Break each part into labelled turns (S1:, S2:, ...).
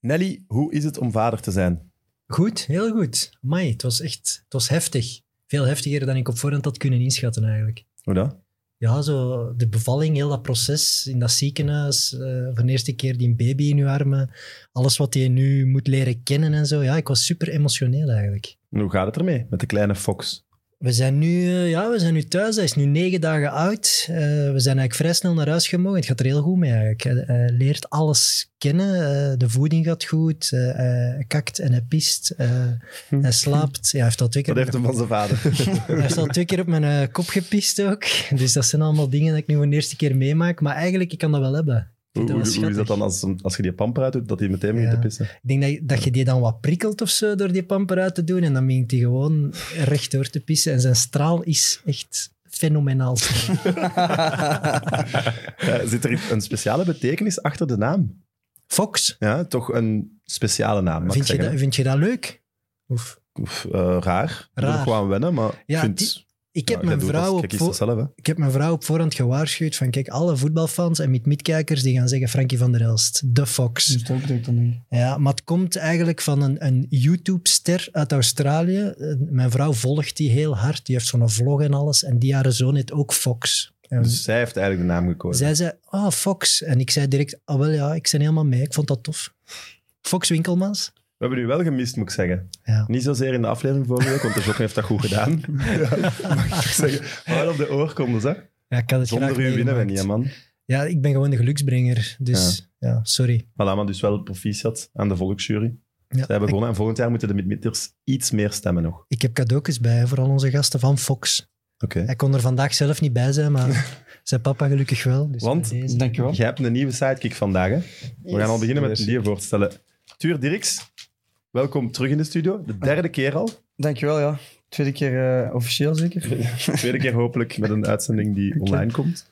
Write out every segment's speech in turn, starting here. S1: Nelly, hoe is het om vader te zijn?
S2: Goed, heel goed. Mai, het was echt het was heftig. Veel heftiger dan ik op voorhand had kunnen inschatten eigenlijk.
S1: Hoe dat?
S2: Ja, zo de bevalling, heel dat proces in dat ziekenhuis. eh, voor de eerste keer die baby in uw armen. Alles wat je nu moet leren kennen en zo. Ja, ik was super emotioneel eigenlijk.
S1: En hoe gaat het ermee met de kleine Fox?
S2: We zijn nu, eh, ja, we zijn nu thuis. Hij is nu negen dagen oud. Eh, we zijn eigenlijk vrij snel naar huis gemogen. Het gaat er heel goed mee eigenlijk. Hij, hij leert alles kennen. Eh, de voeding gaat goed. Eh, hij kakt en hij piest. Eh, hij slaapt. Ja, hij heeft al twee keer...
S1: Dat heeft hem van zijn vader.
S2: Hij heeft al twee keer op mijn eh, kop gepist ook. Dus dat zijn allemaal dingen dat ik nu voor de eerste keer meemaak. Maar eigenlijk, ik kan dat wel hebben.
S1: hoe,
S2: Dat was
S1: hoe- hoe is dat
S2: schattig.
S1: dan als, als je die pamper uit doet, dat hij meteen begint
S2: Ja.
S1: te pissen?
S2: Ik denk dat, je- dat je die dan wat prikkelt of zo door die pamper uit te doen. En dan begint hij gewoon rechtdoor te pissen. En zijn straal is echt fenomenaal.
S1: Eh, zit er een speciale betekenis achter de naam?
S2: Fox,
S1: Ja, toch een speciale naam, mag
S2: vind
S1: ik
S2: je, dat,
S1: zeggen.
S2: vind je dat leuk? Of,
S1: Oef, eh, raar. Ik moet er
S2: Raar.
S1: nog wel aan wennen, maar
S2: Ja,
S1: ik vind...
S2: die- ik,
S1: Ja,
S2: heb
S1: jij
S2: mijn
S1: doet
S2: vrouw
S1: dat,
S2: op
S1: jij kiest
S2: voor-
S1: dat zelf, hè.
S2: ik heb mijn vrouw op voorhand gewaarschuwd van kijk, alle voetbalfans en mid-midkijkers die gaan zeggen Frankie van der Elst, de Fox.
S3: Dus dat bedoel ik dan niet.
S2: Ja, maar het komt eigenlijk van een, een YouTube-ster uit Australië. Eh, Mijn vrouw volgt die heel hard. Die heeft zo'n vlog en alles. En die haar zoon heet ook Fox. En
S1: Dus zij heeft eigenlijk de naam gekozen.
S2: zij zei, ah, Fox. En ik zei direct, ah wel ja, ik ben helemaal mee. Ik vond dat tof. Fox Winkelmans.
S1: We hebben u wel gemist, moet ik zeggen.
S2: Ja.
S1: Niet zozeer in de aflevering vorige week, want de Jokken heeft dat goed gedaan. Mag ik zeggen. Maar wel op de oorkondes, hè.
S2: Ja, ik had het
S1: Zonder
S2: graag
S1: u winnen we
S2: meegemaakt.
S1: niet, hè, man. Maar
S2: Ja, ik ben gewoon de geluksbrenger. Dus ja, sorry.
S1: laat maar dus wel proficiat aan de volksjury.
S2: Ja,
S1: Zij hebben
S2: ik,
S1: gewonnen en volgend jaar moeten de midmitters iets meer stemmen nog.
S2: ik heb cadeautjes bij voor al onze gasten van Fox.
S1: Oké.
S2: Hij kon er vandaag zelf niet bij zijn, maar zijn papa gelukkig wel. Dus
S1: Want-
S2: bij deze.
S3: Dankjewel.
S1: Jij hebt een nieuwe sidekick vandaag, hè. We gaan al beginnen met een dier voor te stellen. Tuur Dirks, welkom terug in de studio. De derde keer al.
S3: Dankjewel, ja. Tweede keer eh, officieel zeker.
S1: Tweede keer hopelijk met een uitzending die online komt.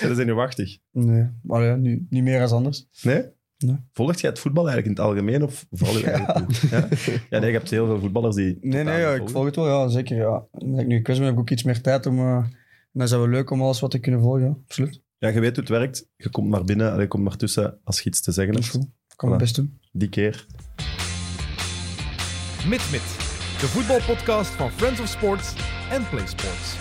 S1: Dat is zenuwachtig.
S3: Nee, maar ja, nu niet meer als anders.
S1: Nee?
S3: Nee.
S1: Volgt jij het voetbal eigenlijk in het algemeen of vooral je eigen ploeg? Ja? ja, nee, je hebt heel veel voetballers die...
S3: Nee,
S1: totaal
S3: nee, ja,
S1: niet
S3: ik
S1: volgen.
S3: volg het wel, ja, zeker. Ja. Omdat ik nu quiz ben, heb ik ook iets meer tijd om... eh, en dan is het wel leuk om alles wat te kunnen volgen, ja. absoluut.
S1: Ja, je weet hoe het werkt. Je komt maar binnen, allee, je komt maar tussen als je iets te zeggen
S3: Dat is
S1: hebt.
S3: goed. Kan het
S1: Voilà.
S3: best doen.
S1: Die keer.
S4: Mit Mit, de voetbalpodcast van Friends of Sports en Play Sports.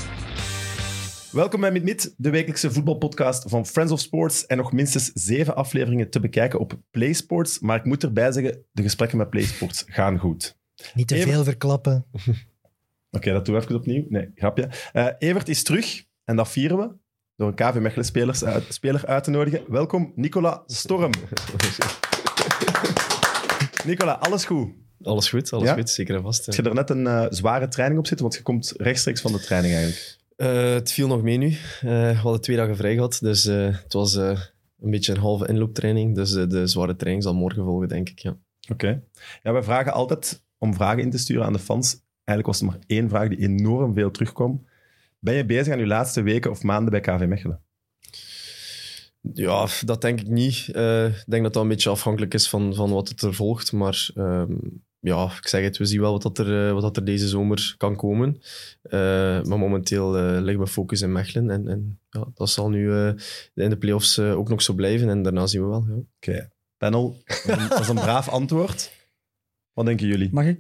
S1: Welkom bij Mit Mit, de wekelijkse voetbalpodcast van Friends of Sports. En nog minstens zeven afleveringen te bekijken op PlaySports. Maar ik moet erbij zeggen, de gesprekken met PlaySports gaan goed.
S2: Niet te
S1: Even-
S2: veel verklappen.
S1: Oké, dat doen we even opnieuw. Nee, grapje. Eh, Evert is terug en dat vieren we door een KV Mechelen spelers uit- speler uit te nodigen. Welkom, Nicola Storm. Nicola, alles goed?
S5: Alles goed, alles
S1: Ja?
S5: goed, zeker en vast.
S1: Heb
S5: ja.
S1: je er net een eh, zware training op zitten? Want je komt rechtstreeks van de training eigenlijk.
S5: Eh, het viel nog mee nu. Eh, we hadden twee dagen vrij gehad, dus eh, het was eh, een beetje een halve inlooptraining. Dus eh, de zware training zal morgen volgen, denk ik. Ja.
S1: Oké. Ja, wij vragen altijd om vragen in te sturen aan de fans. Eigenlijk was er maar één vraag die enorm veel terugkwam. Ben je bezig aan je laatste weken of maanden bij KV Mechelen?
S5: Ja, dat denk ik niet. Eh, ik denk dat dat een beetje afhankelijk is van, van wat het er volgt. Maar ehm, ja, ik zeg het, we zien wel wat, dat er, eh, wat dat er deze zomer kan komen. Eh, maar momenteel eh, ligt mijn focus in Mechelen. En, en ja, dat zal nu eh, in de play-offs eh, ook nog zo blijven. En daarna zien we wel. Ja.
S1: Oké. Panel, dat is een- dat is een braaf antwoord. Wat denken jullie?
S3: Mag ik?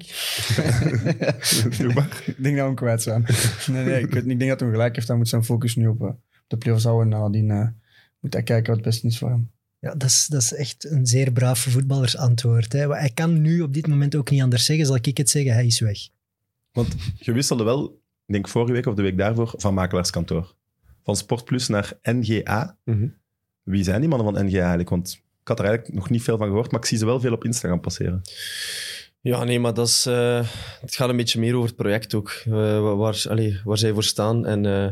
S1: Doe maar.
S3: ik denk dat we hem kwijt zijn. nee, nee, ik, weet niet. ik denk dat hij gelijk heeft. Hij moet zijn focus nu op eh, op de play-offs houden. En nadien eh, moet hij kijken wat het beste is voor hem.
S2: Ja, dat is, dat is echt een zeer braaf voetballersantwoord. Hè. Hij kan nu op dit moment ook niet anders zeggen, zal ik het zeggen. Hij is weg.
S1: Je wisselde wel, ik denk vorige week of de week daarvoor, van makelaarskantoor. Van Sportplus naar NGA.
S5: Mhm.
S1: Wie zijn die mannen van NGA eigenlijk? Want ik had er eigenlijk nog niet veel van gehoord, maar ik zie ze wel veel op Instagram passeren.
S5: Ja, nee, maar dat is, eh, het gaat een beetje meer over het project ook. eh, wa- waar, allee, waar zij voor staan. En, eh,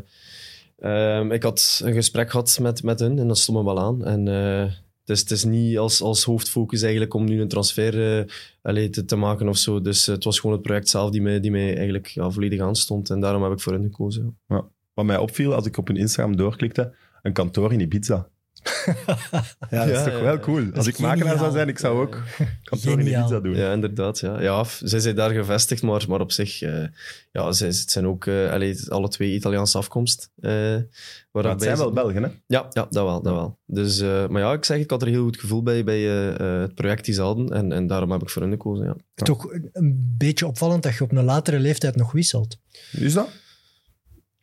S5: ehm, ik had een gesprek gehad met, met hen en dat stond me wel aan. En, eh, het, is, het is niet als, als hoofdfocus eigenlijk om nu een transfer eh, allee, te, te maken of zo. Dus eh, het was gewoon het project zelf die mij, die mij eigenlijk ja, volledig aanstond. En daarom heb ik voor hen gekozen.
S1: Wat mij opviel als ik op hun Instagram doorklikte, een kantoor in Ibiza. Ja, dat is
S5: Ja,
S1: toch
S5: ja,
S1: wel
S5: ja.
S1: cool. Als ik
S2: geniaal.
S1: makelaar zou zijn, ik zou ook kantoor in de
S2: Geniaal.
S1: pizza doen.
S5: Ja, inderdaad. Ja, ja f- zij zijn daar gevestigd, maar, maar op zich, eh, ja, zij, het zijn ook eh, allee, alle twee Italiaanse afkomst. eh, waar
S1: Maar
S5: dat
S1: het
S5: bij
S1: zijn
S5: zit.
S1: wel Belgen, hè?
S5: Ja, ja dat wel. Dat wel. Dus, eh, maar ja, ik zeg, ik had er heel goed gevoel bij, bij eh, eh, het project die ze hadden. En, en daarom heb ik voor hun gekozen. Ja.
S2: Toch een beetje opvallend dat je op een latere leeftijd nog wisselt.
S1: Is dat?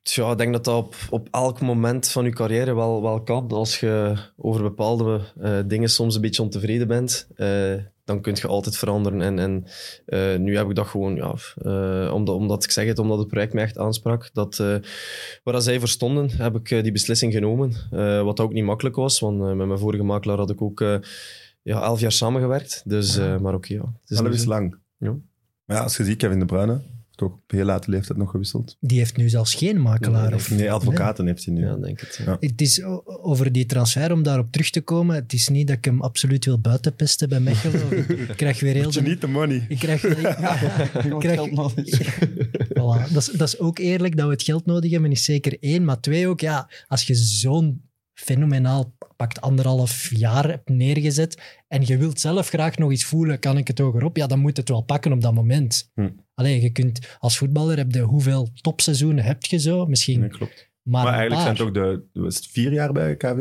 S5: Tja, ik denk dat dat op, op elk moment van je carrière wel, wel kan. Als je over bepaalde eh, dingen soms een beetje ontevreden bent, eh, dan kun je altijd veranderen. En, en eh, nu heb ik dat gewoon, ja, eh, omdat, omdat ik zeg het, omdat het project mij echt aansprak. Dat, eh, waar dat zij voor stonden, heb ik eh, die beslissing genomen. Eh, wat ook niet makkelijk was, want eh, met mijn vorige makelaar had ik ook eh, ja, elf jaar samengewerkt. Dus, eh, maar oké, ja. Het
S1: Dat
S5: nu
S1: is
S5: zo.
S1: lang.
S5: Ja.
S1: Maar ja, als je ziet, Kevin De Bruyne, toch op heel late leeftijd nog gewisseld.
S2: Die heeft nu zelfs geen makelaar.
S5: Nee,
S2: Of,
S1: Nee, advocaten heeft hij nu.
S5: Ja, denk het. ja.
S1: Ja.
S2: Het is o- over die transfer, om daarop terug te komen. Het is niet dat ik hem absoluut wil buitenpesten bij Mechelen. ik krijg weer heel
S1: Moet je
S2: de-
S1: niet de money.
S2: Ik krijg, ik krijg- Voilà. Dat, is, dat is ook eerlijk dat we het geld nodig hebben, is zeker één. Maar twee ook, ja, als je zo'n fenomenaal pakt anderhalf jaar hebt neergezet en je wilt zelf graag nog iets voelen, kan ik het hogerop? Ja, dan moet het wel pakken op dat moment.
S1: Hm.
S2: Alleen, je kunt als voetballer, heb je, hoeveel topseizoenen heb je zo? Misschien
S1: Nee, klopt.
S2: maar,
S1: Maar
S2: een
S1: eigenlijk
S2: paar.
S1: zijn het ook de, was het vier jaar bij KW?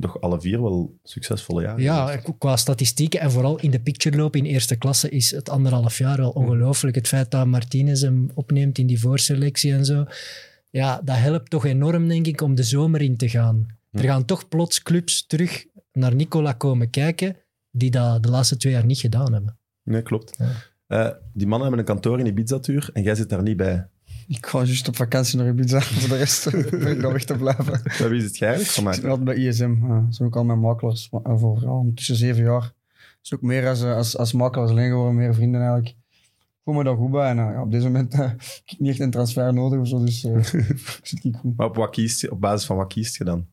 S1: Toch alle vier wel succesvolle jaren.
S2: Ja,
S1: geweest.
S2: k- qua statistieken en vooral in de picture lopen in eerste klasse is het anderhalf jaar wel ongelooflijk. Het feit dat Martinez hem opneemt in die voorselectie en zo. Ja, dat helpt toch enorm, denk ik, om de zomer in te gaan.
S1: Hm.
S2: Er gaan toch plots clubs terug naar Nicola komen kijken die dat de laatste twee jaar niet gedaan hebben.
S1: Nee, klopt.
S2: Ja.
S1: Eh, die mannen hebben een kantoor in Ibiza-tuur en jij zit daar niet bij.
S3: Ik ga juist op vakantie naar Ibiza. Voor de rest ben ik dan weg te blijven.
S1: Bij wie is het eigenlijk van
S3: Ik
S1: mij?
S3: zit altijd bij ISM. ja. Dat zijn ook al mijn makelaars. maar, eh, Voor ja, ondertussen zeven jaar. Dat is ook meer als, eh, als, als makelaars alleen geworden, meer vrienden eigenlijk. Ik voel me daar goed bij. En eh, ja, op dit moment eh, heb ik niet echt een transfer nodig of zo. Dus eh, zit ik goed.
S1: Maar op, wat kiest, je- op basis van wat kiest je dan?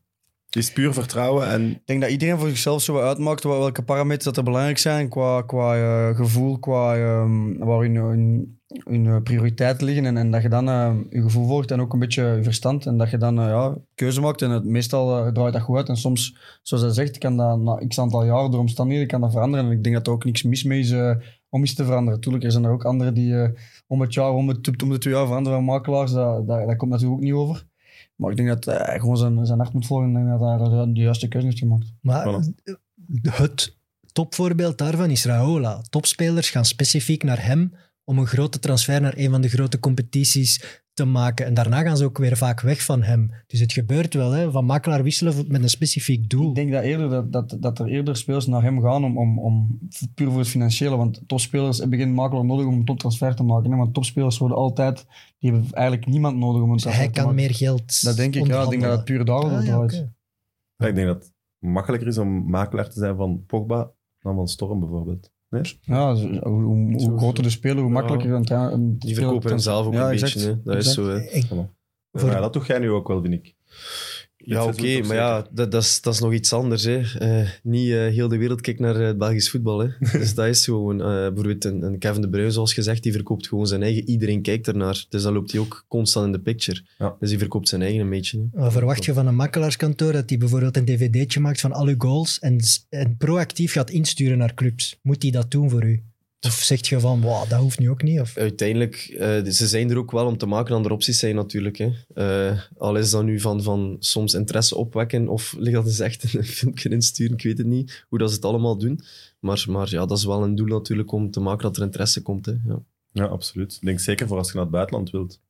S1: Het is puur vertrouwen en
S3: Ik denk dat iedereen voor zichzelf zo wat uitmaakt wat- welke parameters dat er belangrijk zijn qua, qua eh, gevoel, qua ehm, waar hun, hun, hun, eh, prioriteiten liggen. En, en dat je dan eh, je gevoel volgt en ook een beetje je verstand. En dat je dan eh, ja, keuze maakt. En het, meestal eh, draait dat goed uit. En soms, zoals hij zegt, kan dat na x aantal jaar door omstandigheden kan dat veranderen. En ik denk dat er ook niks mis mee is eh, om iets te veranderen. Tuurlijk, er zijn er ook anderen die eh, om het jaar, om, het, om de twee jaar veranderen van makelaars. Dat, dat, dat komt natuurlijk ook niet over. Maar ik denk dat eh, hij gewoon zijn, zijn hart moet volgen en dat hij de, de juiste keuze heeft gemaakt.
S2: Maar
S1: Voilà.
S2: eh, het topvoorbeeld daarvan is Raola. Topspelers gaan specifiek naar hem om een grote transfer naar een van de grote competities te maken. En daarna gaan ze ook weer vaak weg van hem. Dus het gebeurt wel, hè, van makelaar wisselen voor- met een specifiek doel.
S3: Ik denk dat, eerder, dat, dat, dat er eerder spelers naar hem gaan om, om, om puur voor het financiële. Want topspelers hebben geen makelaar nodig om een toptransfer te maken. Hè? Want topspelers worden altijd, die hebben eigenlijk niemand nodig om een
S2: Dus
S3: transfer
S2: hij
S3: te
S2: kan
S3: maken.
S2: meer geld
S3: Dat denk ik, ja. Ik denk dat het puur daarover
S2: Ah, ja,
S3: draait.
S2: oké.
S1: Ja, ik denk dat het makkelijker is om makelaar te zijn van Pogba dan van Storm bijvoorbeeld.
S3: Ja, zo- hoe, hoe- hoe
S5: Zo-
S3: groter de speler, hoe
S5: Ja.
S3: makkelijker een, tra- een
S5: Die
S3: speler-
S5: verkopen hunzelf ook
S3: Ja,
S5: een
S3: exact.
S5: beetje. Hè. Dat is
S3: Exact.
S5: zo. hè.
S2: Ik-
S1: Ja,
S2: Voor-
S1: maar dat doe jij nu ook wel, vind ik.
S5: Ja,
S1: Dit
S5: oké,
S1: seizoen toch
S5: maar ja, dat, dat, is, dat is nog iets anders. Hè. Eh, niet eh, heel de wereld kijkt naar eh, het Belgisch voetbal. Hè. Dus dat is gewoon, eh, bijvoorbeeld een, een Kevin De Bruyne, zoals gezegd, die verkoopt gewoon zijn eigen. Iedereen kijkt ernaar, dus dan loopt hij ook constant in de picture.
S1: Ja.
S5: Dus die verkoopt zijn eigen een beetje. hè.
S2: Wat verwacht je van een makelaarskantoor dat die bijvoorbeeld een dvd'tje maakt van al uw goals en, en proactief gaat insturen naar clubs? Moet die dat doen voor u? Of zegt je van, wow, dat hoeft nu ook niet? Of?
S5: Uiteindelijk, eh, ze zijn er ook wel om te maken aan de opties zijn natuurlijk. Hè. Eh, al is dat nu van, van soms interesse opwekken of ligt dat eens echt in een filmpje insturen, ik weet het niet, hoe dat ze het allemaal doen. Maar, maar ja, dat is wel een doel natuurlijk om te maken dat er interesse komt. Hè. Ja.
S1: Ja, absoluut. Ik denk zeker voor als je naar het buitenland wilt.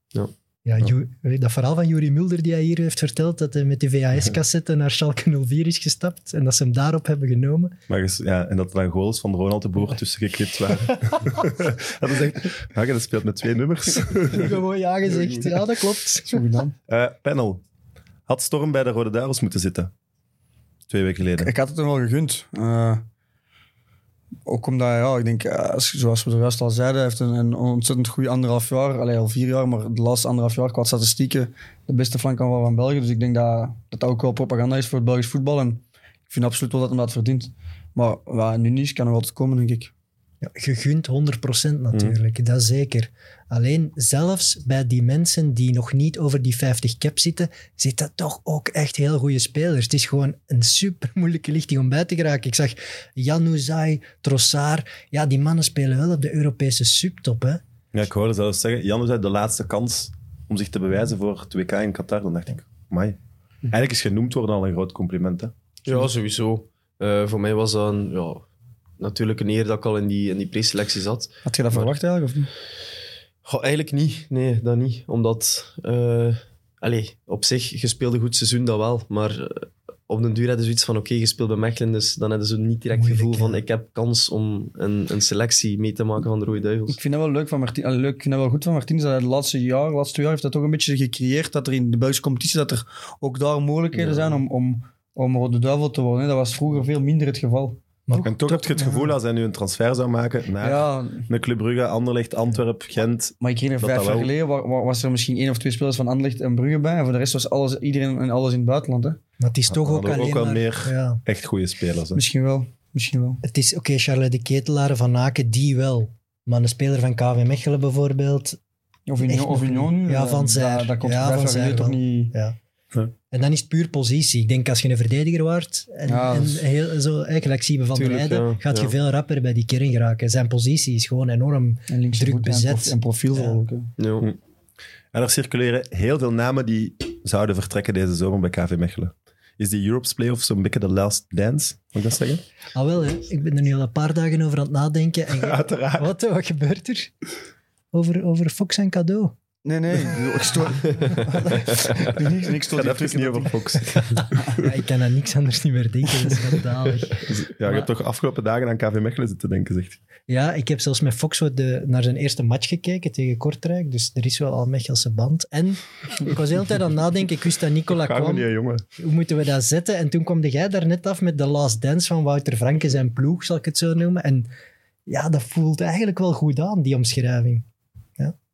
S2: Ja, Ju- dat verhaal van Juri Mulder die hij hier heeft verteld, dat hij met die VHS-cassette naar Schalke 04 is gestapt en dat ze hem daarop hebben genomen.
S1: Maar ges- ja, en dat er dan goals van Ronald de Boer tussen geknipt waren. dat is echt... Ja, dat speelt met twee nummers.
S2: Gewoon ja gezegd. Ja, dat klopt.
S3: Zo gedaan.
S1: Eh, panel. Had Storm bij de Rode Duivels moeten zitten? Twee weken geleden.
S3: Ik had het hem wel gegund. Eh, ook omdat, ja, ik denk, eh, als- zoals we zojuist al zeiden, hij heeft een, een ontzettend goede anderhalf jaar. Allee, al vier jaar, maar de laatste anderhalf jaar qua statistieken de beste flank aan wel van België. Dus ik denk dat dat, dat ook wel propaganda is voor het Belgisch voetbal. En ik vind absoluut wel dat hij dat verdient. Maar wat nu niet is, kan nog altijd komen, denk ik.
S2: Ja, gegund 100% natuurlijk, dat zeker. Alleen zelfs bij die mensen die nog niet over die 50 cap zitten, zitten toch ook echt heel goede spelers. Het is gewoon een super moeilijke lichting om bij te geraken. Ik zag Januzaj, Trossard. Ja, die mannen spelen wel op de Europese subtop. Hè?
S1: Ja, ik hoorde zelfs zeggen, Jan zei de laatste kans om zich te bewijzen voor het WK in Qatar. Dan dacht ik, amai. Eigenlijk is genoemd worden al een groot compliment. Hè?
S5: Ja, sowieso. Eh, voor mij was dat een, ja, natuurlijk een eer dat ik al in die, in die preselectie zat.
S3: Had je dat verwacht eigenlijk? Of niet?
S5: Goh, eigenlijk niet. Nee, dat niet. Omdat, eh allee, op zich, gespeelde goed seizoen, dat wel. Maar eh, op den duur hadden ze zoiets van, oké, gespeeld bij Mechelen, dus dan hadden ze niet direct het
S2: Moeilijk,
S5: gevoel van,
S2: hè?
S5: ik heb kans om een, een selectie mee te maken van de Rode Duivels.
S3: Ik vind dat wel leuk van Martin, allee, leuk, ik vind dat wel goed van Martin. Dat hij de laatste jaar, laatste twee jaar heeft dat toch een beetje gecreëerd dat er in de Belgische competitie dat er ook daar mogelijkheden
S5: Ja.
S3: zijn om, om, om Rode Duivel te worden. hè. Dat was vroeger veel minder het geval.
S1: En toch heb je het gevoel, als hij nu een transfer zou maken naar
S3: Ja,
S1: een Club Brugge, Anderlecht, Antwerp, Gent.
S3: maar ik herinner
S1: Dat
S3: vijf
S1: dat
S3: jaar
S1: wel-
S3: geleden wa- wa- was er misschien één of twee spelers van Anderlecht en Brugge bij. En voor de rest was alles, iedereen en alles in het buitenland. Hè?
S2: Maar het is toch
S1: hadden
S2: ook
S1: we ook
S2: alleen
S1: wel
S2: maar-
S1: meer-
S2: Ja.
S1: Echt goede spelers. Hè?
S3: Misschien wel. Misschien wel.
S2: Het is, oké, Charlotte de Ketelaar, Van Aken, die wel. Maar een speler van KV Mechelen bijvoorbeeld.
S3: Of
S2: Echt
S3: Union, of
S2: nog
S3: Union nu.
S2: Ja,
S3: eh,
S2: Van Zijl.
S3: Dat, dat komt
S2: Ja,
S3: vijf
S2: Van
S3: jaar geleden
S2: Zijl
S3: toch
S2: wel.
S3: niet...
S2: Ja.
S1: Ja.
S2: En dan is het puur positie. Ik denk als je een verdediger waart en,
S3: Ja,
S2: en
S3: dat is-
S2: heel, zo, eigenlijk zie je Van der
S5: Tuurlijk,
S2: Heijden,
S5: ja,
S2: gaat je
S5: ja.
S2: veel rapper bij die kern geraken. Zijn positie is gewoon enorm.
S3: En links
S2: Druk
S3: goed en
S2: bezet.
S3: prof- En profiel
S2: Ja.
S3: vooral ook. hè.
S5: Ja.
S1: En er circuleren heel veel namen die zouden vertrekken deze zomer bij KV Mechelen. Is die Europe's Playoff zo'n beetje de last dance? Moet ik dat zeggen?
S2: Al Ah, wel, hè, ik ben er nu al een paar dagen over aan het nadenken. En jij-
S1: Uiteraard.
S2: wat, wat gebeurt er? Over, over Fox en cadeau.
S3: Nee, nee. ik bedoel, Ik stoor... niks, niks
S1: Ik
S3: tot
S1: ga
S3: die
S1: het even
S3: trucken
S1: niet
S3: dat
S1: over Fox.
S2: Ja, ik kan aan niks anders niet meer denken. Dat is schandalig.
S1: Ja, je hebt toch afgelopen dagen aan KV Mechelen zitten denken, zegt hij.
S2: Ja, ik heb zelfs met Foxwood de, naar zijn eerste match gekeken tegen Kortrijk. Dus er is wel al Mechelse band. En ik was de hele tijd aan het nadenken. Ik wist dat Nicola
S1: Gaan we
S2: kwam.
S1: niet, jongen.
S2: Hoe moeten we dat zetten? En toen kwam jij daar net af met de last dance van Wouter Franke, zijn ploeg, zal ik het zo noemen. En ja, dat voelt eigenlijk wel goed aan, die omschrijving.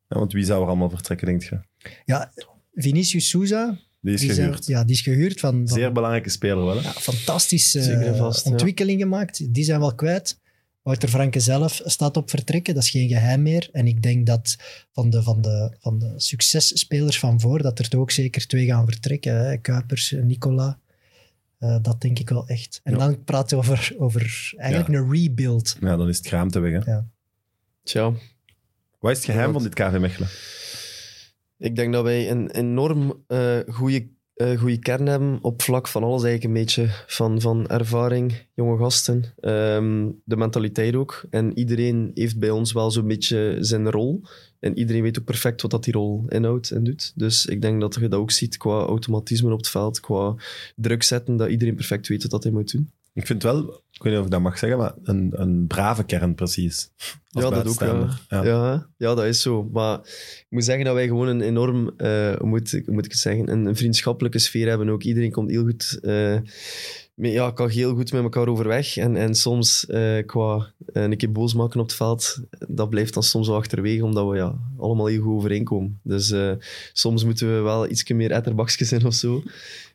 S1: Ja, want wie zou er allemaal vertrekken, denk je?
S2: Ja, Vinicius Souza.
S1: Die is
S2: die zijn-
S1: gehuurd.
S2: ja, die is gehuurd van... van
S1: Zeer belangrijke speler wel, hè?
S2: ja, fantastische
S5: Zeker en
S2: eh,
S5: vast, ja.
S2: ontwikkeling gemaakt. Die zijn wel kwijt. Wouter Franke zelf staat op vertrekken, dat is geen geheim meer. En ik denk dat van de, van de, van de successpelers van voor, dat er toch ook zeker twee gaan vertrekken. Hè? Kuipers, eh, Nicola. Eh, dat denk ik wel echt. En
S1: Ja.
S2: dan praten we over, over eigenlijk een rebuild.
S1: Ja, dan is het kraamte weg, hè?
S5: Tja.
S1: Wat is het geheim van dit KV Mechelen?
S5: Ik denk dat wij een enorm eh goede goede kern hebben op vlak van alles eigenlijk een beetje. Van, van ervaring, jonge gasten, ehm, de mentaliteit ook. En iedereen heeft bij ons wel zo'n beetje zijn rol. En iedereen weet ook perfect wat dat die rol inhoudt en doet. Dus ik denk dat je dat ook ziet qua automatisme op het veld, qua druk zetten, dat iedereen perfect weet wat hij moet doen.
S1: Ik vind wel, ik weet niet of ik dat mag zeggen, maar een, een brave kern precies. Als
S5: Ja, dat ook,
S1: buitenstaander.
S5: Ja, ja. dat is zo. Maar ik moet zeggen dat wij gewoon een enorm, eh, hoe moet, ik- hoe moet ik het zeggen, een, een vriendschappelijke sfeer hebben ook. Iedereen komt heel goed, eh, mee, ja, kan heel goed met elkaar overweg. En, en soms eh, qua eh, een keer boos maken op het veld, dat blijft dan soms wel achterwege, omdat we ja, allemaal heel goed overeenkomen. Dus eh, soms moeten we wel iets meer etterbakjes zijn of zo.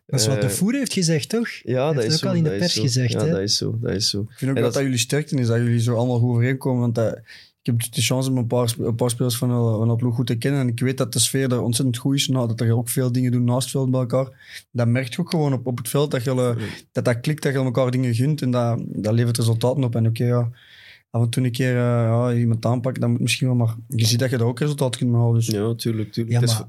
S2: Dat is wat de
S5: Eh,
S2: voer heeft gezegd, toch?
S5: Ja,
S2: heeft
S5: dat is
S2: ook
S5: zo,
S2: al in de
S5: dat is
S2: pers
S5: zo.
S2: gezegd,
S5: Ja,
S2: hè?
S5: dat is zo, dat is zo.
S3: Ik vind ook
S5: En
S3: dat,
S5: dat-
S3: dat jullie sterkte is, dat jullie zo allemaal goed overeenkomen. Want dat- ik heb de chance om een paar, sp- een paar spelers van eh, van dat ploeg goed te kennen. En ik weet dat de sfeer daar ontzettend goed is. Nou, dat er ook veel dingen doen naast het veld bij elkaar. Dat merk je ook gewoon op, op het veld. Dat, jullie, dat dat klikt, dat je elkaar dingen gunt. En dat, dat levert resultaten op. En oké, ja, af en toe een keer eh, ja, iemand aanpakken, dat moet misschien wel. Maar je ziet dat je daar ook resultaat kunt mee halen. Dus.
S5: Ja, tuurlijk, tuurlijk.
S2: Ja,
S5: Het is-
S2: maar,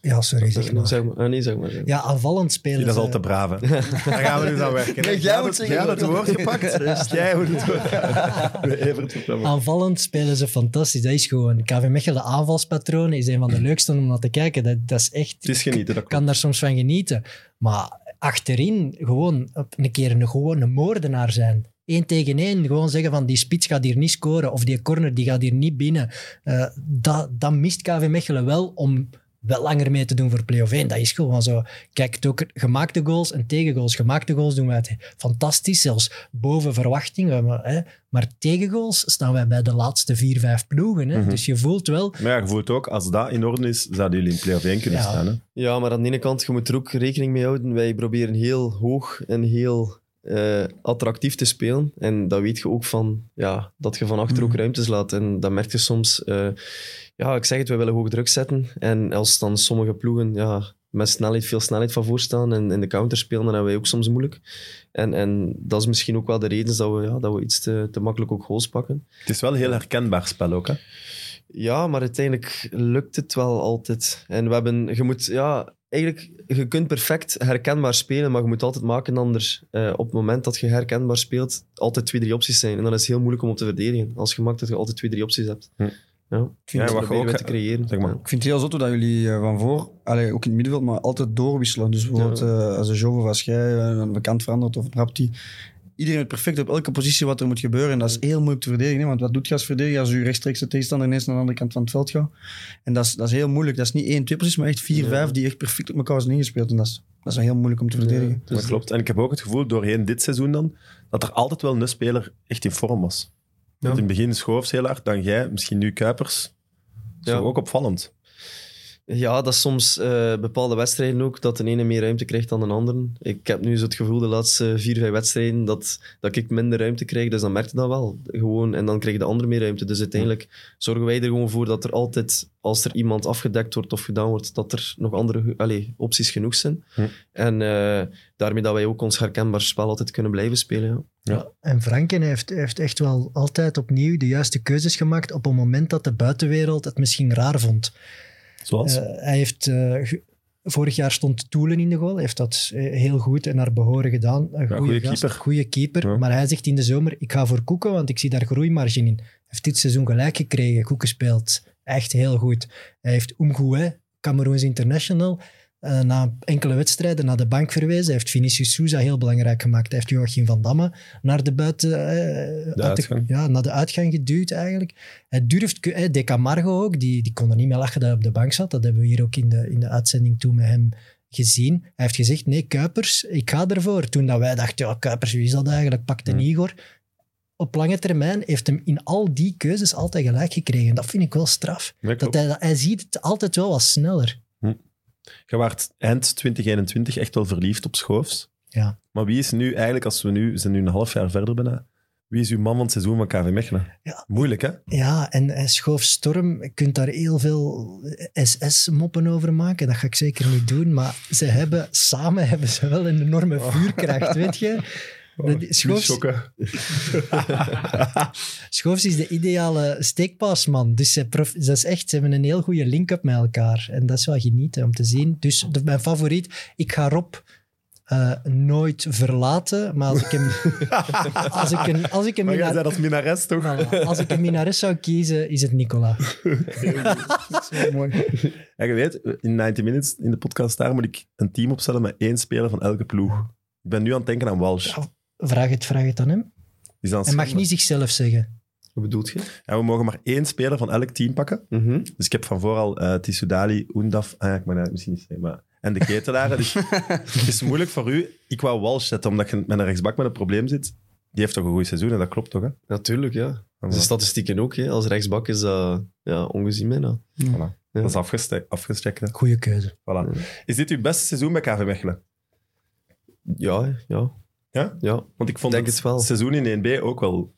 S2: ja sorry, zeg maar.
S5: Zeg maar. Ah, nee, zeg maar. zeg maar.
S2: Ja, aanvallend spelen.
S1: Die dat is
S2: ze-
S1: al te braaf, hè? Daar gaan we dus aan werken. hè?
S3: Nee, jij
S1: had
S3: moet
S1: het-
S3: zeggen
S1: jij had
S3: dat-
S1: het woord gepakt. Dus jij moet het woord gaan. Evert, vertel maar.
S2: Aanvallend spelen ze fantastisch. Dat is gewoon... KV Mechelen aanvalspatroon is een van de leukste om naar te kijken. Dat, dat is echt...
S1: Mm. Het is genieten, dat
S2: Ik kan
S1: klopt.
S2: daar soms van genieten. Maar achterin gewoon op een keer een gewone moordenaar zijn. Eén tegen één. Gewoon zeggen van die spits gaat hier niet scoren. Of die corner die gaat hier niet binnen. Eh, dat, dat mist KV Mechelen wel om wel langer mee te doen voor play-off 1. Dat is gewoon zo. Kijk, het ook gemaakte goals en tegengoals. Gemaakte goals doen wij het fantastisch. Zelfs boven verwachting. We hebben, hè. Maar tegengoals staan wij bij de laatste vier, vijf ploegen. Hè.
S1: Mhm.
S2: Dus je voelt wel...
S1: Maar ja, je voelt ook, als dat in orde is, zouden jullie in play-off 1 kunnen
S2: Ja.
S1: staan. Hè?
S5: Ja, maar aan de ene kant, je moet er ook rekening mee houden. Wij proberen heel hoog en heel eh, eh, attractief te spelen. En dat weet je ook van, ja, dat je van achter ook ruimtes laat. En dat merk je soms. eh, ja, ik zeg het, wij willen hoog druk zetten. En als dan sommige ploegen ja, met snelheid, veel snelheid van voorstaan en in de counter spelen, dan hebben wij ook soms moeilijk. En, en dat is misschien ook wel de reden dat we, ja, dat we iets te, te makkelijk ook goals pakken.
S1: Het is wel een heel herkenbaar spel ook. Hè?
S5: Ja, maar uiteindelijk lukt het wel altijd. En we hebben, je moet, ja, eigenlijk, je kunt perfect herkenbaar spelen, maar je moet altijd maken anders. eh, op het moment dat je herkenbaar speelt, altijd twee, drie opties zijn. En dan is het heel moeilijk om op te verdedigen. Als je maakt dat je altijd twee, drie opties hebt.
S1: Hm.
S5: Ja,
S1: Ja,
S5: Dus
S1: wat
S5: proberen
S1: je ook- eh,
S5: we te creëren.
S1: Zeg maar.
S5: Ja.
S3: Ik vind het heel zot dat jullie eh, van voor, allee, ook in het middenveld, maar altijd doorwisselen. Dus bijvoorbeeld eh, als een Jovo of als jij eh, aan de kant verandert of een Rapti. Iedereen weet perfect op elke positie wat er moet gebeuren. En dat is heel moeilijk te verdedigen. hè, Want wat doet je als verdediger als je rechtstreeks de tegenstander ineens naar de andere kant van het veld gaat? En dat is, dat is heel moeilijk. Dat is niet één, twee precies, maar echt vier,
S5: Ja.
S3: vijf die echt perfect op elkaar zijn ingespeeld. En dat is, dat is heel moeilijk om te
S5: dus
S3: verdedigen.
S1: Dat klopt. En ik heb ook het gevoel doorheen dit seizoen dan, dat er altijd wel een speler echt in vorm was. Want in het begin Schoofs heel hard, dan jij, misschien nu Kuipers. Dat is
S5: Ja.
S1: toch ook opvallend.
S5: Ja, dat is soms eh, bepaalde wedstrijden ook, dat de ene meer ruimte krijgt dan de andere. Ik heb nu zo het gevoel de laatste vier, vijf wedstrijden dat, dat ik minder ruimte krijg, dus dan merk je dat wel. Gewoon, en dan krijgt de ander meer ruimte. Dus uiteindelijk zorgen wij er gewoon voor dat er altijd, als er iemand afgedekt wordt of gedaan wordt, dat er nog andere ge- allee, opties genoeg zijn.
S1: Hm.
S5: En eh, daarmee dat wij ook ons herkenbaar spel altijd kunnen blijven spelen. Ja.
S2: En Franken heeft, heeft echt wel altijd opnieuw de juiste keuzes gemaakt op een moment dat de buitenwereld het misschien raar vond.
S1: Zoals?
S2: Eh, hij heeft... eh, ge- Vorig jaar stond Toelen in de goal. Hij heeft dat eh, heel goed en naar behoren gedaan. Een goede
S1: goeie
S2: gast,
S1: keeper.
S2: goede keeper.
S1: Ja.
S2: Maar hij zegt in de zomer, ik ga voor Koeken, want ik zie daar groeimarge in. Hij heeft dit seizoen gelijk gekregen. Koeken speelt echt heel goed. Hij heeft Umgoué, Cameroons International, eh, na enkele wedstrijden naar de bank verwezen. Hij heeft Vinicius Souza heel belangrijk gemaakt. Hij heeft Joachim van Damme naar de buiten... eh, uit
S1: uitgang.
S2: ja, naar de uitgang geduwd eigenlijk. Hij durft... ku- eh, De Camargo ook, die, die kon er niet meer lachen dat hij op de bank zat. Dat hebben we hier ook in de, in de uitzending toen met hem gezien. Hij heeft gezegd, nee, Kuipers, ik ga ervoor. Toen dat wij dachten, ja, Kuipers, wie is dat eigenlijk? Pakte
S1: Hmm.
S2: Igor. Op lange termijn heeft hem in al die keuzes altijd gelijk gekregen. Dat vind ik wel straf.
S1: Ja, klopt.
S2: Dat hij, dat- hij ziet het altijd wel wat sneller.
S1: Je waart eind 2021 echt wel verliefd op Schoofs.
S2: Ja.
S1: Maar wie is nu eigenlijk, als we nu, we zijn nu een half jaar verder bijna, wie is uw man van het seizoen van KV Mechelen?
S2: Ja.
S1: Moeilijk, hè?
S2: Ja, en, en Schoof Storm, je kunt daar heel veel SS-moppen over maken. Dat ga ik zeker niet doen. Maar ze hebben, samen hebben ze wel een enorme vuurkracht, weet je. Dat- Schoofs, Schoofs is de ideale steekpaasman. Dus ze, prof- dat is echt, ze hebben een heel goede link-up met elkaar. En dat is wel genieten om te zien. Dus de- mijn favoriet, ik ga Rob eh, nooit verlaten. Maar als ik hem... als ik een, als ik hem
S1: Maar
S2: in
S1: jij
S2: haar-
S1: zei dat minares toch?
S2: Voilà. Als ik een minares zou kiezen, is het Nicola.
S1: En je weet, in 90 Minutes, in de podcast daar, moet ik een team opstellen met één speler van elke ploeg. Ik ben nu aan het denken aan Walsh.
S2: Ja. Vraag het, vraag het aan hem.
S1: Die is aan het
S2: Hij mag
S1: schrijven.
S2: niet zichzelf zeggen.
S5: Wat bedoelt je?
S1: En we mogen maar één speler van elk team pakken. Dus ik heb van vooral eh Tissoudali, Oendaf, ah, ja, ik mag dat misschien niet zeggen, maar... En de ketelaren. Dus het is moeilijk voor u. Ik wou Walsh zetten, omdat je met een rechtsbak met een probleem zit. Die heeft toch een goed seizoen, en dat klopt toch, hè?
S5: Natuurlijk, ja. De statistieken ook. Hè. Als rechtsbak is dat ja, ongezien bijna.
S1: Dat is afgeste- afgestrekt, hè.
S2: Goeie keuze.
S1: Voilà. Is dit uw beste seizoen bij KV Mechelen?
S5: Ja, ja.
S1: Ja?
S5: Ja,
S1: Want ik vond
S5: Denk
S1: het,
S5: het wel.
S1: seizoen in 1B ook wel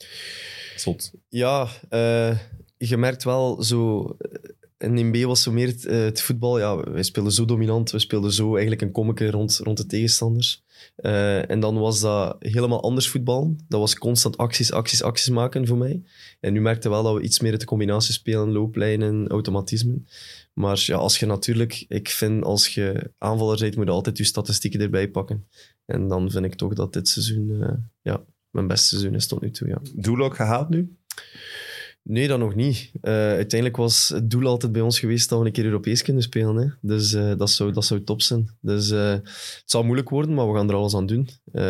S1: zot.
S5: Ja, eh, je merkt wel zo. eh, In 1B was zo meer het, eh, het voetbal. Ja, wij speelden zo dominant. We speelden zo eigenlijk een kommetje rond, rond de tegenstanders. Eh, en dan was dat helemaal anders voetbal. Dat was constant acties, acties, acties maken voor mij. En nu merkte wel dat we iets meer uit de combinatie spelen, looplijnen, automatismen. Maar ja, als je natuurlijk, ik vind als je aanvaller bent, moet je altijd je statistieken erbij pakken. En dan vind ik toch dat dit seizoen, eh, ja, mijn beste seizoen is tot nu toe. Ja.
S1: Doel ook gehaald nu?
S5: Nee, dat nog niet. Eh, uiteindelijk was het doel altijd bij ons geweest dat we een keer Europees kunnen spelen. Hè. Dus eh, dat, zou, dat zou top zijn. Dus eh, het zal moeilijk worden, maar we gaan er alles aan doen. Eh,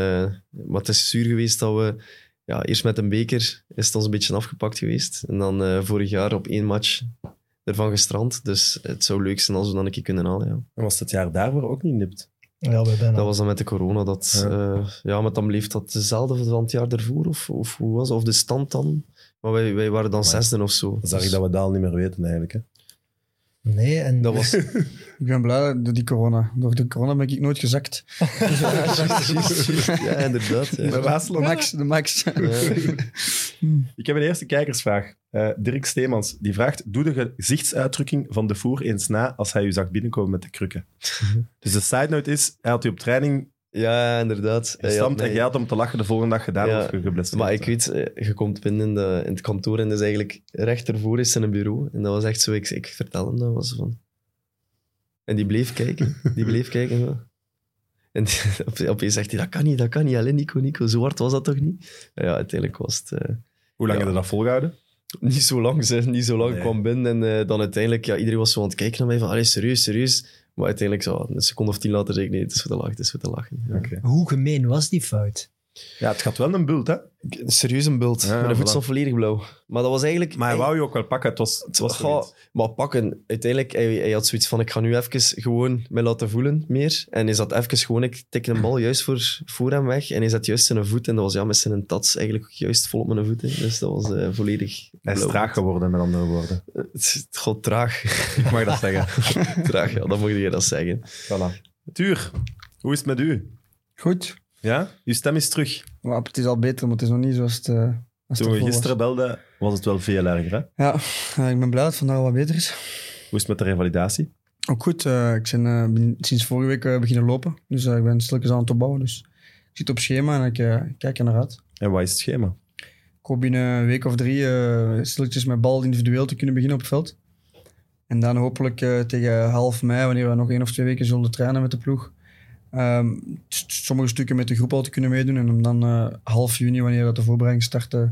S5: maar het is zuur geweest dat we... Ja, eerst met een beker is het ons een beetje afgepakt geweest. En dan eh, vorig jaar op één match ervan gestrand. Dus het zou leuk zijn als we dan een keer kunnen halen, ja.
S1: En was het jaar daarvoor ook niet nipt?
S2: Ja, we zijn
S5: Dat
S2: al.
S5: was dan met de corona. Dat, ja. ja, maar dan bleef dat dezelfde van het jaar ervoor? Of, of hoe was dat? Of de stand dan? Maar wij, wij waren dan
S1: Amai.
S5: zesde of zo.
S1: Dan zag ik
S5: Dus-
S1: dat we Daal niet meer weten eigenlijk. Hè?
S2: Nee, en
S5: Dat was...
S3: Ik ben blij door die corona. Door de corona ben ik nooit gezakt.
S5: ja, inderdaad. ja.
S1: Bij Waasland.
S3: Max, de max.
S5: Ja.
S1: Ik heb een eerste kijkersvraag. Eh, Dirk Steemans, die vraagt... Doe de gezichtsuitdrukking van de voer eens na als hij u zag binnenkomen met de krukken. Dus de side note is, hij had u op training
S5: Ja, inderdaad. Ja, ja,
S1: gestampt
S5: nee.
S1: en jij had hem te lachen de volgende dag gedaan
S5: Ja,
S1: of je geblesseerd.
S5: Maar ik weet, eh, je komt binnen in, de, in het kantoor en dus eigenlijk rechtervoor is zijn bureau. En dat was echt zo, ik, ik vertel hem dat was van... En die bleef kijken, die bleef kijken. ja. En die- op- opeens zegt hij, dat kan niet, dat kan niet. Alleen Nico, Nico, zo hard was dat toch niet? Ja, uiteindelijk was het eh,
S1: Hoe lang
S5: Ja.
S1: heb je dat volgehouden?
S5: niet zo lang, zeg. Niet zo lang,
S1: Nee.
S5: Ik kwam binnen en eh, dan uiteindelijk, ja, iedereen was zo aan het kijken naar mij van, allee, serieus, serieus. Maar uiteindelijk, zo, een seconde of tien later, zei ik, nee, het is voor de lach, het is voor de lachen. Ja.
S2: hoe gemeen was die fout?
S1: Ja, het gaat wel een bult, hè?
S5: Serieus een bult.
S1: Ja,
S5: Mijn
S1: voilà.
S5: voet stond volledig blauw. Maar dat was eigenlijk...
S1: Maar hij wou je ook wel pakken. Het was, het was
S5: Goh,
S1: zoiets.
S5: maar pakken, uiteindelijk, hij, hij had zoiets van, ik ga nu even gewoon me laten voelen meer. En is dat even gewoon, ik tik een bal juist voor, voor hem weg. En hij zat juist zijn voet, en dat was ja, met zijn tats eigenlijk ook juist vol op mijn voeten. Dus dat was eh, volledig
S1: Hij is
S5: blauw.
S1: traag geworden, met andere woorden.
S5: Eh, Het is gewoon traag.
S1: Ik mag dat zeggen.
S5: traag, ja, dan mocht je dat zeggen.
S1: Voilà. Tuur, hoe is het met u?
S3: Goed.
S1: Ja? Uw stem is terug.
S3: Maar het is al beter, maar het is nog niet zoals het... eh, als het
S1: Toen we
S3: ervoor was.
S1: gisteren belden, was het wel veel erger, hè?
S3: Ja, eh, ik ben blij dat het vandaag wat beter is.
S1: Hoe is het met de revalidatie?
S3: Ook goed, eh, ik ben eh, ben sinds vorige week eh, beginnen lopen. Dus eh, ik ben stilletjes aan het opbouwen. Dus ik zit op schema en ik eh, kijk er naar uit.
S1: En wat is het schema?
S3: Ik hoop binnen een week of drie eh stilletjes met bal individueel te kunnen beginnen op het veld. En dan hopelijk eh, tegen half mei, wanneer we nog één of twee weken zullen trainen met de ploeg, ehm, s- sommige stukken met de groep al te kunnen meedoen. En om dan eh, half juni, wanneer dat de voorbereiding start, eh,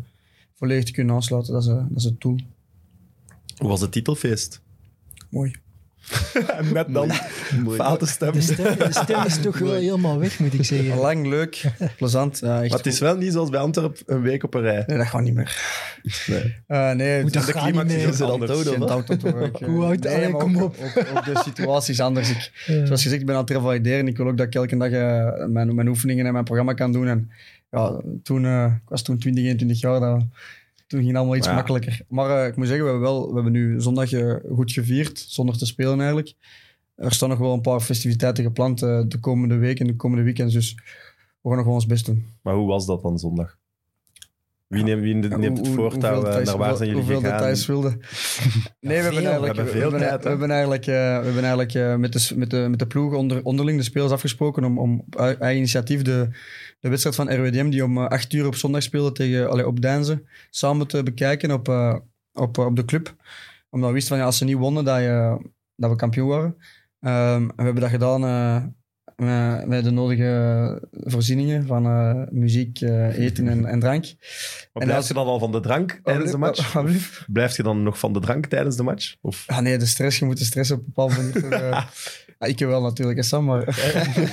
S3: volledig te kunnen aansluiten. Dat is, eh, dat is het doel.
S1: Hoe was het titelfeest?
S3: Mooi.
S1: Net dan, foute stem.
S2: De stem, de stem is toch wel helemaal weg, moet ik zeggen.
S3: Lang, leuk, plezant. Ja, echt
S1: Maar het is
S3: goed.
S1: wel niet zoals bij Antwerp een week op een rij.
S3: Nee, dat gaat niet meer.
S1: Nee.
S3: Eh, nee,
S2: Moet
S3: het-
S2: dat
S1: De
S2: gaat niet
S1: climax is
S2: meer.
S1: heel
S5: Zijn
S1: anders.
S5: auto
S3: Geen
S5: dan?
S3: doubt dat hoor ik, eh.
S2: Hoe oud? Allee,
S3: maar
S2: kom
S3: ook-
S2: op.
S3: Ook, ook de situatie is anders. Ik,
S2: Ja.
S3: Zoals gezegd, ik ben aan het revalideren. Ik wil ook dat ik elke dag eh, mijn, mijn oefeningen en mijn programma kan doen. En, ja, toen, eh, ik was toen 20, 21 jaar. Dat, toen ging het allemaal iets
S1: Maar ja.
S3: makkelijker. Maar eh, ik moet zeggen, we hebben, wel, we hebben nu zondag eh, goed gevierd. Zonder te spelen eigenlijk. Er staan nog wel een paar festiviteiten gepland eh, de komende week en de komende weekends. Dus we gaan nog wel ons best doen.
S1: Maar hoe was dat dan zondag? Wie neemt, wie
S3: Ja,
S1: neemt
S3: hoe-
S1: het
S3: hoe-
S1: voortouw?
S3: hoeveel
S1: eh,
S3: details-
S1: Naar waar zijn jullie
S3: hoeveel
S1: gegaan?
S3: details wilden? Nee, we hebben
S2: veel.
S3: eigenlijk,
S1: We hebben
S3: we
S1: veel
S3: hebben-
S1: tijd, hè?
S3: we hebben eigenlijk, eh, we hebben eigenlijk eh, met, de, s- met, de, met de ploeg onder, onderling, de spelers, afgesproken om, om op ei- eigen initiatief de, de wedstrijd van RWDM, die om eh, 8 uur op zondag speelde tegen, allee, op Deinzen, samen te bekijken op, eh, op, eh, op de club. Omdat we wisten van ja, als ze niet wonnen, dat, je, dat we kampioen waren. Ehm, en we hebben dat gedaan eh, met, met de nodige voorzieningen van eh, muziek, eh, eten en, en drank.
S1: Maar
S3: En
S1: blijf
S3: als- Oh,
S1: je dan al van de drank tijdens de match?
S3: Alsjeblieft.
S1: Blijf je dan nog van de drank tijdens de match? Of?
S3: Ah nee, de stress, je moet de stress op een bepaalde manier... toch, eh, ah, ik wel natuurlijk, hè, Sam, maar...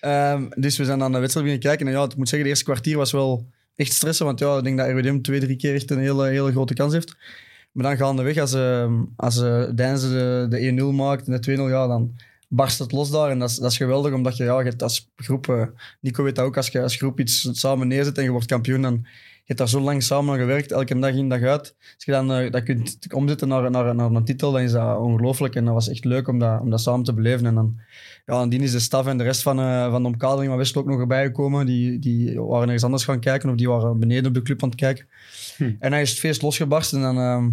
S3: Ehm, dus we zijn aan de wedstrijd beginnen kijken. En ja, ik moet zeggen, het eerste kwartier was wel echt stressen. Want ja, ik denk dat RWDM twee, drie keer echt een hele, hele grote kans heeft. Maar dan gaandeweg, als, eh als eh Deinze de, de 1-0 maakt en de 2-0, ja, dan barst het los daar. En dat is, dat is geweldig, omdat je, ja, je hebt als groep... eh, Nico weet dat ook, als je als groep iets samen neerzet en je wordt kampioen, dan... Je hebt daar zo lang samen aan gewerkt, elke dag in, dag uit. Als je dan eh, dat kunt omzetten naar, naar, naar een titel, dan is dat ongelooflijk. En dat was echt leuk om dat, om dat samen te beleven. En dan, ja, en die is de staf en de rest van, eh, van de omkadering van Westel ook nog erbij gekomen. Die, die waren ergens anders gaan kijken of die waren beneden op de club aan het kijken.
S1: Hm.
S3: En dan is het feest losgebarsten. En dan, ehm,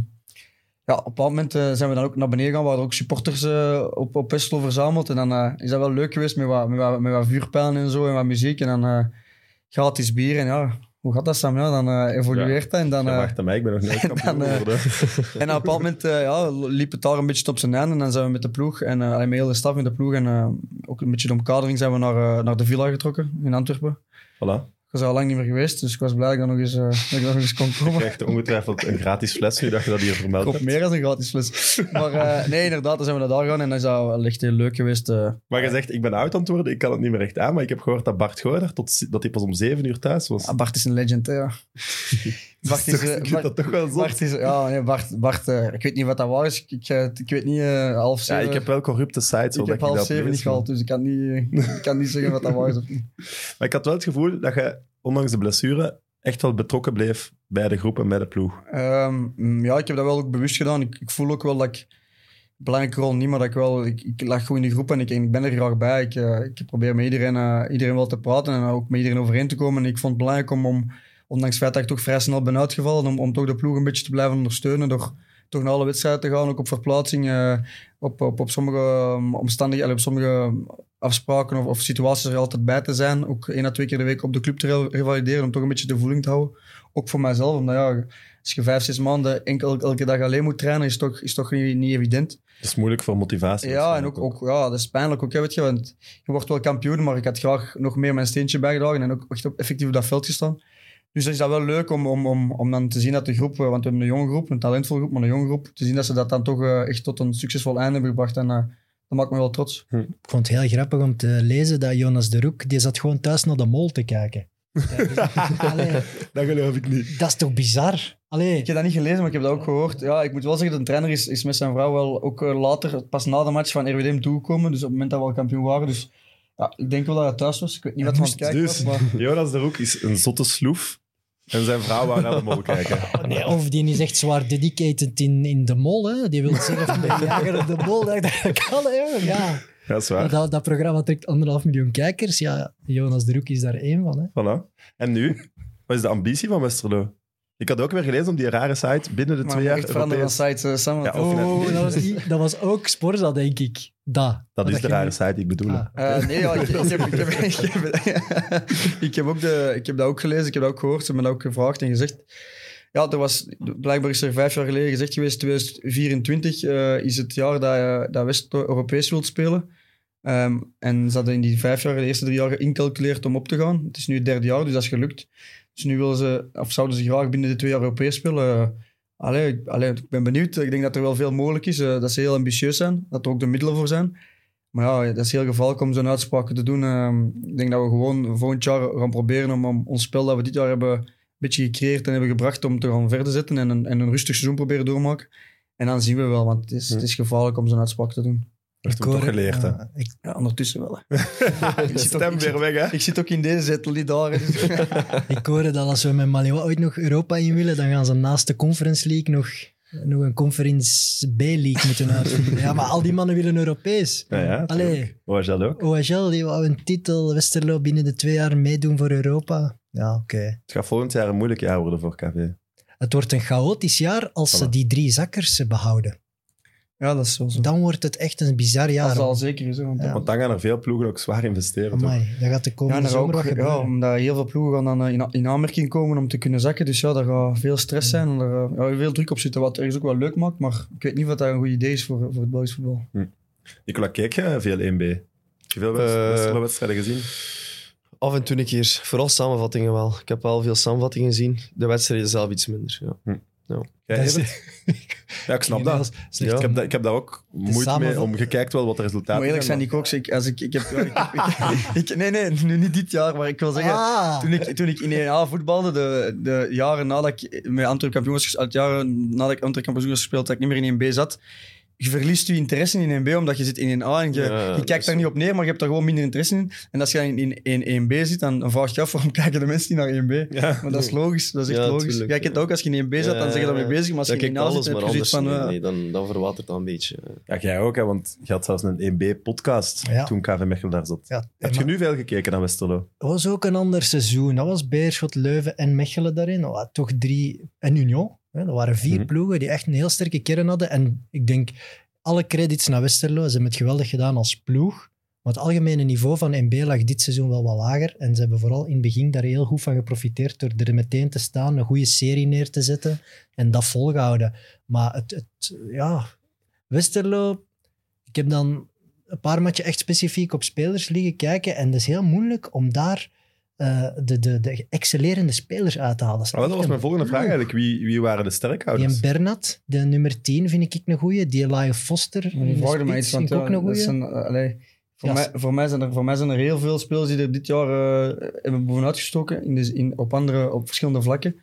S3: ja, op een bepaald moment eh, zijn we dan ook naar beneden gegaan. Waren er ook supporters eh, op, op Westel verzameld. En dan eh, is dat wel leuk geweest met wat, met, wat, met wat vuurpijlen en zo en wat muziek. En dan eh, gratis bier. En ja, hoe gaat dat Sam? Ja, dan eh, evolueert dat. En dan,
S1: Ja,
S3: eh,
S1: wacht aan mij, ik ben nog nooit kampioen
S3: dan, eh,
S1: geworden.
S3: en op een bepaald moment eh, ja, liep het daar een beetje op zijn einde. En dan zijn we met de ploeg, en eh, allee, met heel de staf in de ploeg en eh, ook een beetje de omkadering, zijn we naar, eh, naar de villa getrokken in Antwerpen.
S1: Voilà.
S3: Ik was al lang niet meer geweest, dus ik was blij dat ik daar nog eens, eh, dat ik daar nog eens kon
S1: Je
S3: komen.
S1: krijgt ongetwijfeld een gratis fles nu dat je dat hier vermeldt.
S3: Ik hoop meer dan een gratis fles. Maar eh, nee, inderdaad, dan zijn we naar daar gegaan en dan is dat wel echt heel leuk geweest. eh.
S1: Maar je zegt, ik ben oud aan het worden, ik kan het niet meer echt aan. Maar ik heb gehoord dat Bart Goorder, tot, dat hij pas om zeven uur thuis was.
S3: Ah, Bart is een legend, hè, ja. Bart
S1: is toch-
S3: eh,
S1: ik vind dat toch wel zot.
S3: Bart is, ja, nee, Bart, Bart eh, ik weet niet wat dat waar is. Ik, ik, eh, ik weet niet, eh, half
S1: ja,
S3: zeven.
S1: ik heb wel corrupte sites.
S3: ik
S1: zodat
S3: heb half
S1: dat
S3: zeven
S1: lees,
S3: niet gehaald, dus ik kan niet, eh, ik kan niet zeggen wat dat waar is of niet.
S1: Maar maar ik had wel het gevoel dat je, ondanks de blessure, echt wel betrokken bleef bij de groep en bij de ploeg.
S3: Ehm, mm, ja, ik heb dat wel ook bewust gedaan. Ik, ik voel ook wel dat ik... belangrijke rol niet, maar dat ik wel... Ik, ik lag goed in die groep en ik, en ik ben er graag bij. Ik, eh, ik probeer met iedereen, eh, iedereen wel te praten en ook met iedereen overeen te komen. En ik vond het belangrijk om, om ondanks het feit dat ik toch vrij snel ben uitgevallen, om, om toch de ploeg een beetje te blijven ondersteunen door toch naar alle wedstrijden te gaan, ook op verplaatsing, eh, op, op, op sommige ehm, omstandigheden, op sommige afspraken of, of situaties er altijd bij te zijn. Ook één à twee keer de week op de club te re- revalideren, om toch een beetje de voeling te houden. Ook voor mijzelf, omdat ja, als je vijf, zes maanden enkel elke dag alleen moet trainen, is toch, is toch niet, niet evident.
S1: Het is moeilijk voor motivatie.
S3: Ja, en ook, ook ja, dat is pijnlijk ook, hè, weet je, want je wordt wel kampioen, maar ik had graag nog meer mijn steentje bijgedragen en ook echt op, effectief op dat veld gestaan. Dus dan is dat wel leuk om, om, om, om dan te zien dat de groep, eh, want we hebben een jonge groep, een talentvolle groep, maar een jonge groep, te zien dat ze dat dan toch eh, echt tot een succesvol einde hebben gebracht. En eh, dat maakt me wel trots.
S2: Ik vond het heel grappig om te lezen dat Jonas de Roek, die zat gewoon thuis naar de mol te kijken. Allee,
S1: Dat geloof ik niet.
S2: dat is toch bizar? Allee,
S3: Ik heb dat niet gelezen, maar ik heb dat ook gehoord. Ja, ik moet wel zeggen, de trainer is, is met zijn vrouw wel ook eh, later, pas na de match van RWDM toegekomen, dus op het moment dat we al kampioen waren. Dus ja, ik denk wel dat hij thuis was. Ik weet niet wat hij aan het kijken was,
S1: Dus
S3: maar...
S1: Jonas de Roek is een zotte sloef. En zijn vrouw wou naar de mol kijken.
S2: nee, of die is echt zwaar dedicated in, in de mol. Hè? Die wil zelf met jager op de mol. Dat, dat kan, hè, jongen. Ja.
S1: Dat is
S2: Maar
S1: waar.
S2: Dat, dat programma trekt anderhalf miljoen kijkers. Ja, Jonas de Roek is daar één van. Hè?
S1: Voilà. En nu? Wat is de ambitie van Westerlo? Ik had ook weer gelezen om die rare site binnen de
S3: maar
S1: twee
S3: moet
S1: jaar
S3: echt veranderen van
S1: Europees.
S3: site, eh, Sam, want-
S1: Ja, of je
S2: Oh,
S1: net-
S2: dat was, die- dat was ook Sporza, denk ik. Dat,
S1: Dat is de
S2: je-
S1: rare site, ik bedoel.
S2: Ah.
S3: Eh, nee, ja, ik, ik, heb, ik, heb, ik, heb, ik heb ook de, ik heb dat ook gelezen, ik heb dat ook gehoord. Ze hebben dat ook gevraagd en gezegd. Ja, er was, blijkbaar is er vijf jaar geleden gezegd geweest, 2024 eh, is het jaar dat, je- dat West Europees wilt spelen. Ehm, en ze hadden in die vijf jaar, de eerste drie jaar, geïncalculeerd om op te gaan. Het is nu het derde jaar, dus dat is gelukt. Dus nu willen ze, of zouden ze graag binnen de twee jaar Europees spelen. Eh, allee, ik, allee, ik ben benieuwd. Ik denk dat er wel veel mogelijk is, eh, dat ze heel ambitieus zijn, dat er ook de middelen voor zijn. Maar ja, dat is heel gevaarlijk om zo'n uitspraken te doen. Ehm, ik denk dat we gewoon volgend jaar gaan proberen om, om ons spel dat we dit jaar hebben een beetje gecreëerd en hebben gebracht om te gaan verder zetten en een, en een rustig seizoen proberen doormaken. En dan zien we wel, want het is, het is gevaarlijk om zo'n uitspraak te doen.
S1: Dat
S2: Ik
S1: hebben we toch
S2: hoor-
S1: geleerd, hè?
S2: Ja, ik-
S3: Ja, ondertussen wel. hè. ik,
S1: De
S3: zit ook,
S1: stem
S3: ik,
S1: weer
S3: zit,
S1: weg, hè?
S3: ik zit ook in deze zetel, niet daar. hè. Dus-
S2: Ik hoorde dat als we met Maliwa ooit nog Europa in willen, dan gaan ze naast de Conference League nog, nog een Conference B-league moeten uitvoeren. Ja, maar al die mannen willen Europees.
S1: Ja, ja.
S2: Allee,
S1: Hoe was dat ook?
S2: OHL die wou een titel, Westerlo binnen de twee jaar meedoen voor Europa. Ja, oké.
S1: Het gaat volgend jaar een moeilijk jaar worden voor KV.
S2: Het wordt een chaotisch jaar als ze
S1: Voilà.
S2: die drie zakkers eh, behouden.
S3: ja, dat is wel zo.
S2: Dan wordt het echt een bizar
S3: Dat
S2: jaar.
S3: is al zeker is, hè, want
S2: Ja.
S1: Want dan gaan er veel ploegen ook zwaar investeren. toch?
S2: Amai, dat gaat de
S3: Ja,
S2: komende
S3: en er
S2: zomer
S3: ook,
S2: wat
S3: ja,
S2: gebeuren.
S3: omdat heel veel ploegen gaan dan eh, in, in aanmerking komen om te kunnen zakken. Dus ja, daar gaat veel stress zijn. en Er eh, ja, veel druk op zitten, wat ergens ook wel leuk maakt. Maar ik weet niet wat dat een goed idee is voor, voor het Belgisch voetbal.
S1: Nicola, kijk je veel 1B? Heb je veel
S5: Eh,
S1: Westerlo wedstrijden gezien?
S5: Af en toe een keer. Vooral samenvattingen wel. Ik heb wel veel samenvattingen gezien. De wedstrijden zelf iets minder. Ja.
S1: Jij,
S2: Dat is-
S1: Evert? Ja, ik snap dat.
S2: Slecht.
S1: Ik, heb daar, ik heb daar ook moeite mee om.
S2: samenvatting.
S1: Je kijkt wel wat de resultaten
S3: Maar eerlijk zijn,
S1: maar-
S3: ik ook. Ik, als ik, ik heb, ik, ik- ik- nee, nee, nu niet dit jaar, maar ik wil zeggen.
S2: Ah.
S3: Toen ik, toen ik in 1A voetbalde, de, de jaren nadat ik met Antwerp kampioen was, ges- uit jaren nadat ik Antwerp kampioen was gespeeld, dat ik niet meer in 1B zat, je verliest je interesse in 1B, omdat je zit in 1A en je,
S5: Ja,
S3: je
S5: dat
S3: kijkt
S5: is
S3: daar
S5: zo.
S3: niet op neer, maar je hebt daar gewoon minder interesse in. En als je dan in, in, 1B zit, dan dan vraag je je af waarom kijken de mensen niet naar 1B.
S1: Ja.
S3: Maar dat is logisch, dat is echt
S5: Ja,
S3: logisch.
S5: tuurlijk,
S3: Jij kent
S5: ja.
S3: ook, als je in 1B zat, dan
S5: Ja,
S3: zeg je daarmee
S5: ja,
S3: bezig, maar als
S5: Dan
S3: je in
S5: kijkt
S3: 1A zit,
S5: Eh, alles
S3: dan heb
S5: maar
S3: je zoiets
S5: anders.
S3: van...
S5: nee,
S3: eh,
S5: nee, dan, dan verwatert dat een beetje. eh.
S1: Ja, jij ook, hè, want je had zelfs een 1B-podcast
S2: Ja.
S1: toen KV Mechelen daar zat.
S2: Ja,
S1: Heb je nu veel gekeken naar Westerlo? Ah,
S2: Dat was ook een ander seizoen. Dat was Beerschot, Leuven en Mechelen daarin. Dat waren toch drie. En Union. Hè? Dat waren vier
S1: Mhm.
S2: ploegen die echt een heel sterke kern hadden. En ik denk, alle credits naar Westerlo. Ze hebben het geweldig gedaan als ploeg. Maar het algemene niveau van NB lag dit seizoen wel wat lager. En ze hebben vooral in het begin daar heel goed van geprofiteerd door er meteen te staan, een goede serie neer te zetten en dat volgehouden. Maar het, het ja, Westerlo, ik heb dan een paar matchen echt specifiek op spelers liggen kijken. En dat is heel moeilijk om daar eh, de, de, de excellerende spelers uit te halen. is
S1: Ah, wel, dat was
S2: echt
S1: mijn
S2: een
S1: volgende vraag
S2: ploeg.
S1: eigenlijk. Wie, wie waren de
S2: Die
S1: sterkhouders?
S2: en Bernat, de nummer 10, vind ik een goeie. Die Elia Foster,
S3: Maar
S2: in
S3: die
S2: de
S3: vragen mij
S2: spits,
S3: iets,
S2: vind
S3: want
S2: ik ook
S3: ja,
S2: een
S3: dat
S2: goeie.
S3: zijn, eh, allee, voor,
S2: Ja,
S3: mij, voor, mij zijn er, voor mij zijn er heel veel spelers die er dit jaar eh, hebben bovenuit gestoken in de, in, op, andere, op verschillende vlakken.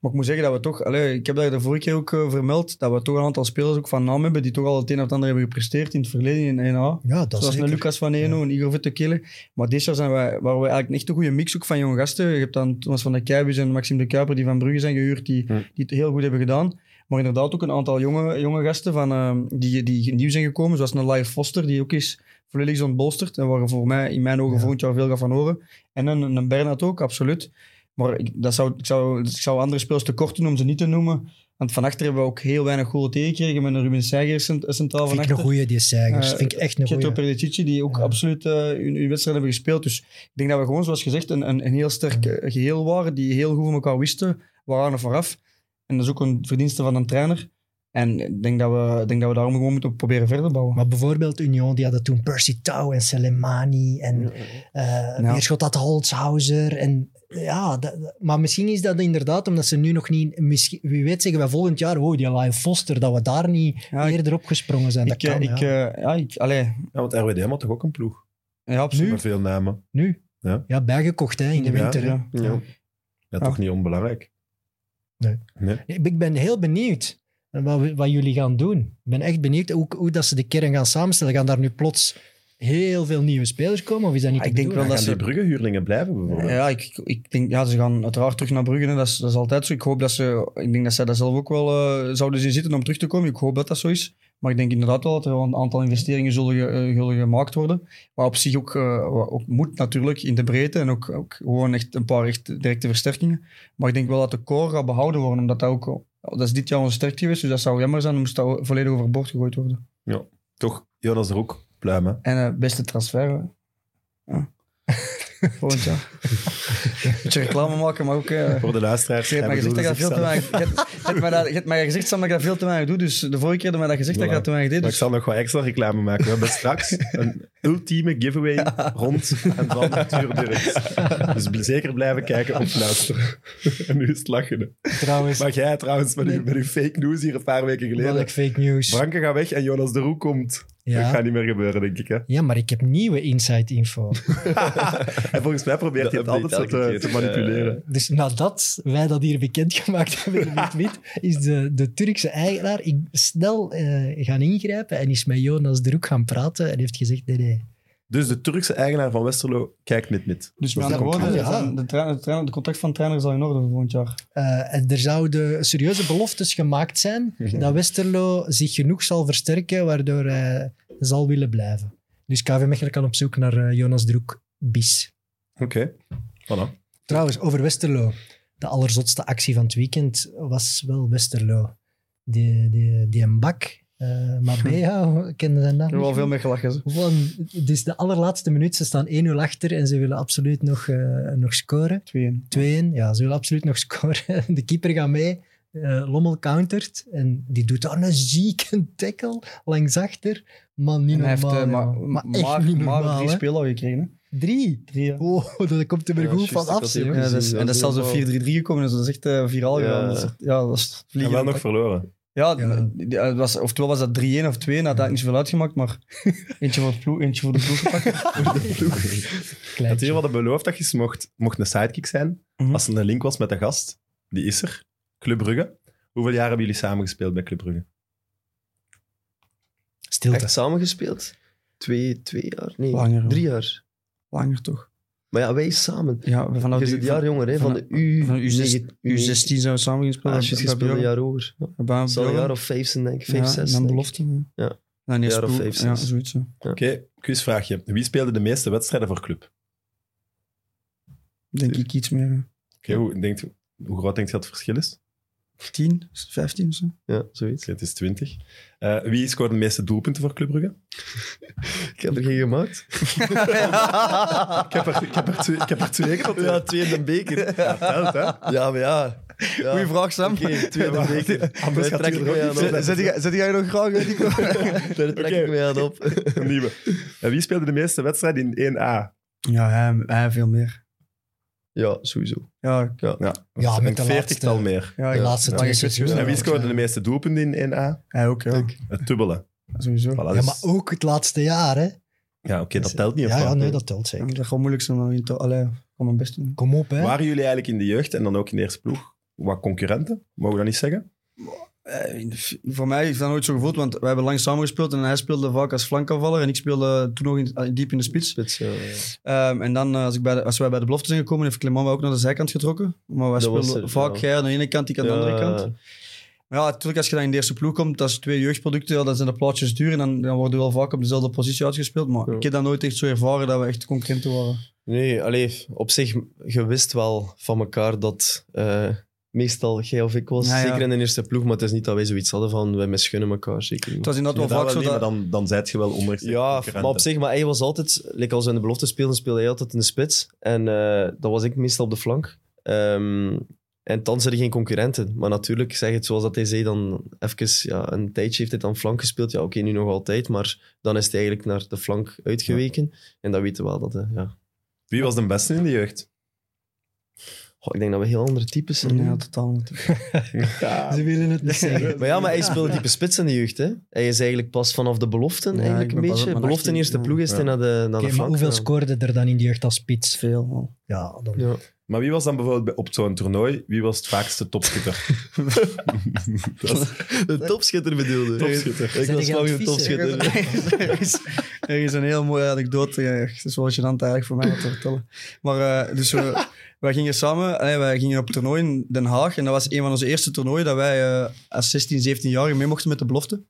S3: Maar ik moet zeggen dat we toch, allee, ik heb dat de vorige keer ook eh, vermeld, dat we toch een aantal spelers ook van naam hebben die toch al het een of het ander hebben gepresteerd in het verleden in 1A.
S2: Ja, dat
S3: Zoals
S2: is
S3: een Lucas van Eno, een Igor Vettekele. Maar dit jaar zijn wij, waren we eigenlijk echt een goede mix ook van jonge gasten. Je hebt dan Thomas van der Kuijbus en Maxime de Kuiper die van Brugge zijn gehuurd, die,
S1: Hm.
S3: die het heel goed hebben gedaan. Maar inderdaad ook een aantal jonge, jonge gasten van, ehm, die, die nieuw zijn gekomen. Zoals een Lyle Foster, die ook is volledig is ontbolsterd. En waar voor mij in mijn ogen
S2: Ja.
S3: volgend jaar veel gaat van horen. En een, een Bernhard ook, absoluut. Maar ik, dat zou, ik, zou, ik zou andere spelers te kort doen om ze niet te noemen. Want van achter hebben we ook heel weinig goede tegengekregen met een Ruben Seigers centraal van
S2: Vind ik een
S3: achter.
S2: goeie, die Seigers.
S3: Eh,
S2: Vind ik echt een
S3: Geto
S2: goeie.
S3: Perdicic, die ook
S2: Ja.
S3: absoluut eh, hun, hun wedstrijd hebben gespeeld. Dus ik denk dat we gewoon, zoals gezegd, een, een, een heel sterk eh, geheel waren, die heel goed van elkaar wisten. We waren er vooraf. En dat is ook een verdienste van een trainer. En ik denk dat we, ik denk dat we daarom gewoon moeten proberen verder bouwen.
S2: Maar bijvoorbeeld Union, die hadden toen Percy Tau en Selemani en eh
S3: Ja.
S2: Beerschot had Holzhauser. En, ja, dat- dat- maar misschien is dat inderdaad omdat ze nu nog niet... Misschien, wie weet zeggen wij volgend jaar, oh, die Lyle Foster, dat we daar niet
S3: Ja, ik-
S2: eerder op gesprongen zijn. Dat
S3: ik, eh,
S2: kan,
S3: ik,
S2: ja.
S3: eh, ja, ik, allee,
S1: Ja, want RWDM had toch ook een ploeg?
S3: ja, absoluut.
S1: Met veel namen.
S2: Nu?
S1: Ja.
S2: bijgekocht hè, in de
S1: Ja,
S2: winter. hè.
S3: Ja.
S5: Ja.
S1: Ja,
S3: Ja.
S1: toch niet onbelangrijk.
S2: Nee.
S1: nee.
S2: Ik ben heel benieuwd wat, we- wat jullie gaan doen. Ik ben echt benieuwd hoe, hoe dat ze de kern gaan samenstellen. Gaan daar nu plots heel veel nieuwe spelers komen? Of is dat niet
S3: Ah,
S2: te
S3: ik denk
S2: bedoelen?
S1: Gaan
S3: dat
S1: die
S3: ze-
S1: bruggenhuurlingen blijven bijvoorbeeld?
S3: Ja, ik, ik- ik denk, ja, ze gaan uiteraard terug naar Brugge. hè. Dat, is, dat is altijd zo. Ik hoop dat ze, ik denk dat zij daar zelf ook wel eh, zouden zien zitten om terug te komen. Ik hoop dat dat zo is. Maar ik denk inderdaad wel dat er wel een aantal investeringen zullen, ge- eh, zullen gemaakt worden. Wat op zich ook, eh, wat ook moet natuurlijk in de breedte en ook, ook gewoon echt een paar echt directe versterkingen. Maar ik denk wel dat de core gaat behouden worden, omdat dat ook... Dat is dit jaar onze sterkte geweest, dus dat zou jammer zijn. Dan moest dat volledig overboord gegooid worden.
S1: Toch, Jonas er ook pluimen.
S3: En eh, beste transfer, hè. ja. Volgend jaar. Beetje reclame maken, maar ook... eh,
S1: Voor de luisteraars.
S3: Je hebt mij
S1: hij
S3: gezegd dat ik dat veel te
S1: bedoelde
S3: weinig... Je hebt- je hebt mij dat- je hebt mij gezegd, Sam, dat ik dat veel te weinig doe. Dus de vorige keer heb je mij dat gezegd, dat ik dat te weinig deed.
S1: Maar
S3: Dus
S1: ik zal nog wat extra reclame maken. We hebben straks een ultieme giveaway rond en van Natuurdurks. Dus bl- zeker blijven kijken of luisteren. En nu is het lachen. hè.
S2: Trouwens,
S1: Maar jij trouwens, met uw, met uw fake news hier een paar weken
S2: wat
S1: geleden.
S2: ik fake news.
S1: Branke gaat weg en Jonas de Roe komt. Dat
S2: ja.
S1: gaat niet meer gebeuren, denk ik. Hè?
S2: ja, maar ik heb nieuwe inside info.
S1: En volgens mij probeert hij het
S5: Dat
S1: altijd zo
S5: update
S1: te,
S5: elke
S1: te
S5: keer.
S1: manipuleren.
S2: Dus nadat wij dat hier bekendgemaakt hebben in het wit, is de, de Turkse eigenaar in- snel eh, gaan ingrijpen en is met Jonas Droek gaan praten en heeft gezegd, nee, nee.
S1: Dus de Turkse eigenaar van Westerlo kijkt met met. Dat is
S3: dus met
S1: de
S3: andere woorden,
S1: conclusie.
S2: conclusie.
S3: het- de, tra- de, tra- de contract van de trainer is al in orde voor volgend jaar.
S2: Eh, en er zouden serieuze beloftes gemaakt zijn dat Westerlo zich genoeg zal versterken, waardoor hij zal willen blijven. Dus KV Mechelen kan op zoek naar eh, Jonas Droek bis.
S1: Oké. Voilà.
S2: Trouwens, over Westerlo. De allerzotste actie van het weekend was wel Westerlo. Die, die, die een bak, eh Mabea, kende zijn naam.
S3: Er is wel
S2: niet?
S3: veel mee gelachen. ze.
S2: Gewoon, het is de allerlaatste minuut. Ze staan 1-0 achter en ze willen absoluut nog, eh, nog scoren.
S3: 2-1.
S2: 2-1. Ja, ze wil absoluut nog scoren. De keeper gaat mee. Eh, Lommel countert. En die doet daar een zieke tackle langs achter. Man, niet
S3: En hij heeft
S2: normaal.
S3: eh,
S2: jongen.
S3: maar,
S2: maar, echt
S3: maar,
S2: niet
S3: maar
S2: normaal.
S3: drie
S2: hè.
S3: spelen al gekregen. Hè?
S2: Drie?
S3: Drie, ja.
S2: Wow, dat komt er weer
S5: Ja,
S2: goed
S5: juist,
S2: van
S5: ik had
S2: af.
S5: die ook
S2: zeg.
S3: Ja, dat is,
S5: gezien,
S3: en dat is
S5: ja.
S3: zelfs een 4-3-3 gekomen, dus dat is echt eh, viraal
S5: Ja.
S3: gegaan. Dat is echt- Ja, dat is
S1: En wel
S3: vliegen.
S1: nog verloren.
S3: Ja,
S2: Ja.
S3: die- eh, was, oftewel was dat 3-1 of 2-1, dat had eigenlijk niet zoveel uitgemaakt, maar eentje voor, het ploeg, eentje voor de ploeg gepakt.
S1: Het
S2: Kleintje.
S1: hier hadden beloofd dat je ze mocht, mocht een sidekick zijn.
S3: Mhm.
S1: Als er een link was met de gast, die is er. Club Brugge. Hoeveel jaar hebben jullie samen gespeeld bij Club Brugge?
S2: Stilte.
S5: Echt samengespeeld? Twee, twee jaar? Nee,
S3: Langer, hoor.
S5: drie jaar.
S3: Langer toch?
S5: Maar ja, wij samen.
S3: Ja, vanaf
S5: Je
S3: de-
S5: is het jaar jonger, hè?
S3: van
S5: Van de U...
S3: Van U16
S5: negen-
S3: U16 zijn we samen
S5: Ah,
S3: gespeeld.
S5: juist gespeeld een jaar over. Ja. Het zal een jaar of vijf zijn, denk ik. Vijf, zes.
S3: Dan
S5: denk ik.
S3: belofte.
S5: Ja.
S3: Dan eerst
S5: Jaar of
S3: ploeg,
S5: vijf,
S3: Ja,
S5: zes.
S3: zoiets. ja.
S1: Oké, quizvraagje. Wie speelde de meeste wedstrijden voor club?
S3: Denk ik iets meer. hè.
S1: Oké, hoe, denkt, hoe groot denkt je dat het verschil is?
S3: 10, 15 of zo.
S5: Ja, zoiets.
S1: Oké, het is 20. Eh, wie scoorde de meeste doelpunten voor Club Brugge?
S5: Ik heb er geen gemaakt.
S1: Ik heb er, ik heb er twee, ik heb er twee genoteerd.
S5: Ja, twee in de beker.
S1: Ja, telt, hè?
S5: Ja, maar ja. ja.
S3: Goeie vraag, Sam.
S5: Oké, twee in de beker.
S1: Anders
S5: Daar
S1: gaat hij er
S5: trek ik
S1: ook
S5: mij
S1: niet
S5: aan
S1: zo
S5: op.
S1: bij.
S3: Zet jij- zet jij nog graag uit die
S5: Daar trek
S1: Oké.
S5: ik mij aan op.
S1: Een nieuwe. En wie speelde de meeste wedstrijden in 1A?
S3: Ja, hij, hij veel meer.
S5: Ja, sowieso.
S3: Ja,
S2: Ja, Ah, met de
S1: een
S2: laatste,
S1: veertigtal meer.
S3: ja,
S2: de
S3: ja.
S2: laatste
S3: Ja,
S2: twee
S3: je kunt
S2: seizoenen.
S1: en wie scoorde de meeste doelpunten in 1A?
S3: Hij ook, ja.
S1: Het dubbele.
S3: Sowieso.
S1: Voilà,
S2: Ja,
S1: dus-
S2: maar ook het laatste jaar, hè?
S1: Ja, oké, dat telt niet. of
S2: Ja, ja,
S1: wat?
S2: nee, dat telt
S3: Ja,
S2: zeker.
S3: Dat gaat moeilijk zijn om in te... Allee, ik ga mijn best doen.
S2: Kom op, hè?
S1: Waren jullie eigenlijk in de jeugd en dan ook in de eerste ploeg wat concurrenten? Mogen we dat niet zeggen?
S3: Eh, voor mij heeft dat nooit zo gevoeld, want wij hebben lang samengespeeld en hij speelde vaak als flankaanvaller en ik speelde toen nog in, eh, diep in de spits.
S5: Spits, ja.
S3: Ehm, en dan, eh, als, ik bij de- als wij bij de belofte zijn gekomen, heeft Clement mij ook naar de zijkant getrokken. Maar wij
S5: Dat was
S3: speelden
S5: er,
S3: vaak
S5: ja.
S3: jij aan de ene kant, ik aan de andere kant. Maar ja, natuurlijk, als je dan in de eerste ploeg komt, dat is twee jeugdproducten, ja, dat zijn de plaatjes duur en dan, dan worden we wel vaak op dezelfde positie uitgespeeld. Maar
S5: Ja.
S3: ik heb dat nooit echt zo ervaren dat we echt concurrenten waren.
S5: Nee, allee, op zich, je wist wel van elkaar dat eh, meestal jij of ik was.
S3: Ja, ja.
S5: Zeker in de eerste ploeg, maar het is niet dat wij zoiets hadden van wij misgunnen elkaar. Zeker niet.
S3: Het was inderdaad
S1: dat
S3: wel vaak
S1: wel
S3: zo
S1: niet,
S3: dat...
S1: maar dan, dan zijt je wel onder.
S5: Ja, maar op zich, maar hij was altijd, like als we in de belofte speelden, speelde hij altijd in de spits. En eh dat was ik meestal op de flank. Ehm, en dan zijn er geen concurrenten. Maar natuurlijk, zeg het zoals dat hij zei, dan even, ja, een tijdje heeft hij dan flank gespeeld. Ja, oké, nu nog altijd, maar dan is hij eigenlijk naar de flank uitgeweken. En dat weten we wel. Dat, eh, ja.
S1: Wie was de beste in de jeugd?
S5: Goh, ik denk dat we heel andere types zijn. nu.
S3: Ja, totaal niet.
S2: Ze willen het niet zeggen.
S5: Maar ja, maar hij speelde type spits in de jeugd. Hè? Hij is eigenlijk pas vanaf de beloften
S3: Ja, ik
S5: eigenlijk
S3: ben
S5: een
S3: pas
S5: beetje.
S3: op mijn
S5: Belofte in
S3: 18e,
S5: eerste
S3: ja.
S5: ploeg is hij
S1: Ja.
S5: naar de, naar
S2: Oké,
S5: de
S2: maar
S5: flank.
S2: hoeveel
S5: gegaan.
S2: scoorde er dan in de jeugd als spits?
S3: Veel, man.
S2: Ja, dan...
S5: Ja.
S1: Maar wie was dan bijvoorbeeld bij- op zo'n toernooi, wie was het vaakste topschutter? dat is
S5: De topschutter bedoelde.
S1: Topschutter.
S5: Ik
S2: Zijn
S5: was
S2: die aan
S5: lang
S2: het
S5: een
S2: vissen?
S5: topschutter.
S3: er, is, er is een heel mooie anekdote. ja, Het is wel gênant eigenlijk voor mij om te vertellen. Maar eh, dus we, wij gingen samen, allee, wij gingen op toernooi in Den Haag. En dat was een van onze eerste toernooien dat wij eh, als 16, 17 jaar mee mochten met de belofte.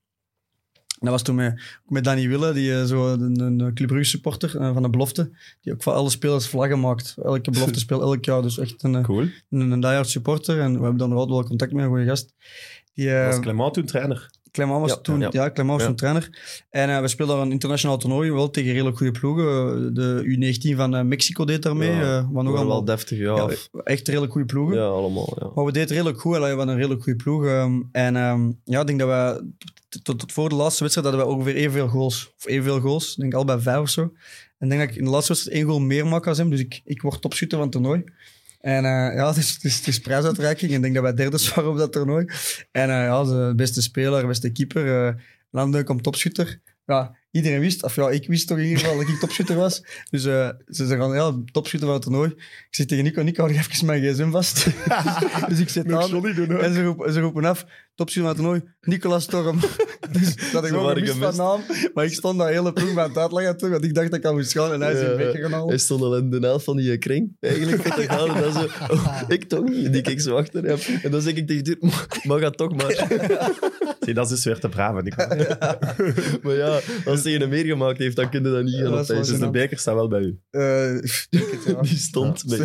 S3: En dat was toen met, met Danny Wille, die eh, zo een, een eh, Club Brugge supporter eh, van de belofte. Die ook voor alle spelers vlaggen maakt. Elke belofte speelt elk jaar. Dus echt een, eh,
S1: Cool.
S3: een, een diehard supporter. En we hebben dan nog altijd wel contact met een goede gast. Die, eh,
S1: Was Clement toen trainer?
S3: Clement was
S5: Ja,
S3: toen, ja,
S5: ja.
S3: Clement was
S1: Ja.
S3: toen trainer. En eh, we speelden een internationaal toernooi, wel tegen redelijk goede ploegen. Eh, De U19 van eh, Mexico deed daarmee, eh
S5: Ja,
S3: wat
S5: Nog
S3: nog allemaal.
S5: wel deftig, ja.
S3: Ja,
S5: Ja,
S3: echt redelijk goede ploegen.
S5: allemaal. Ja.
S3: Maar we deden redelijk goed, allee, we hadden een redelijk goede ploeg. ehm, en ehm, ja, ik denk dat we t- tot, tot voor de laatste wedstrijd hadden we ongeveer evenveel goals. Of evenveel goals, ik denk al bij vijf of zo. En ik denk dat ik in de laatste wedstrijd één goal meer maak als hem, dus ik, ik word topschutter van het toernooi. En eh, ja, het is, het, is, het is prijsuitreiking. Ik denk dat wij derde waren op dat toernooi. En eh, ja, de beste speler, beste keeper, eh Landen komt topschutter. Ja, iedereen wist, of ja, ik wist toch in ieder geval dat ik topschutter was. Dus eh, ze zeggen, ja, topschutter van het toernooi. Ik zeg tegen Nico, Nico, hou je even mijn gsm vast. dus, dus ik zit aan en ze roepen, ze roepen af, topschutter van het toernooi, Nicolas Storm. dus dat ik
S5: Ze
S3: gewoon
S5: waren
S3: gemist van
S5: gemist.
S3: naam. Maar ik stond daar hele ploeg bij het uitleggen toen, want ik dacht dat ik aan moest gaan en hij is
S5: Ja.
S3: in weg gaan halen.
S5: Hij stond al in de naald van die eh, kring. Eigenlijk tot ik haalde dat zo. oh, ik toch niet. Die keek zo achter hem. En dan zeg ik tegen Duur, mag dat toch maar.
S1: Zie, dat is dus weer te braven. Nico.
S5: Maar ja, als hij een meer gemaakt heeft, dan kun je dat niet gaan
S3: Ja, dat is wel
S5: opeisen.
S1: Dus de beker staat wel bij u.
S3: Eh, ik het, ja.
S5: Die stond mee.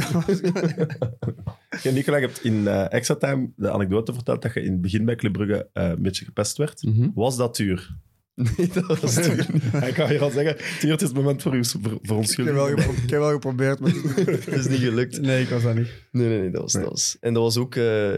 S1: Ja, Nicola, je hebt in eh, Extra Time de anekdote verteld dat je in het begin bij Club Brugge eh, een beetje gepest werd.
S5: Mhm.
S1: Was dat duur?
S5: Nee, dat was Duur.
S1: Ik kan je al zeggen, Tuur, het is het moment voor, u, voor, voor ons
S3: Ik heb wel gepro- ik heb wel geprobeerd, maar...
S5: Het is niet gelukt.
S3: Nee, ik was dat niet.
S5: Nee, nee, nee, dat was,
S1: Nee.
S5: dat was. En dat was ook. eh,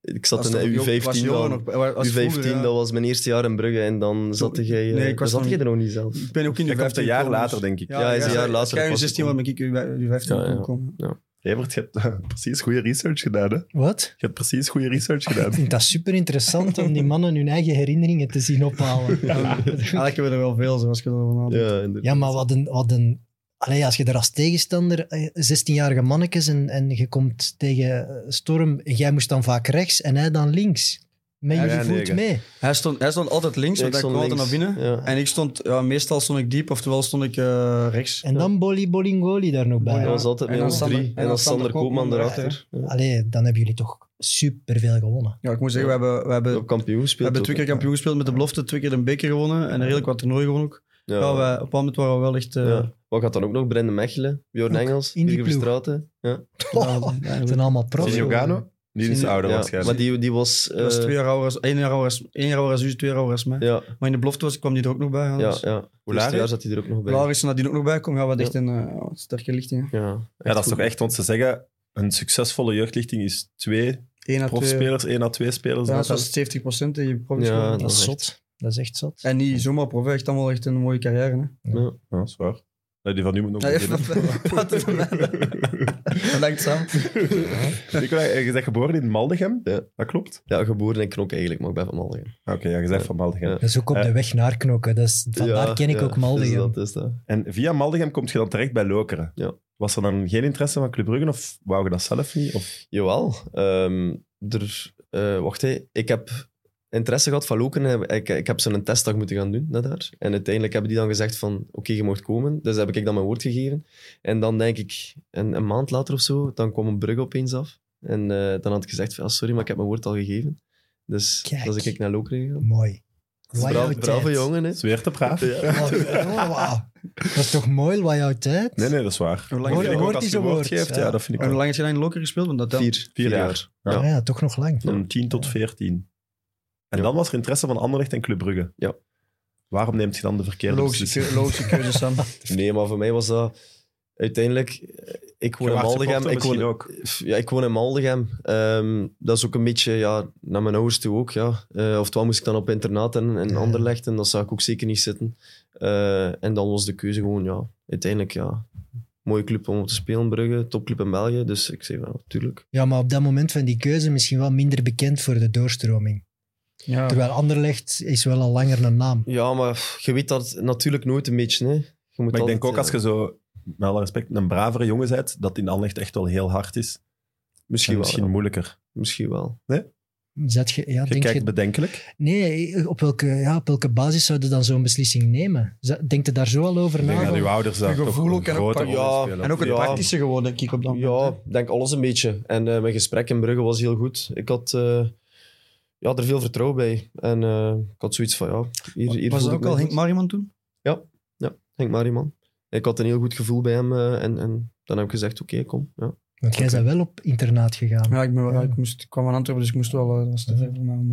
S5: ik zat in
S3: was
S5: de
S3: toch-
S5: U15.
S3: ik was jonger
S5: dan.
S3: nog, was- was
S5: U15,
S3: vroeger, ja.
S5: dat was mijn eerste jaar in Brugge. En dan zat jij. eh,
S3: Nee, ik was
S5: zat
S3: nog
S5: jij
S3: niet-
S5: er nog niet zelf.
S3: Ik ben ook in de
S1: Dat komt
S3: 15
S1: een jaar
S3: gekomen,
S1: later,
S3: dus-
S1: denk ik.
S5: Ja, hij is een jaar later
S3: Als jij
S5: pas
S3: 16 was, ben ik u bij u 15
S5: Ja, ja.
S3: gekomen.
S1: Ja, maar je hebt eh, precies goede research gedaan, hè? Je
S2: Wat?
S1: hebt precies goede research gedaan.
S2: Ik vind dat super interessant om die mannen hun eigen herinneringen te zien ophalen.
S3: Eigenlijk hebben we er wel veel, zoals je erover nadenkt.
S5: Ja, inderdaad.
S2: Ja, maar wat een... Wat een Allee, als je er als tegenstander eh, 16-jarige mannetjes en, en je komt tegen eh, Storm, jij moest dan vaak rechts en hij dan links. Met
S1: Ja,
S2: je
S1: ja,
S2: voet
S1: negen.
S2: mee.
S3: Hij stond, hij stond altijd links,
S5: Ja,
S3: want
S5: ik
S3: hij kwam
S5: stond
S3: altijd naar
S5: links.
S3: binnen.
S5: Ja.
S3: En ik stond, ja, meestal stond ik diep, oftewel stond ik eh, rechts.
S2: En dan Bolly Bolingoli daar nog bij.
S5: Dat was altijd
S3: En
S5: met
S3: dan
S5: ons
S3: Sander-
S5: drie.
S3: en
S5: En
S3: dan
S5: dan Sander
S3: Sander
S5: Koopman
S3: Koopman
S5: erachter. Ja.
S2: Allee, dan hebben jullie toch superveel gewonnen.
S3: Ja, ik moet zeggen, we hebben, we hebben,
S5: Op kampioen
S3: we
S5: gespeeld.
S3: hebben twee
S5: ook,
S3: keer kampioen gespeeld met de belofte, twee keer een beker gewonnen en redelijk wat toernooi gewonnen ook.
S5: hè.
S3: Ja,
S5: Ja.
S3: wij, op een moment waren we wel eh, echt... eh,
S5: Ja. Wat gaat dan ook nog? Brendan Mechelen, Bjorn Engels,
S2: in die
S5: Birger
S2: ploeg.
S5: Verstraeten. Ja.
S3: ja,
S2: Oh,
S3: ja,
S2: het zijn allemaal profs.
S1: Zinio Gano? Die is
S5: Ja,
S1: ouder
S5: ja. Maar
S1: waarschijnlijk.
S5: die, die was...
S3: Dat was
S5: eh,
S3: twee jaar ouder, als- één jaar ouder, als- één jaar ouder als u, twee jaar ouder als mij.
S5: Ja,
S3: Maar in de belofte was, kwam die er ook nog bij. Ja,
S5: ja,
S3: dus-
S5: ja. Het
S1: laag,
S5: eerste
S1: hè?
S5: jaar zat hij er ook nog bij.
S3: Laar is er nadien ook nog bij komen. Ja, wat
S5: Ja.
S3: echt een eh, sterke lichting.
S5: Ja,
S1: Ja, dat is
S5: goed.
S1: toch echt, want ze zeggen, een succesvolle jeugdlichting is twee
S3: 1 à 2.
S1: profspelers, één à twee spelers.
S3: Ja,
S1: dat
S3: zo'n 70 procent in je profs.
S5: Ja,
S2: Dat is
S5: is echt-
S2: zot. Dat is echt zot.
S3: En niet zomaar prof, hè. echt allemaal echt een mooie carrière. Hè.
S1: Ja, dat is waar. Nee, die van nu moet nog
S3: Ja, even-
S1: beginnen.
S3: praten van mij. Bedankt Sam.
S1: Nicola, eh, je bent geboren in Maldegem.
S5: Ja.
S1: Dat klopt.
S5: Ja, geboren in Knok eigenlijk, maar ik ben van Maldegem.
S1: Ah, Oké, ja, je zegt van Maldegem.
S5: Ja.
S2: Dat is ook op
S1: Eh.
S2: de weg naar knokken. Dat is, vandaar
S5: Ja,
S2: ken ik
S5: ja,
S2: ook Maldegem.
S5: Dus dat is dat.
S1: En via Maldegem kom je dan terecht bij Lokeren.
S5: Ja.
S1: Was er dan geen interesse van Club Brugge of wou je dat zelf niet? Of...
S5: Jawel. Ehm, er, eh, wacht, hé. ik heb interesse gehad van Loken. Ik, ik heb zo'n testdag moeten gaan doen naar daar. En uiteindelijk hebben die dan gezegd van, oké, je mocht komen. Dus heb ik dan mijn woord gegeven. En dan denk ik, een, een maand later of zo, dan kwam een brug opeens af. En eh, dan had ik gezegd, van, "Ah, sorry, maar ik heb mijn woord al gegeven. Dus
S2: Kijk.
S5: dat is ik naar Lokeren gegaan.
S2: Mooi.
S5: Bra-
S2: Loyaliteit.
S5: Brave jongen, hè.
S1: Zweer te braaf.
S5: Ja.
S2: Oh, oh, wauw. Dat is toch mooi, loyaliteit?
S1: Nee, nee, dat is waar.
S3: Hoe
S1: Dat
S3: lang,
S2: Hoor-
S1: vind ik ook
S2: hoort
S1: als
S2: die
S1: je
S2: zo'n
S1: woord
S2: woord?
S1: geeft, ja,
S2: Ja.
S1: dat vind ik
S3: hoe
S1: ook.
S3: lang heb je dan in Lokker gespeeld? Want dat telt.
S5: Vier.
S1: Vier jaar. Ja.
S2: Ah ja, toch nog lang.
S1: Van 10 tot 14. En
S5: Ja.
S1: dan was er interesse van Anderlecht en Club Brugge.
S5: Ja.
S1: Waarom neemt je dan de verkeerde beslissing?
S3: Logische, logische keuze, Sam.
S5: Nee, maar voor mij was dat uiteindelijk... eh, Ik woon in
S1: Gewaagd
S5: Maldegem.
S1: supporter
S5: Ik woon,
S1: misschien ook.
S5: F- Ja, ik woon in Maldegem. Ehm, dat is ook een beetje ja, naar mijn ouders toe ook. Ja. Eh, oftewel moest ik dan op internaat en, en
S2: Ja.
S5: Anderlecht. En dat zou ik ook zeker niet zitten. Eh, en dan was de keuze gewoon, ja, uiteindelijk ja. Mooie club om op te spelen, Brugge. Topclub in België. Dus ik zei, wel, tuurlijk.
S2: Ja, maar op dat moment van die keuze misschien wel minder bekend voor de doorstroming.
S3: Ja.
S2: Terwijl Anderlecht is wel al langer een naam.
S5: Ja, maar pff, je weet dat natuurlijk nooit een beetje. Hè. Je moet
S1: Maar ik denk
S5: altijd,
S1: ook als
S5: eh,
S1: je zo, met alle respect, een bravere jongen bent, dat in Anderlecht echt wel heel hard is.
S5: Misschien
S1: En
S5: wel.
S1: misschien
S5: ja.
S1: moeilijker.
S5: Misschien wel.
S2: Zet je, ja,
S1: Je
S2: denk
S1: kijkt
S2: je,
S1: bedenkelijk.
S2: nee, op welke, ja, op welke basis zou je dan zo'n beslissing nemen? Z- Denk je daar zo al over
S1: Ik denk
S2: na?
S1: dat uw ouders daar
S3: Een
S1: toch
S3: gevoel
S1: een
S3: ook en ook
S1: grote
S3: pak-
S1: rol
S5: ja,
S1: in spelen.
S3: En ook het
S5: Ja.
S3: praktische gewoon, denk ik, op dat moment.
S5: Ja, ik denk alles een beetje. En eh, mijn gesprek in Brugge was heel goed. Ik had eh, ja, er veel vertrouwen bij. En eh, ik had zoiets van, ja, hier, hier
S3: was
S5: voel
S3: dat
S5: ik
S3: ook
S5: mij
S3: al
S5: goed.
S3: Henk Mariman toen?
S5: Henk Mariman. Ik had een heel goed gevoel bij hem. eh, en, en dan heb ik gezegd, oké, kom. Ja.
S2: Want jij bent wel op internaat gegaan.
S3: Ja, ik, ben, wel-
S2: Ja.
S3: ik, moest, ik kwam aan Antwerpen, dus ik moest wel... eh, Dat was te veel voor mij om...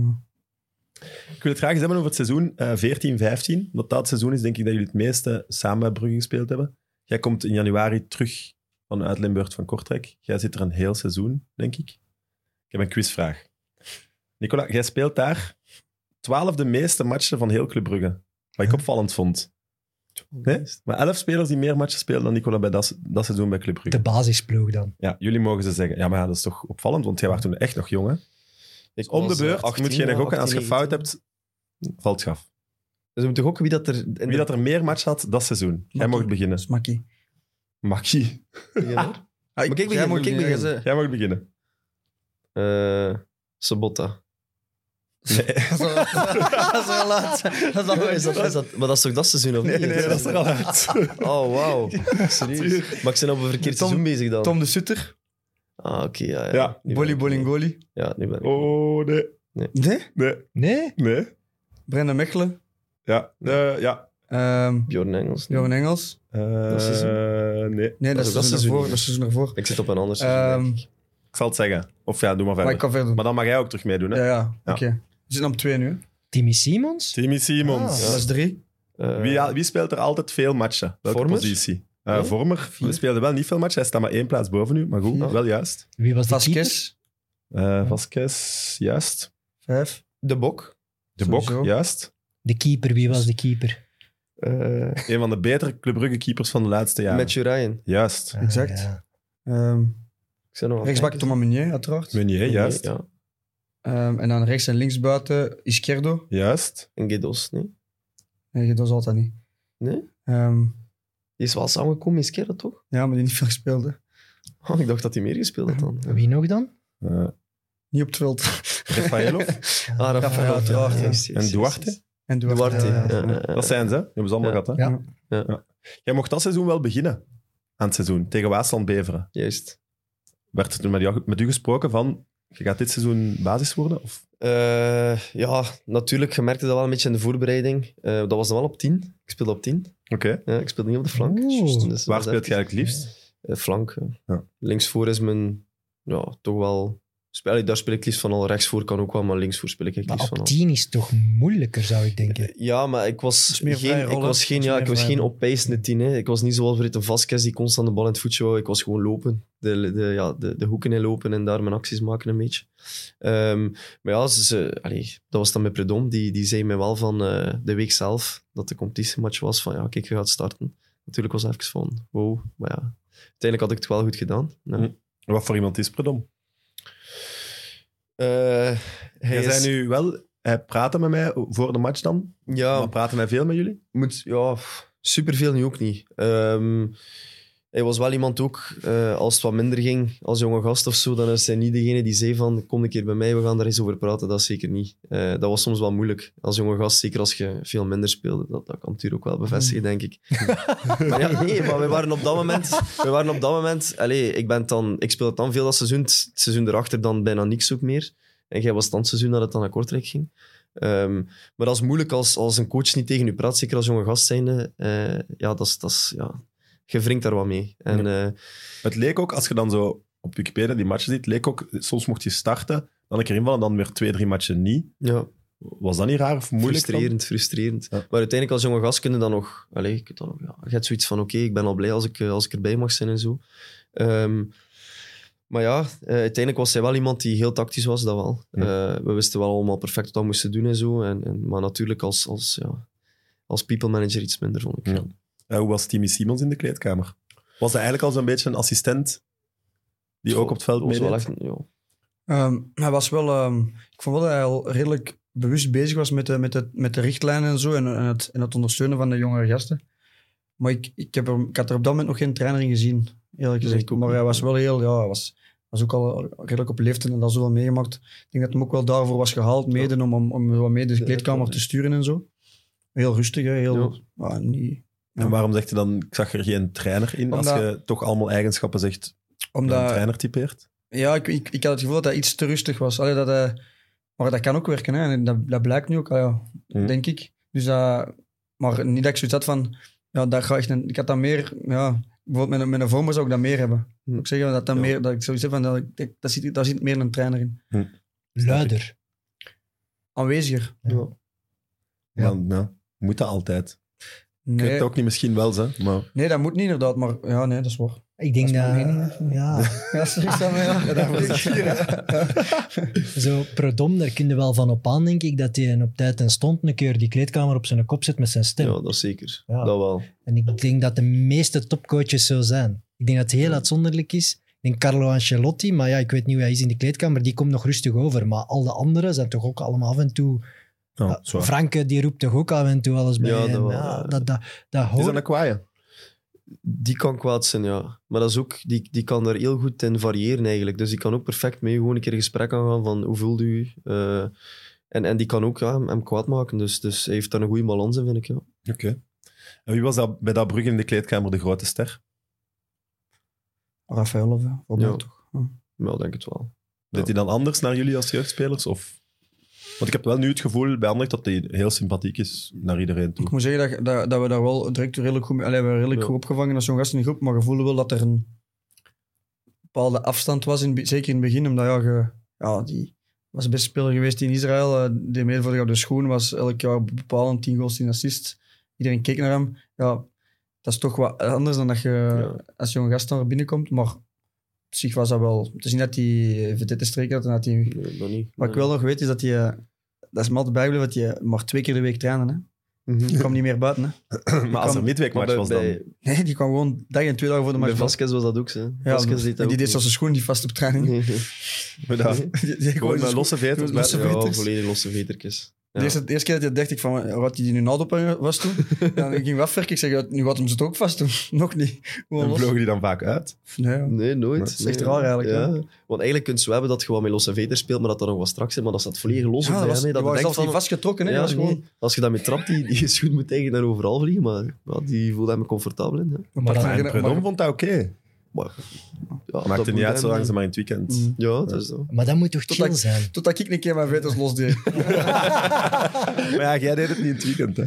S3: eh,
S1: Ik wil het graag eens hebben over het seizoen eh 14-15. Want dat het seizoen is denk ik dat jullie het meeste samen bij Brugge gespeeld hebben. Jij komt in januari terug vanuit Limburg van Kortrijk. Jij zit er een heel seizoen, denk ik. Ik heb een quizvraag. Nicola, jij speelt daar 12 de meeste matchen van heel Club Brugge. Wat ik opvallend vond. Nee? Maar elf spelers die meer matchen spelen dan Nicola bij dat, dat seizoen bij Club Brugge.
S2: De basisploeg dan.
S1: Ja, jullie mogen ze zeggen. Ja, maar ja, dat is toch opvallend, want jij was toen echt nog jong, hè?
S5: Ik
S1: Om de
S5: was, eh,
S1: beurt
S5: 18,
S1: moet je
S5: ja,
S1: nog ook. En als je
S5: 18,
S1: fout
S5: 19.
S1: hebt, valt het af.
S5: Dus we moeten gokken wie dat er... in de-
S1: Wie dat er meer match had dat seizoen. Jij
S3: Mag
S1: mag beginnen.
S3: Smakkie.
S1: Makkie.
S5: Ja.
S3: Ah,
S5: Maar kijk,
S3: jij
S5: begin,
S3: moet
S5: kijk,
S3: beginnen.
S5: begin.
S1: Jij mag beginnen.
S5: Eh, Sabotta.
S3: Dat is wel- dat is wel laat. Dat is wel-
S5: Is dat, is dat, maar dat is toch dat seizoen, of niet?
S1: al uit.
S5: Oh, wauw. Serieus. Maar ik ben op een verkeerd
S3: Tom-
S5: seizoen bezig dan.
S3: Tom de Sutter.
S5: Ah, oké, ja. ja.
S1: Ja,
S5: Nu ben
S3: Bolly
S5: ik-
S3: Bolingoli.
S5: Ja, nu ben ik.
S1: Oh, nee.
S3: Nee?
S1: Nee.
S2: Nee?
S1: Nee.
S3: Brendan Mechelen.
S1: Ja. Eh, ja.
S3: Ehm
S5: Bjorn Engels.
S3: Johan Engels.
S1: Eh, nee.
S3: Nee, dat,
S5: Dat is ook dat
S3: is
S5: seizoen
S3: ervoor.
S5: niet.
S3: Dat is ervoor.
S5: Ik zit op een ander seizoen.
S3: Ehm
S5: denk ik.
S1: Ik zal het zeggen. Of ja, doe maar
S3: maar
S1: verder.
S3: ik kan verder doen.
S1: Maar dan mag jij ook terug meedoen, hè?
S3: Ja, ja.
S1: Ja.
S3: Oké. We zitten op twee nu. hè.
S2: Timmy Simons?
S1: Timmy Simons.
S2: Ah.
S3: Dat is drie.
S5: Eh,
S1: Wie, wie speelt er altijd veel matchen? Welke
S5: Vormer?
S1: positie? Eh,
S5: Nee.
S1: Vormer. We speelden wel niet veel matchen. Hij staat maar één plaats boven u. Maar goed,
S5: Vier.
S1: wel juist.
S2: Wie was de keeper?
S3: Vasquez.
S1: Eh Vasquez, juist.
S3: Vijf.
S5: De Bok.
S1: De Bok,
S3: Sowieso.
S1: juist.
S2: De keeper, wie was de keeper?
S5: Eh
S1: Een van de betere Club Brugge keepers van de laatste jaren.
S5: Matthew Ryan.
S1: Juist.
S2: Ah,
S3: Exact.
S2: ja.
S3: Ehm
S5: Ik zei nog wat
S3: rechtsbak
S5: kijken.
S3: Thomas Meunier, uiteraard.
S1: Meunier, juist.
S5: Nee, ja.
S3: Ehm, en dan rechts en links buiten Izquierdo.
S1: Juist.
S5: En Guidos, nee.
S3: Nee, dat is altijd niet.
S5: Nee?
S3: Ehm,
S5: Die is wel samengekomen in Skerra, toch?
S3: ja, maar die niet veel gespeeld.
S5: Oh, ik dacht dat hij meer gespeeld had dan.
S2: Wie nog dan?
S1: Eh
S3: Niet op het veld.
S1: Rafaelo.
S5: Ah, dat
S3: Rafael, uiteraard, ja.
S1: En Duarte?
S3: En eh,
S5: Duarte,
S2: Ja, ja,
S5: ja.
S2: ja.
S5: ja, ja.
S1: Dat zijn ze. hè? Die hebben ze allemaal
S5: Ja.
S1: gehad. Hè?
S2: Ja.
S5: Ja.
S1: Jij mocht dat seizoen wel beginnen. Aan het seizoen. Tegen Waasland Beveren.
S5: Juist.
S1: Werd er toen met, jou, met u gesproken van... Je gaat dit seizoen basis worden? Of?
S5: Eh, ja, natuurlijk, je merkte dat wel een beetje in de voorbereiding. Eh, dat was dan wel op 10. Ik speelde op 10.
S1: Oké.
S5: Ja, ik speelde niet op de flank.
S2: Oeh.
S5: Juist, dus dat
S1: Waar
S5: was
S1: speelt
S5: even-
S1: jij het liefst?
S5: Eh, flank. ja.
S1: Ja.
S5: Linksvoor is mijn... Ja, toch wel... Speel, allee, daar speel ik liefst van al. Rechtsvoor kan ook wel, maar linksvoor speel ik het
S2: Maar
S5: liefst van
S2: op
S5: al.
S2: 10 is toch moeilijker, zou ik denken.
S5: Eh, Ja, maar ik was
S3: is meer
S5: geen,
S3: vrije
S5: ik
S3: rollen.
S5: was geen,
S3: Dat is
S5: ja, ik
S3: meer
S5: was
S3: vrije
S5: geen
S3: rollen.
S5: opbijsende tien. Hè. Ik was niet zoals Verrit een Vasquez die constant de bal in het voetje wou. Ik was gewoon lopen. De, de, ja, de, de hoeken in lopen en daar mijn acties maken een beetje. Ehm, maar ja, ze, ze- allee, dat was dan met Predom. Die, die zei mij wel van eh, de week zelf dat de competitiematch was van ja, kijk, je gaat starten. Natuurlijk was het even van wow, maar ja. Uiteindelijk had ik het wel goed gedaan. Nou. Ja.
S1: Hm. Wat voor iemand is Predom?
S5: Eh, hij
S1: Jij
S5: is- Oh.
S1: zei nu wel... Hij praatte met mij voor de match dan.
S5: ja,
S1: Maar praatte hij veel met jullie?
S5: moet, ja, pff, superveel nu ook niet. Ehm, hij was wel iemand ook, eh, als het wat minder ging, als jonge gast of zo, dan is hij niet degene die zei van, kom een keer bij mij, we gaan daar eens over praten. Dat zeker niet. Eh, dat was soms wel moeilijk. Als jonge gast, zeker als je veel minder speelde. Dat, dat kan natuurlijk ook wel bevestigen, denk ik. maar ja, nee, maar we waren op dat moment... We waren op dat moment allee, ik, ben dan, ik speel het dan veel dat seizoen. Het seizoen erachter dan bijna niks ook meer. En jij was dansseizoen dat het dan naar Kortrijk ging. Ehm, maar dat is moeilijk als, als een coach niet tegen u praat, zeker als jonge gast zijnde. Eh, ja, dat is, dat is, ja, je wringt daar wat mee. En, eh,
S1: Het leek ook, als je dan zo op Wikipedia die matchen ziet, leek ook, soms mocht je starten, dan een keer invallen, dan weer twee, drie matchen niet.
S5: ja,
S1: Was dat niet raar of moeilijk? dan?
S5: frustrerend, frustrerend.
S1: Ja.
S5: Maar uiteindelijk als jonge gast kun je dan nog... Allez, je, kunt dan nog ja, je hebt zoiets van, oké, ik ben al blij als ik, eh, als ik erbij mag zijn en zo. Ehm, maar ja, eh, uiteindelijk was hij wel iemand die heel tactisch was, dat wel. Eh, we wisten wel allemaal perfect wat we moesten doen en zo. En, en, maar natuurlijk als, als, ja, als people manager iets minder, vond ik.
S1: Ja. Eh, hoe was Timmy Simons in de kleedkamer? Was hij eigenlijk al zo'n beetje een assistent die ook op het veld
S5: was wel
S1: meedeed?
S5: echt, ja,
S3: Ehm, hij was wel, ehm, ik vond wel dat hij al redelijk bewust bezig was met de, met de, met de richtlijnen en zo en, en, het, en het ondersteunen van de jongere gasten. Maar ik, ik, heb er, ik had er op dat moment nog geen trainer in gezien, eerlijk gezegd.
S5: ik ook
S3: Maar
S5: niet.
S3: hij was wel heel, ja, hij was, was ook al redelijk op leeftijd en dat zoveel meegemaakt. Ik denk dat hem ook wel daarvoor was gehaald, mede om, om, om wat mee de kleedkamer te sturen en zo. Heel rustig, hè, heel... ah, niet,
S1: En waarom zegt hij dan, ik zag er geen trainer in, als
S3: Omdat-
S1: je toch allemaal eigenschappen zegt dat een
S3: omdat,
S1: trainer typeert?
S3: Ja, ik, ik, ik had het gevoel dat hij iets te rustig was. Allee, dat hij, maar dat kan ook werken, hè. En dat, dat blijkt nu ook, ah ja,
S1: Hmm.
S3: denk ik. Dus dat, maar niet dat ik zoiets had van... Ja, daar ga ik, een- ik had dat meer... Ja, bijvoorbeeld met, een- met een vormer zou ik dat meer hebben.
S5: Hmm.
S3: Ik zeg dat, dat,
S1: Ja.
S3: meer, dat ik zoiets heb van... Dat, ik- dat, daar zit, daar zit meer een trainer in.
S2: Luider.
S3: Aanweziger.
S1: Ja.
S3: Ja.
S1: nou, moet dat altijd. Ik weet
S3: Nee,
S1: het ook niet, misschien wel, hè, maar...
S3: nee, dat moet niet inderdaad, maar... Ja, nee, dat is waar.
S2: Ik denk
S3: Dat is
S2: dat,
S3: mijn
S2: ja,
S3: Ja, sorry, Sam, ja. Ja, dat was-
S2: zo Prodom, daar kun je wel van op aan, denk ik, dat hij op tijd en stond een keer die kleedkamer op zijn kop zet met zijn stem.
S5: ja, dat zeker.
S2: Ja.
S5: Dat wel.
S2: En ik denk dat de meeste topcoaches zo zijn. Ik denk dat het heel uitzonderlijk is. Ik denk Carlo Ancelotti, maar ja, ik weet niet hoe hij is in de kleedkamer, die komt nog rustig over. Maar al de anderen zijn toch ook allemaal af en toe...
S1: Ja,
S3: Ah,
S2: Ja,
S1: zwaar.
S2: Franke, die roept toch ook af en toe alles bij.
S5: Ja, dat
S2: en,
S5: wel,
S2: ja,
S5: ja.
S2: dat, dat, dat
S1: Het is
S2: hoort...
S1: aan een kwaaie.
S5: Die kan kwaad zijn, ja. Maar dat is ook, die, die kan daar heel goed in variëren eigenlijk. Dus die kan ook perfect mee gewoon een keer een gesprek aangaan van hoe voelt u? Eh, en, en die kan ook ja, hem, hem kwaad maken. Dus, dus hij heeft daar een goede balans in, vind ik. Ja.
S1: Oké. En wie was dat, bij dat brug in de kleedkamer de grote ster?
S3: Rafael of... Ja. Robert
S5: Ja.
S3: toch.
S5: Ja, ik denk het wel.
S1: Deed hij dan anders naar jullie als jeugdspelers? Of... Want ik heb wel nu het gevoel bij Anderlecht dat hij heel sympathiek is naar iedereen toe.
S3: Ik moet zeggen dat, dat, dat we daar wel direct redelijk goed, mee- allee, we hebben redelijk
S5: Ja.
S3: goed opgevangen als zo'n gast in de groep, maar je voelde wel dat er een bepaalde afstand was, in, het be- zeker in het begin, omdat ja, je- ja, die was de beste speler geweest in Israël, eh, die meervoudig op de schoen was, elk jaar bepalend, 10 goals, 10 assists, iedereen keek naar hem. Ja, dat is toch wat anders dan dat je
S5: Ja.
S3: als zo'n gast daar binnenkomt, maar op zich was dat wel, te zien dat hij verdette streek had en dat hij
S5: Nee, dat niet.
S3: wat ik wel nog weet is dat hij, eh, dat is me altijd bijgebleven, dat hij eh, maar twee keer de week trainen. Hè. Die kwam niet meer buiten. Hè.
S1: maar als er
S3: kan-
S5: Maar
S1: midweekmatch
S5: Mhm. bij,
S1: was dan...
S5: bij,
S3: Nee, die kwam gewoon dag en twee dagen voor de
S5: bij
S3: match.
S5: Vasquez was dat ook zo.
S3: Ja,
S5: Vasquez
S3: en
S5: deed dat
S3: die
S5: ook
S3: deed zelfs zijn schoen niet vast op training.
S5: Nee.
S1: Maar dat-
S3: Die- die-
S1: Gewoon
S3: dus gewoon
S1: met
S3: zijn
S1: losse veters.
S3: losse
S1: buiten.
S3: veters.
S5: Ja, volledig losse vetertjes.
S3: schoen- De eerste, de eerste keer dat hij dacht ik van, eh, wat hij die nu naald op hem was toen? Dan ging ik afwerken, ik zeg, ja, nu gaat hem ze het ook vast doen. Nog niet. Gewoon
S1: En
S3: los.
S1: vlogen die dan vaak uit?
S3: Nee, ja.
S5: Nee, nooit.
S1: Dat
S3: is echt
S5: Nee.
S3: raar eigenlijk,
S5: Ja.
S3: hè?
S5: Want eigenlijk kun je hebben dat je gewoon met losse veters speelt, maar dat dat nog wat straks is. Maar dat staat volledig
S3: Ja,
S5: los. op
S3: dat
S5: bij
S3: was,
S5: hem, hè.
S3: die
S5: je
S3: was
S5: denkt
S3: zelfs niet
S5: van-
S3: vastgetrokken. hè.
S5: Ja,
S3: dat was
S5: nee.
S3: gewoon
S5: Als je daarmee trapt, die, die schoen moet eigenlijk naar overal vliegen, maar ja, die voelde hem comfortabel in. Hè.
S3: een
S2: Maar
S3: partij.
S2: dat-
S1: En Predom
S3: maar-
S1: vond dat oké.
S5: Ja, dat
S1: Maakt het
S5: moet
S1: niet uit,
S5: hem,
S1: zolang
S5: hè.
S1: ze maar in het weekend...
S3: Mm.
S5: Ja, dat is zo.
S2: Maar dat moet toch chill
S3: dat-
S2: zijn?
S3: Totdat ik een keer mijn veters losdeed.
S1: Maar ja, jij deed het niet in het weekend, hè?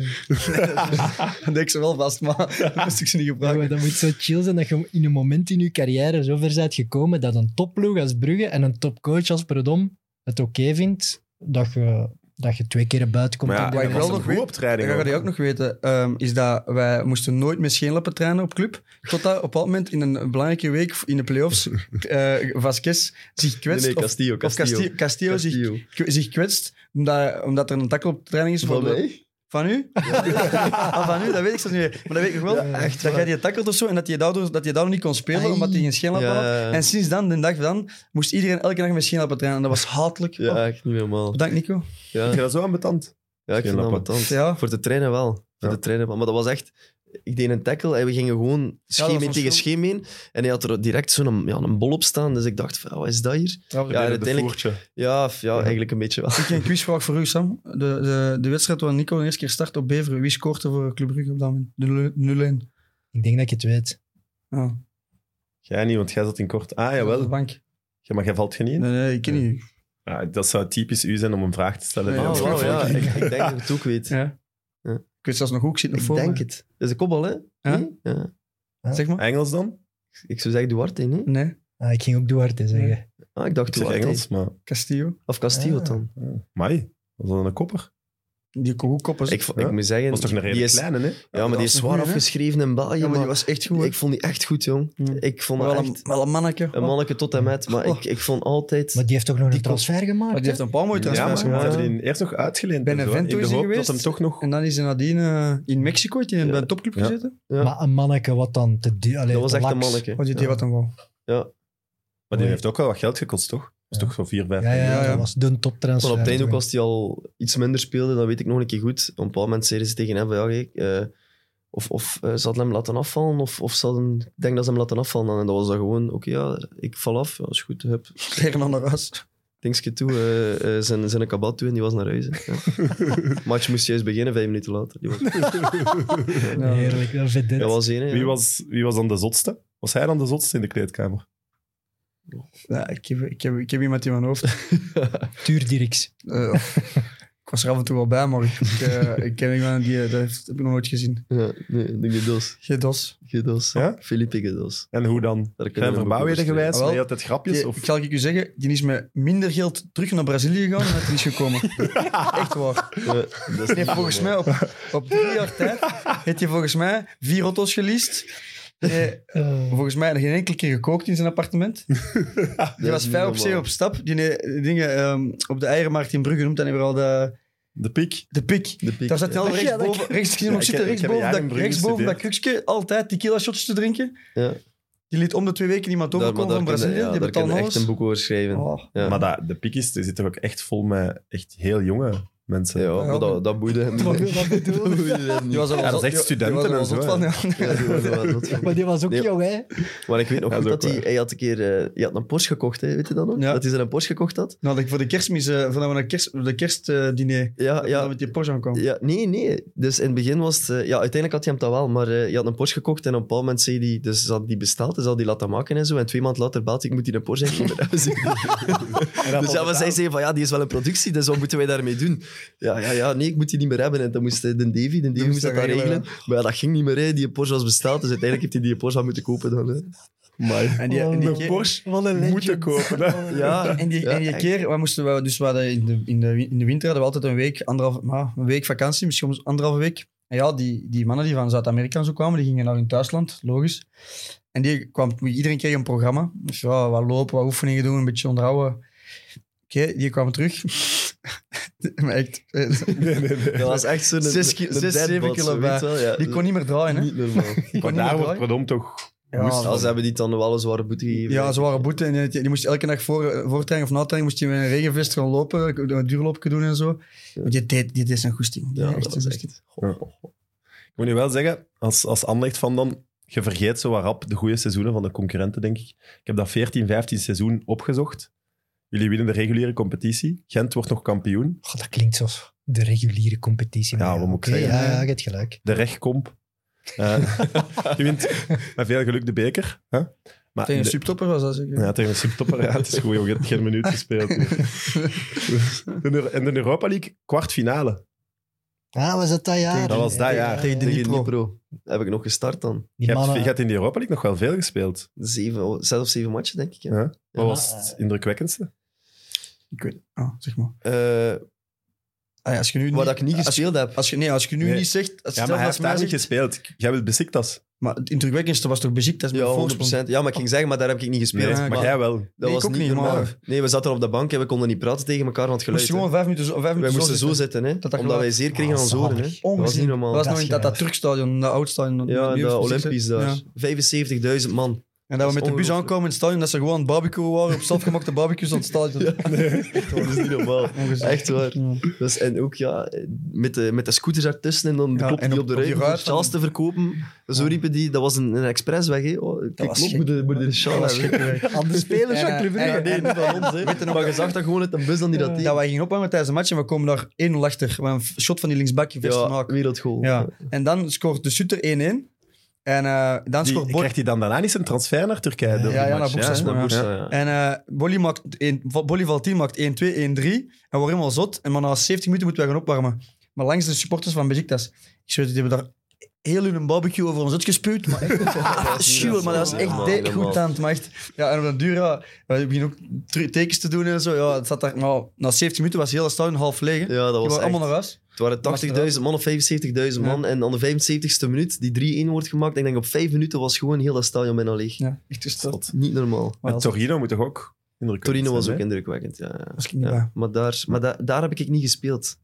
S3: Dan deed ik ze wel vast, maar dan moest ik ze niet
S2: Ja,
S3: gebruiken.
S2: maar dat moet zo chill zijn dat je in een moment in je carrière zo ver bent gekomen dat een topploeg als Brugge en een topcoach als Prodom het oké vindt dat je, dat je twee keer buiten komt.
S1: Maar ja,
S2: en
S3: Wat ik
S1: hij
S2: dergelijke.
S1: was
S3: wel nog
S1: een
S3: weet-
S1: goede optraining.
S3: Dat ga
S1: ook.
S3: je ook nog weten. ehm, is dat wij moesten nooit met scheenlappen trainen op club. Totdat op een bepaald moment in een belangrijke week in de playoffs eh Vasquez zich
S5: Nee,
S3: kwetst.
S5: nee,
S3: of-
S5: Castillo.
S3: of
S5: Castillo.
S3: Castillo, Castillo,
S5: Castillo.
S3: Zich, kwe- zich kwetst omdat, omdat er een takkel op de training is.
S5: Van
S3: voor de-
S5: mij?
S3: Van u? Ah, van u, dat weet ik zelfs niet meer. Maar dat weet ik nog wel. echt, dat jij die tackelt of zo en dat je daardoor, dat je daardoor niet kon spelen
S2: Ai.
S3: omdat hij geen scheenlap
S5: Ja.
S3: had. En sinds dan, de dag dan, moest iedereen elke dag met scheenlappen trainen. En dat was hatelijk. Oh,
S5: Ja, echt niet normaal.
S3: bedankt Nico.
S5: Ja,
S1: Ik vind dat zo ambetant.
S5: ja ik vind dat
S1: lappen.
S5: ambetant.
S3: Ja.
S5: Voor de trainen wel. Voor
S1: Ja.
S5: de trainen wel. Maar dat was echt... Ik deed een tackle en we gingen gewoon
S3: dat
S5: scheen
S3: was
S5: in
S3: een
S5: tegen
S3: schil.
S5: scheen in. En hij had er direct zo'n ja, een bol op staan. Dus ik dacht, van, wat is dat hier?
S1: Ja,
S5: uiteindelijk-
S1: uiteindelijk...
S5: Ja, f- ja, eigenlijk een beetje wel.
S3: Ik heb een quizvraag voor u, Sam. De, de, de wedstrijd waar Nico de eerste keer start op Beveren. Wie scoort er voor Club Brugge op dat moment? 0-1.
S2: Ik denk dat je het weet.
S3: Ja,
S1: Jij niet, want jij zat in kort. Ah,
S3: op
S1: jawel.
S3: de bank.
S1: Ja, maar jij valt geen in.
S3: Nee, nee, ik ken niet.
S1: Ja, dat zou typisch u zijn om een vraag te stellen.
S3: Nee,
S1: Ja,
S5: Oh,
S3: dat
S1: maar-
S5: wauw,
S3: is
S5: ja.
S3: goed.
S5: Ik, ik denk dat ik het ook weet.
S3: Ja.
S5: Ja.
S3: Ik weet zelfs nog hoe ik zit nog
S5: Ik
S3: voor
S5: denk
S3: me.
S5: het. Dat is een kobbel, hè?
S3: Ja?
S5: Nee? Ja.
S3: Zeg maar.
S1: Engels dan?
S5: Ik zou zeggen Duarte, nee?
S3: Nee,
S2: Ah, ik ging ook Duarte zeggen.
S5: Ah, ik dacht
S1: Ik zeg
S5: Duarte.
S1: Engels, maar...
S3: Castillo.
S5: Of Castillo
S2: Ah.
S5: dan.
S1: Mai, was dat een kopper?
S3: Die koekoppers.
S5: Ik, vo-
S1: Ja.
S5: ik moet
S1: Dat
S5: zeggen...
S1: was toch een
S5: die
S1: redelijk
S5: is-
S1: kleine, hè?
S5: Ja, maar
S3: Dat
S5: die
S3: is
S5: is
S3: een
S5: zwaar
S3: goeie, hè?
S5: afgeschreven in België.
S3: ja, maar die
S5: maar
S3: was echt goed.
S5: Ik vond die echt goed, jong.
S3: Ja.
S5: Ik vond
S3: wel,
S5: dat
S3: een,
S5: echt
S3: wel een mannetje.
S5: een manneke tot en met. Maar
S3: Oh.
S5: ik, ik vond altijd...
S2: Maar die heeft toch nog een
S5: kon-
S2: transfer gemaakt?
S3: Maar die
S2: hè?
S3: heeft een paar mooie
S1: Ja,
S3: transfers
S1: maar we
S5: ja.
S3: gemaakt.
S1: hebben die eerst nog uitgeleend. en zo, hè,
S3: Benevento
S1: in
S3: is
S1: de
S3: hij
S1: hoop
S3: geweest.
S1: dat hem toch nog...
S3: En dan is hij nadien eh, in Mexico heeft hij
S5: Ja.
S3: bij een topclub
S1: Ja.
S3: gezeten. Oh,
S5: Ja.
S2: Maar een manneke wat dan te duur...
S5: dat was echt een manneke.
S3: Wat deed
S5: Ja.
S3: hij wat dan wel?
S1: Maar die heeft ook wel wat geld gekost, toch? Dat is
S2: Ja.
S1: toch zo 4, 5
S2: Ja, ja,
S3: Ja, ja.
S2: dat was de
S5: Maar
S2: toptransfer.
S5: op het einde ook
S2: toen.
S5: als hij al iets minder speelde, dat weet ik nog een keer goed. Op een bepaald moment zeiden ze tegen hem van, ja, kijk, eh, of, of eh, ze hadden hem laten afvallen, of, of ze hadden, ik denk dat ze hem laten afvallen. En dat was dan gewoon, oké, ja, ik val af, ja, is goed, hup,
S3: Fernando Ras.
S5: Dingske toe, eh, eh, zijn, zijn kabat toe en die was naar huis. hè. Ja. Match moest juist beginnen, vijf minuten later. Die was,
S2: Heerlijk, dat vind ik.
S5: dat was één, hè, ja.
S1: Wie was, wie was dan de zotste? Was hij dan de zotste in de kleedkamer?
S3: Ja, ik, heb, ik, heb, ik heb iemand in mijn hoofd.
S2: Tuurdirks.
S3: Eh, ik was er af en toe wel bij, maar ik, ik, eh, ik ken iemand die eh, dat heeft, heb ik nog nooit gezien.
S5: Ja, nee, de Gedos.
S3: Gedos.
S5: Gedos.
S1: Ja?
S5: Felipe Gedos.
S1: En hoe dan?
S5: Daar
S1: Zijn
S5: kunnen we hem ook
S1: verbouwheden
S5: over
S1: gewijs?
S3: Ah, wel.
S1: Deed hij altijd grapjes?
S3: Die,
S1: Of...
S3: ik zal ik u zeggen, die is met minder geld terug naar Brazilië gegaan en dat hij is gekomen. Echt waar.
S5: spreken. Ja, dat is
S3: Die heeft
S5: niet
S3: volgens mij
S5: normaal.
S3: op, op drie jaar tijd heeft hij volgens mij vier auto's geleased. Eh, volgens mij geen enkele keer gekookt in zijn appartement. Die
S5: Dat
S3: was
S5: is
S3: vijf
S5: niet
S3: op zee
S5: normaal.
S3: op stap. Die ne- dingen ehm, op de Eiermarkt in Brugge noemt dan hebben we al de,
S1: De piek?
S3: de pik.
S5: De piek.
S3: Daar zat hij al rechtsboven, rechts, ik zie hem nog
S1: ik-
S3: zitten,
S1: ik heb een
S3: rechtsboven,
S1: jaar in
S3: dat,
S1: Brugge
S3: rechtsboven dat
S1: gestudeerd.
S3: kruksje, altijd tequila shots te drinken.
S5: Ja.
S3: Die liet om de twee weken iemand
S5: Daar- maar
S3: overkomen
S5: daar
S3: van Brazilië,
S5: kunnen- ja,
S3: die
S5: daar
S3: betaalde
S5: kunnen
S3: alles.
S5: echt een boek over schrijven.
S3: Oh.
S5: Ja.
S1: Maar dat, de piek is, die zit toch ook echt vol met echt heel jonge mensen?
S5: Ja, maar dat, dat boeide hem. niet.
S3: dat bedoel
S5: Dat boeide hem niet.
S3: Die was er wel
S1: Ja, dat
S3: zot-
S1: is echt
S3: die- die was
S1: studenten
S3: er wel
S1: en
S3: zot
S1: zo,
S3: van,
S1: hè.
S3: ja.
S5: Ja, die was er wel zot van.
S2: Maar die was ook
S5: Nee.
S2: jong, hè?
S5: Maar ik weet nog
S1: Dat is
S5: goed
S1: ook
S5: dat hij,
S1: waar.
S5: hij had een keer eh, hij had een Porsche gekocht, hè, weet je dat nog?
S3: Ja.
S5: Dat hij zijn Porsche gekocht had?
S3: Nou, dat ik voor de kerstmis, eh, van dat we naar kerst, de kerstdiner,
S5: Ja,
S3: ja.
S5: ja,
S3: met die Porsche aankwam.
S5: ja. Nee, nee. Dus in het begin was het... eh, ja, uiteindelijk had hij hem dat wel, maar eh, hij had een Porsche gekocht en op een bepaald moment zei hij... Dus ze had die besteld, dus ze had die laten maken en zo. En twee maanden later belt hij, ik moet die een Porsche geven. dus ja, maar zij zei van, ja, die is wel in productie, dus wat moeten wij daarmee doen? Ja, ja, ja, nee, ik moet die niet meer hebben. En dan moest eh, de Davy, de
S3: moest
S5: Davy moest dat
S3: dat
S5: dan regelen.
S3: regelen,
S5: Maar ja, dat ging niet meer, hè. die Porsche was besteld. Dus uiteindelijk heeft hij die Porsche al moeten kopen dan. Hè.
S3: En die,
S1: Oh,
S3: en die keer-
S1: Porsche
S2: Wat een
S1: moeten kopen. hè.
S5: Ja,
S3: En die,
S5: Ja,
S3: en die
S5: echt.
S3: keer, we moesten we, dus we hadden in, de, in, de, win- in de winter hadden we altijd een week, anderhalf, maar een week vakantie, misschien soms anderhalve week. En ja, die, die mannen die van Zuid-Amerika en zo kwamen, die gingen naar hun thuisland, logisch. En die kwam, iedereen kreeg een programma. Dus ja, wat lopen, wat oefeningen doen, een beetje onderhouden. Oké, die kwam terug. maar echt, eh,
S1: Nee, nee, nee.
S5: Dat was echt zo'n...
S3: Zes ki-
S5: een
S3: zes,
S5: deadbot,
S3: zeven
S5: zo,
S3: kilo
S5: weet
S3: bij.
S5: je wel, ja.
S3: die kon niet meer draaien, hè.
S5: Niet normaal.
S3: Die kon
S1: Maar
S3: niet meer
S1: daar wordt
S3: draaien.
S1: Predom toch...
S3: Ja,
S1: moest
S5: Als hebben die dan wel een zware boete gegeven.
S3: Ja, zware boete. En die, die moest elke dag voor, voor training of na training moest hij met een regenvest gaan lopen, een duurloopje doen en zo. Maar die deed, die deed zijn goesting. Die
S5: Ja,
S3: deed echt
S5: dat
S3: zijn
S5: was
S3: goesting.
S5: echt... Goh, goh, goh.
S1: Oh, Ik moet nu wel zeggen, als, als Anderlecht van dan... Je vergeet zo wat rap de goede seizoenen van de concurrenten, denk ik. Ik heb dat 14, 15 seizoen opgezocht. Jullie winnen de reguliere competitie. Gent wordt nog kampioen.
S2: Goh, dat klinkt zoals de reguliere competitie. maar
S1: Ja, wat moet ik
S2: oké,
S1: zeggen?
S2: Ja, ja, je hebt gelijk.
S1: De rechtkomp. Eh, je wint met veel geluk de beker. Hè? Maar
S3: Tegen een
S1: de-
S3: subtopper was dat zeker.
S1: Ja, tegen een subtopper. Ja, het is goed, jongen. Je hebt geen minuut gespeeld. hier. De Neu- En de Europa League kwartfinale.
S2: Ah, was dat dat jaar?
S1: Dat was dat jaar.
S2: Tegen
S5: Tegen
S2: die,
S5: Dnipro. Heb ik nog gestart dan.
S1: Je hebt, je
S2: mannen.
S1: hebt in de Europa League nog wel veel gespeeld.
S5: Zeven, oh, zes of zeven matchen, denk ik. Ja.
S1: Ja. Wat
S5: Ja.
S1: was het indrukwekkendste?
S3: Ik weet ah, zeg maar.
S5: Eh,
S3: Ah, ja, als je nu
S5: waar
S3: niet,
S5: dat ik niet
S3: als je,
S5: gespeeld heb.
S3: als je, nee, als je nu
S1: Nee.
S3: niet zegt... Als
S1: Ja,
S3: stel
S1: maar hij
S3: dat
S1: heeft
S3: ze mij
S1: daar niet
S3: zegt-
S1: gespeeld. Jij wilt Besiktas.
S3: Maar het indrukwekkendste was toch beziekt? Dat is
S5: Ja,
S3: mijn
S5: 100
S3: voorsprong.
S5: Ja, maar ik ging zeggen, maar daar heb ik niet gespeeld.
S1: Nee,
S3: maar-
S1: maar jij wel.
S5: dat
S3: Nee,
S5: was
S3: ik ook
S5: niet
S3: niet,
S5: normaal.
S3: maar-
S5: Nee, we zaten op de bank en we konden niet praten tegen elkaar van het
S3: Je
S5: geluid.
S3: moest gewoon
S5: hè.
S3: vijf minuten, zo- vijf
S5: Wij
S3: minuten
S5: moesten
S3: zitten.
S5: zo zitten, hè,
S3: dat
S5: omdat
S3: geluid-
S5: wij zeer kregen aan
S2: Ah,
S5: ons oren. Hè.
S2: zalig.
S5: Dat was
S3: Ongezien.
S5: niet
S3: Dat
S5: normaal.
S3: was
S2: Dat
S3: nog
S2: is
S3: in dat, dat
S2: juist.
S3: Turkstadion, dat oud stadion.
S5: ja,
S3: Nieuw-
S5: in dat
S3: Nieuw-
S5: Olympisch
S3: Ja.
S5: daar. 75.000 man.
S3: En dat we
S5: Dat
S3: met
S5: is
S3: de bus
S5: ongelooflijk.
S3: aankomen in het stadion, dat ze gewoon aan het barbecue waren, op zelfgemaakte barbecues aan het stadion.
S5: Dat is niet normaal.
S3: Ongezien.
S5: Echt waar.
S3: Ja.
S5: Dus, en ook ja, met de, met de scooters daartussen en dan de
S3: Ja,
S5: klop
S3: en
S5: die op,
S3: op-
S5: de
S3: op die
S5: ruit om de
S3: ruit van-
S5: sjaals te verkopen. Zo riepen die, dat was een, een expressweg. Hè. Oh, dat
S3: was
S5: klop,
S3: gek.
S5: moet de, moet de sjaal
S3: Dat was
S5: hebben.
S3: gek, hè.
S2: Andere spelers,
S3: En, eh,
S2: Jacques Brugge.
S3: en-
S5: Nee, niet van ons. Hè. Maar je zag dat gewoon uit de bus dan die dat deed.
S3: Dat wij gingen opwarmen tijdens de match en we komen daar 1-0 achter. We hebben een shot van die linksbakje vast
S5: eh. ja, wereldgoal.
S3: Ja. En dan scoort de Sutter 1-1. En eh, dan
S1: Die-
S3: scoort Bo-
S1: krijgt hij dan daarna niet zijn transfer naar Turkije? door
S3: ja,
S1: die match?
S3: ja, naar Boeksas,
S1: hè?
S3: maar ja.
S5: Boeksas, ja.
S3: En eh Bolly maakt één- Va- Bolly Valtien maakt 1-2, 1-3. En wordt helemaal zot. En maar na 70 minuten moeten wij gaan opwarmen. Maar langs de supporters van Besiktas. Ik zweer, het, die hebben daar heel hun barbecue over ons uitgespuwd. Maar echt schuwel, maar dat was echt
S5: Ja,
S3: de-
S5: helemaal.
S3: goed aan het macht. Ja, en op den duur, ja, we beginnen ook tru- tekens te doen en zo. Ja, het zat daar, maar na 70 minuten was heel het stadion half leeg. hè. Die
S5: Ja, dat was
S3: waren allemaal naar
S5: echt...
S3: huis.
S5: Het waren 80.000 man of 75.000 man. En aan de 75ste minuut, die 3-1 wordt gemaakt. Ik denk op 5 minuten was gewoon heel dat stadion bijna leeg.
S3: Ja, echt gestort.
S5: Tot. Niet normaal.
S3: Maar
S1: En
S3: als-
S1: Torino moet toch ook indrukwekkend
S5: Torino was
S1: zijn,
S5: ook
S1: hè?
S5: indrukwekkend. Ja, ja.
S3: was ik niet
S5: Ja,
S3: bij.
S5: Maar, daar, maar da- daar heb ik niet gespeeld.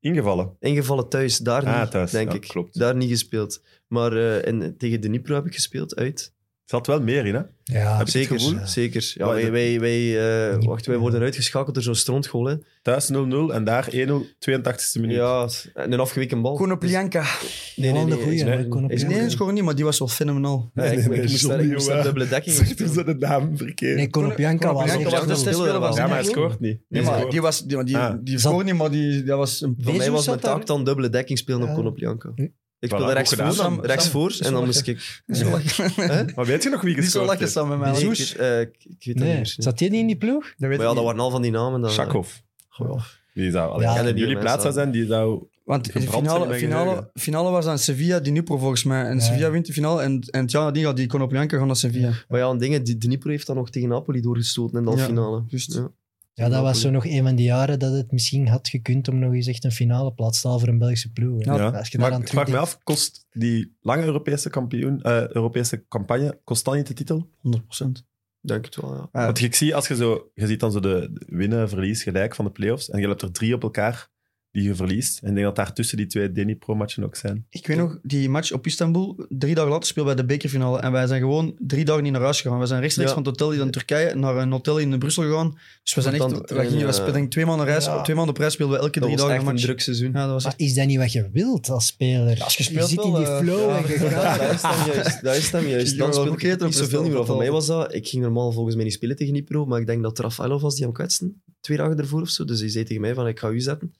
S1: ingevallen.
S5: Ingevallen thuis, daar
S1: Ah,
S5: niet,
S1: thuis.
S5: denk
S1: Ja,
S5: ik.
S1: klopt.
S5: Daar niet gespeeld. Maar eh, en, tegen de Nipro heb ik gespeeld, uit.
S1: Er zat wel meer in, hè?
S2: Ja,
S1: Heb je het
S5: Zeker,
S1: gevoel?
S5: zeker. Ja,
S1: Wat,
S5: wij,
S1: dat-
S5: wij, wij, eh,
S2: Niet-
S5: wacht, wij worden uitgeschakeld door zo'n strontgoal. Hè.
S1: Thuis 0-0 en daar 1-0, 82e minuut.
S5: Ja, en een afgeweken bal.
S3: Konoplyanka.
S5: Dus- nee, nee,
S2: Wel
S5: nee.
S2: een goeie,
S5: is-
S2: maar
S5: is-
S2: Konoplyanka.
S5: is-
S3: Nee, dat is gewoon niet, maar die was wel fenomenaal.
S5: Nee, ik-
S1: Nee, nee,
S5: ik moest daar- ik moest daar
S1: John
S5: dubbele dekking
S1: Zegt er zo dus de naam verkeerd.
S2: Nee, Konoplyanka was
S3: Konoplyanka
S2: echt
S5: was de
S2: wel-
S5: stil-
S1: ja, maar hij
S3: niet goed.
S1: scoort niet.
S3: Nee,
S1: Hij
S3: maar
S1: scoort.
S3: die was... Die, die,
S1: Ah.
S3: die
S2: Zat-
S3: scoorde niet, maar die, dat was een...
S5: Voor mij
S2: Bezos
S5: was
S2: zat
S5: mijn
S2: daar-
S5: taak dan dubbele dekking spelen
S2: Ja.
S5: op Konoplyanka. Ik
S1: Voilà,
S5: speelde rechts
S1: goed gedaan,
S5: voor,
S3: Sam.
S5: rechts
S3: Sam,
S5: voor en
S3: Sam,
S5: dan moest ik...
S3: Niet zo lachen.
S1: Maar weet je nog wie
S3: Niet zo
S1: gescoord
S3: lachen
S1: heeft?
S3: samen met
S5: Nee,
S3: mij.
S5: ik, eh, ik, ik weet het
S2: Nee,
S5: niet meer.
S2: zat die niet in die ploeg?
S3: Dat
S5: Maar
S3: weet
S5: ja,
S3: ik
S5: dat
S3: niet.
S5: waren al van die namen. Dan, eh.
S1: Shakov.
S5: Goh,
S1: Die zou, als
S2: Ja.
S1: hij
S5: Ja,
S1: in
S5: die
S1: jullie
S5: mensen
S1: plaats zou
S5: wel.
S1: zijn, die zou...
S3: Want de
S1: Gebrand zijn in
S3: finale,
S1: mijn
S3: finale,
S1: geheugen.
S3: finale was aan Sevilla, die Nupro volgens mij. En
S2: Ja.
S3: Sevilla wint de finale. En, en het jaar nadien gaat die Konoplyanka gaan naar Sevilla.
S5: Maar ja, een ding, die Dnipro heeft dan nog tegen Napoli doorgestoten in de
S3: Ja,
S5: halffinale.
S3: juist.
S5: Ja.
S2: Ja, dat was zo nog een van die jaren dat het misschien had gekund om nog eens echt een finale plaats te halen voor een Belgische ploeg. hè.
S1: Ja.
S2: Als je
S1: Maar
S2: daaraan
S1: ik vraag me
S2: terugdenkt.
S1: af, kost die lange Europese, kampioen, eh, Europese campagne, kost dat niet de titel?
S3: 100%.
S5: Denk het wel, ja.
S1: Want ik zie, als je zo... Je ziet dan zo de de winnen, verlies, gelijk van de play-offs. En je hebt er drie op elkaar die je verliest. En ik denk dat daar tussen die twee Denny-pro-matchen ook zijn.
S3: Ik weet nog, die match op Istanbul, drie dagen later speelden wij de bekerfinale. En wij zijn gewoon drie dagen niet naar huis gegaan. We zijn rechtstreeks
S5: Ja.
S3: van het hotel in Turkije naar een hotel in Brussel gegaan. Dus we zijn echt,
S5: Tante
S3: wij gingen,
S5: trainen,
S3: we
S5: eh,
S3: speelden denk ik twee maanden reis,
S2: ja.
S3: op twee maanden prijs speelden we elke
S5: Dat
S3: drie
S5: was
S3: dagen een
S5: echt een
S3: match.
S5: druk Ah, seizoen.
S3: Ja, dat was
S2: Maar
S3: echt...
S2: is dat niet wat je wilt als speler?
S3: als je speelt
S2: zit in
S3: wel,
S2: die
S3: eh,
S2: flow
S5: Ja,
S2: en je
S5: dat
S2: gaat...
S5: is dan juist. Dat is dan juist.
S3: Ja,
S5: Dan speelde
S3: ook
S5: ik
S3: eerder
S5: niet
S3: op
S5: zoveel
S3: de
S5: meer. Voor
S3: stel-
S5: mij was dat... Ik ging normaal volgens mij niet spelen tegen Nipro, maar ik denk dat Rafaelov was die hem kwetsten. Twee dagen ervoor of zo. Dus hij zei tegen mij van, ik ga u zetten.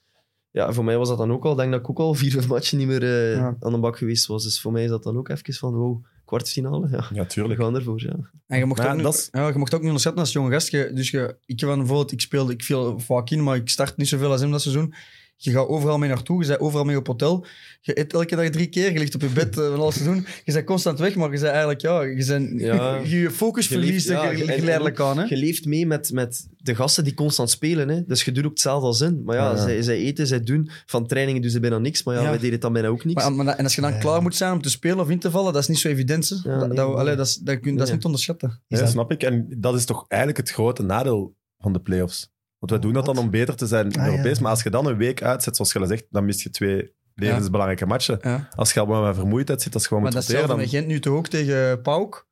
S5: Ja, voor mij was dat dan ook al. Ik denk dat ik ook al vier, vijf matchen niet meer eh,
S3: Ja.
S5: aan de bak geweest was. Dus voor mij is dat dan ook even van, wow, kwartfinale. Ja,
S1: Ja,
S5: we
S1: tuurlijk.
S5: gaan ervoor, ja.
S3: En je mocht,
S1: Maar
S3: ook,
S1: dat
S3: niet,
S1: is-
S3: ja, je mocht ook niet onderschatten als jonge gast. Je- dus je, ik, van, bijvoorbeeld, ik speelde ik viel vaak in, maar ik start niet zoveel als hem dat seizoen. Je gaat overal mee naartoe, je bent overal mee op hotel. Je eet elke dag drie keer, je ligt op je bed eh, van alles seizoen. Je bent constant weg, maar je bent eigenlijk, ja, je, bent,
S5: Ja.
S3: je, je focus
S5: Je leeft-
S3: verliest
S5: ja,
S3: er
S5: je- en- en
S3: geleidelijk aan. Hè?
S5: Je leeft mee met, met de gasten die constant spelen. Hè. Dus je doet ook hetzelfde als hen. Maar ja,
S1: Ja.
S5: Zij, zij eten, zij doen. Van trainingen doen ze bijna niks. Maar ja,
S3: Ja.
S5: wij deden dan bijna ook niks.
S3: Maar, maar dat- en als je dan
S2: Ja.
S3: klaar moet zijn om te spelen of in te vallen, dat is niet zo evident. hè.
S5: Ja,
S3: dat,
S5: nee,
S3: dat,
S5: nee.
S3: allee, dat, is, dat, kun, dat is
S5: Nee.
S3: niet onderschatten.
S1: Ja,
S2: Is dat-
S1: snap ik. En dat is toch eigenlijk het grote nadeel van de play-offs. Want wij doen dat dan om beter te zijn in
S2: Ah, ja.
S1: Europees. Maar als je dan een week uitzet, zoals je al zegt, dan mis je twee levensbelangrijke matchen.
S3: Ja.
S1: Als je allemaal met vermoeidheid zit, als je gewoon
S3: Maar
S1: moet
S3: dat is
S1: roteren,
S3: hetzelfde met
S1: dan...
S3: Gent nu toch ook tegen Pauk.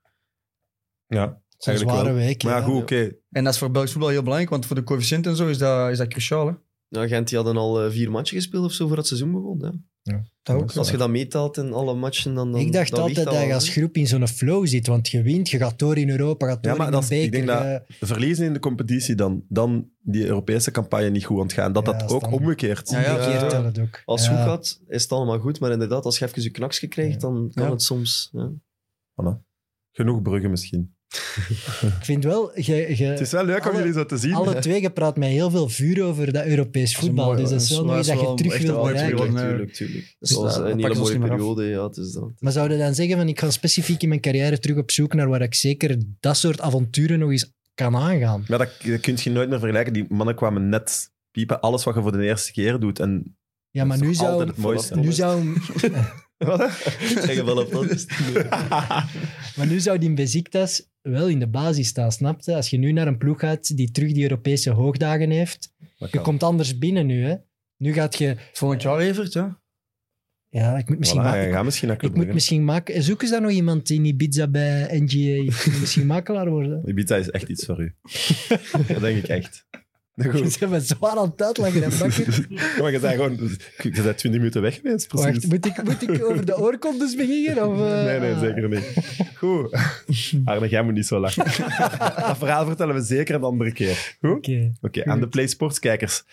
S1: Ja,
S2: Zo'n
S1: eigenlijk
S2: zware
S1: wel.
S2: week.
S1: Maar ja,
S2: ja.
S1: goed, oké.
S3: En dat is voor Belgisch voetbal heel belangrijk, want voor de coëfficiënt en zo is dat, is dat cruciaal. Hè?
S5: Ja, Gent die hadden al eh, vier matchen gespeeld of zo voor het seizoen begon. Hè.
S3: Dat ook.
S1: Dat is
S5: Als je dat meetelt in alle matchen, dan, dan
S2: ik dacht
S5: dan
S2: altijd
S5: ligt
S2: dat je
S5: al,
S2: als
S5: hè.
S2: groep in zo'n flow zit, want je wint, je gaat door in Europa, gaat
S1: Ja,
S2: door
S1: maar
S2: in
S1: dat
S2: de
S1: is- ik
S2: beker.
S1: denk dat-
S2: eh,
S1: Verliezen in de competitie dan, dan die Europese campagne niet goed aan het gaan. Dat
S2: Ja,
S1: dat
S2: als
S1: ook
S2: dan-
S1: omgekeerd.
S3: Ja, ja,
S2: omgekeerd
S5: ja.
S2: telt het ook.
S5: Als
S2: Ja.
S5: het goed gaat, is het allemaal goed. Maar inderdaad, als je even je knaksje
S2: Ja.
S5: krijgt, dan kan
S3: Ja.
S5: het soms... Ja.
S1: Genoeg bruggen misschien.
S2: Ik vind wel, je,
S1: Het is
S2: je,
S1: wel leuk om
S2: alle-
S1: jullie zo te zien.
S2: alle twee gepraat met heel veel vuur over dat Europees
S3: is een
S2: voetbal.
S3: mooi-
S2: Dus dat is wel nog iets dat je terug
S3: echt
S2: wil
S3: een mooi
S2: bereiken.
S3: periode.
S5: tuurlijk,
S3: eh,
S5: tuurlijk, tuurlijk.
S3: dus
S5: Dat was
S3: dat- dat
S5: een hele
S3: pakken ze ons
S5: mooie
S3: niet meer af.
S5: periode, ja. Het is dat.
S2: Maar zouden dan zeggen van ik ga specifiek in mijn carrière terug op zoek naar waar ik zeker dat soort avonturen nog eens kan aangaan?
S1: Maar dat, dat kun je nooit meer vergelijken. Die mannen kwamen net piepen. Alles wat je voor de eerste keer doet. En
S2: Ja, maar nu zou,
S1: altijd het mooiste.
S2: nu zou,
S5: Zeg wel op dat is.
S2: maar nu zou die Beziktas wel in de basis staan, snap je? Als je nu naar een ploeg gaat die terug die Europese hoogdagen heeft,
S1: Dat
S2: je
S1: kan.
S2: komt anders binnen nu, hè? Nu gaat je...
S3: Volgend jaar Evert, ja.
S2: Ja, ik moet misschien...
S1: Voilà,
S2: ma-
S1: je
S2: ik,
S1: gaat misschien naar
S2: ik
S1: Club
S2: moet
S1: Brugge.
S2: misschien maken... Zoeken ze daar nog iemand in Ibiza bij NGA? Ik moet misschien makelaar worden.
S1: Ibiza is echt iets voor u. dat denk ik echt. Nou,
S2: Je
S1: Goed.
S2: bent me zwaar aan het uitleggen, hè, bakker.
S1: Ja, maar je bent gewoon... Je bent 20 minuten weg geweest, precies.
S2: Wacht, moet ik, moet ik over de oorkondes beginnen? Of, eh?
S1: Nee, nee, zeker niet. Goed. Arne, jij moet niet zo lachen. dat verhaal vertellen we zeker een andere keer. Goed?
S2: Oké.
S1: Oké, aan de PlaySports-kijkers.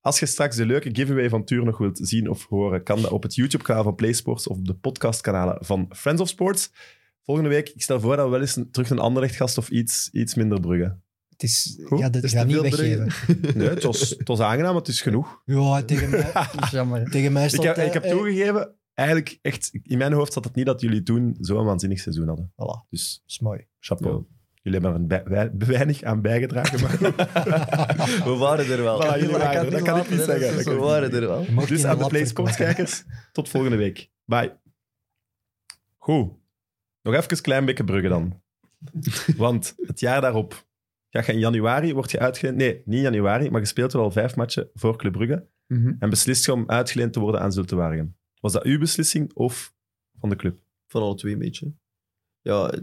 S1: Als je straks de leuke giveaway van Tuur nog wilt zien of horen, kan dat op het YouTube-kanaal van PlaySports of op de podcastkanalen van Friends of Sports. Volgende week, ik stel voor dat we wel eens een- terug een ander gast of iets, iets minder bruggen.
S2: Het is,
S1: Goed,
S2: ja, dat
S1: is
S2: gaat
S1: te
S2: niet
S1: veel
S2: weggeven.
S1: Nee, het was, het was aangenaam, maar het is genoeg.
S2: Ja, tegen mij,
S3: Dat is jammer. hè.
S2: tegen mij
S1: Ik
S2: stond
S1: heb,
S2: hij-
S1: ik heb
S2: eh,
S1: toegegeven, eigenlijk echt, in mijn hoofd zat het niet dat jullie toen zo'n waanzinnig seizoen hadden.
S2: Voilà,
S1: Dus
S2: is mooi.
S1: chapeau. Jullie hebben er bij- wij- weinig aan bijgedragen, maar
S5: We waren er wel.
S1: voilà, jullie waren er. Dat kan ik niet
S5: Dat
S1: zeggen.
S5: is
S1: Dat
S5: zo.
S1: kan
S5: We
S1: ik
S5: waren er wel.
S2: Je mocht
S1: Dus
S2: geen
S1: aan de
S2: lap
S1: PlaySports-kijkers, tot volgende week. Bye. Goed. Nog even een klein beetje bruggen dan. Want het jaar daarop gaat je in januari, wordt je uitgeleend... Nee, niet in januari, maar gespeeld wordt al vijf matchen voor Club Brugge.
S3: Mhm.
S1: En beslist je om uitgeleend te worden aan Zulte Waregem. Was dat uw beslissing of van de club?
S5: Van alle twee een beetje. Ja,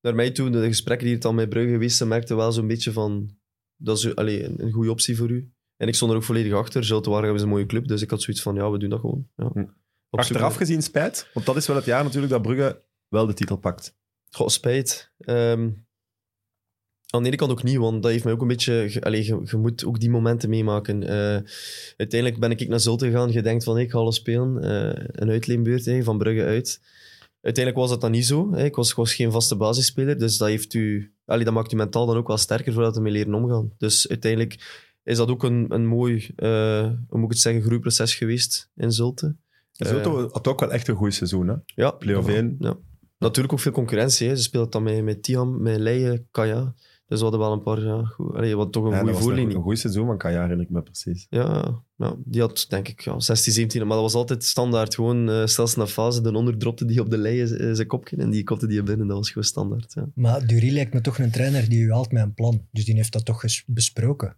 S5: naar mij toe, de gesprekken die het al met Brugge geweest zijn, merkte wel zo'n beetje van... Dat is allee, een, een goede optie voor u. En ik stond er ook volledig achter. Zulte Waregem is een mooie club, dus ik had zoiets van, ja, we doen dat gewoon. Ja.
S1: Hm.
S5: Op
S1: Achteraf gezien spijt, want dat is wel het jaar natuurlijk dat Brugge wel de titel pakt.
S5: Goh, spijt. Ehm, aan de ene kant ook niet, want dat heeft mij ook een beetje... ge- Allee, je, je moet ook die momenten meemaken. Eh, uiteindelijk ben ik naar Zulte gegaan. Je denkt van, hey, ik ga alles spelen. Eh, een uitleenbeurt, hey, van Brugge uit. Uiteindelijk was dat dan niet zo. hè. Ik was, ik was geen vaste basisspeler, dus dat, heeft u, allee, dat maakt u mentaal dan ook wel sterker voordat we mee leren omgaan. Dus uiteindelijk is dat ook een, een mooi, eh, hoe moet ik het zeggen, groeiproces geweest in Zulte.
S1: Zulte had ook wel echt een goed seizoen, hè?
S5: Ja,
S1: Play-off één.
S5: Ja. Natuurlijk ook veel concurrentie. Hè. Ze speelden dan met, met Tiam, met Leije, Kaya. Dus we hadden wel een paar... Ja, goed, allee, wat toch een
S1: Ja, dat
S5: goede
S1: was een
S5: voorlinie.
S1: een goed seizoen van Kaja, herinner ik me precies.
S5: Ja, ja, die had denk ik ja, 16, 17. Maar dat was altijd standaard. Gewoon eh zelfs na fase. De onder dropte die op de Leije z- eh, zijn kopje. En die kopte die binnen. Dat was gewoon standaard. Ja.
S2: Maar Dury lijkt me toch een trainer die u haalt met een plan. Dus die heeft dat toch ges- besproken.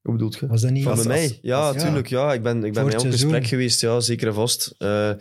S5: Hoe bedoelt je?
S2: Was dat niet...
S5: Van
S1: Als-
S5: bij mij?
S1: als-
S5: ja,
S2: als- ja.
S5: tuurlijk. Ja, ik ben, ik
S2: Voor
S5: ben bij
S2: het
S5: hem op
S2: seizoen.
S5: gesprek geweest. Ja, zeker en vast. Eh,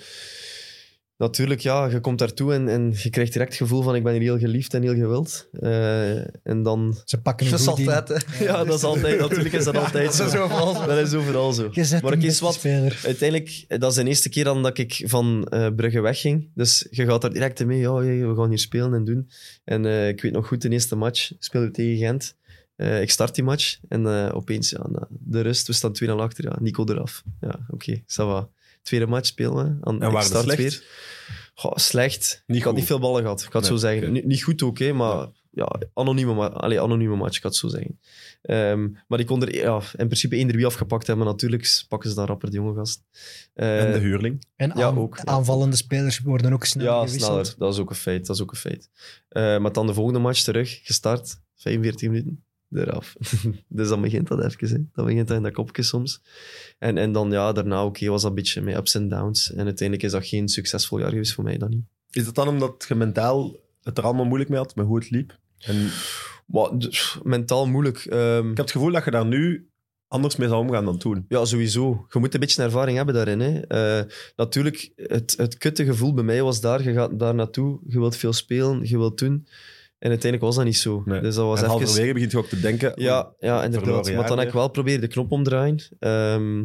S5: natuurlijk, ja, je komt daartoe en, en je krijgt direct het gevoel van ik ben hier heel geliefd en heel gewild. Eh, en dan...
S2: Ze pakken een
S3: Dat is
S2: goed in.
S3: altijd, hè.
S5: Ja,
S1: dus-
S5: dat is altijd. Natuurlijk is dat altijd zo.
S3: Dat is overal zo.
S5: Dat is overal zo.
S2: Je zet
S5: Maar
S2: een
S5: ik is
S2: beste
S5: wat-
S2: speler.
S5: Uiteindelijk, eh, dat is de eerste keer dan dat ik van eh, Brugge wegging. Dus je gaat daar direct in mee. Ja, hey, we gaan hier spelen en doen. En eh, ik weet nog goed, de eerste match speelden we tegen Gent. Eh, ik start die match en eh, opeens, ja, na de rust, we staan 2-0 achter. Ja, Nico eraf. Ja, oké, ça va. Tweede match spelen we. Aan,
S1: waren
S5: ik
S1: ze
S5: start
S1: slecht?
S5: weer. Goh, slecht.
S1: Niet
S5: ik had
S1: goed.
S5: niet veel ballen gehad, ik had
S1: Nee,
S5: zo zeggen.
S1: oké.
S5: Ni- Niet goed ook, hè, maar ja, anonieme, ma- allee, anonieme match, ik had zo zeggen. Ehm, maar die kon er ja, in principe één derby afgepakt hebben. Natuurlijk pakken ze dan rapper de jonge gast. Eh,
S1: en de huurling.
S2: En
S5: ja,
S2: aan-
S5: ook, ja.
S2: aanvallende spelers worden ook snel
S5: ja,
S2: gewisseld.
S5: sneller. Dat is ook een feit. Dat is ook een feit. Eh, maar dan de volgende match terug, gestart, 45 minuten, eraf. dus dan begint dat even. Hè. Dan begint dat in dat kopje soms. En, en dan ja, daarna oké, was dat een beetje met ups en downs. En uiteindelijk is dat geen succesvol jaar geweest voor mij dan niet.
S1: Is dat dan omdat je mentaal het er allemaal moeilijk mee had, met hoe het liep? En
S5: Maar, d- mentaal moeilijk. Ehm,
S1: Ik heb het gevoel dat je daar nu anders mee zou omgaan dan toen.
S5: Ja, sowieso. Je moet een beetje ervaring hebben daarin. Hè. Eh, natuurlijk, het, het kutte gevoel bij mij was daar. Je gaat daar naartoe, je wilt veel spelen, je wilt doen. En uiteindelijk was dat niet zo.
S1: Nee.
S5: Dus dat was
S1: en
S5: even...
S1: halverwege begint je ook te denken... oh,
S5: Ja, ja
S1: verloren
S5: inderdaad.
S1: jaar
S5: Maar dan heb
S1: weer.
S5: ik wel proberen de knop omdraaien. Ehm,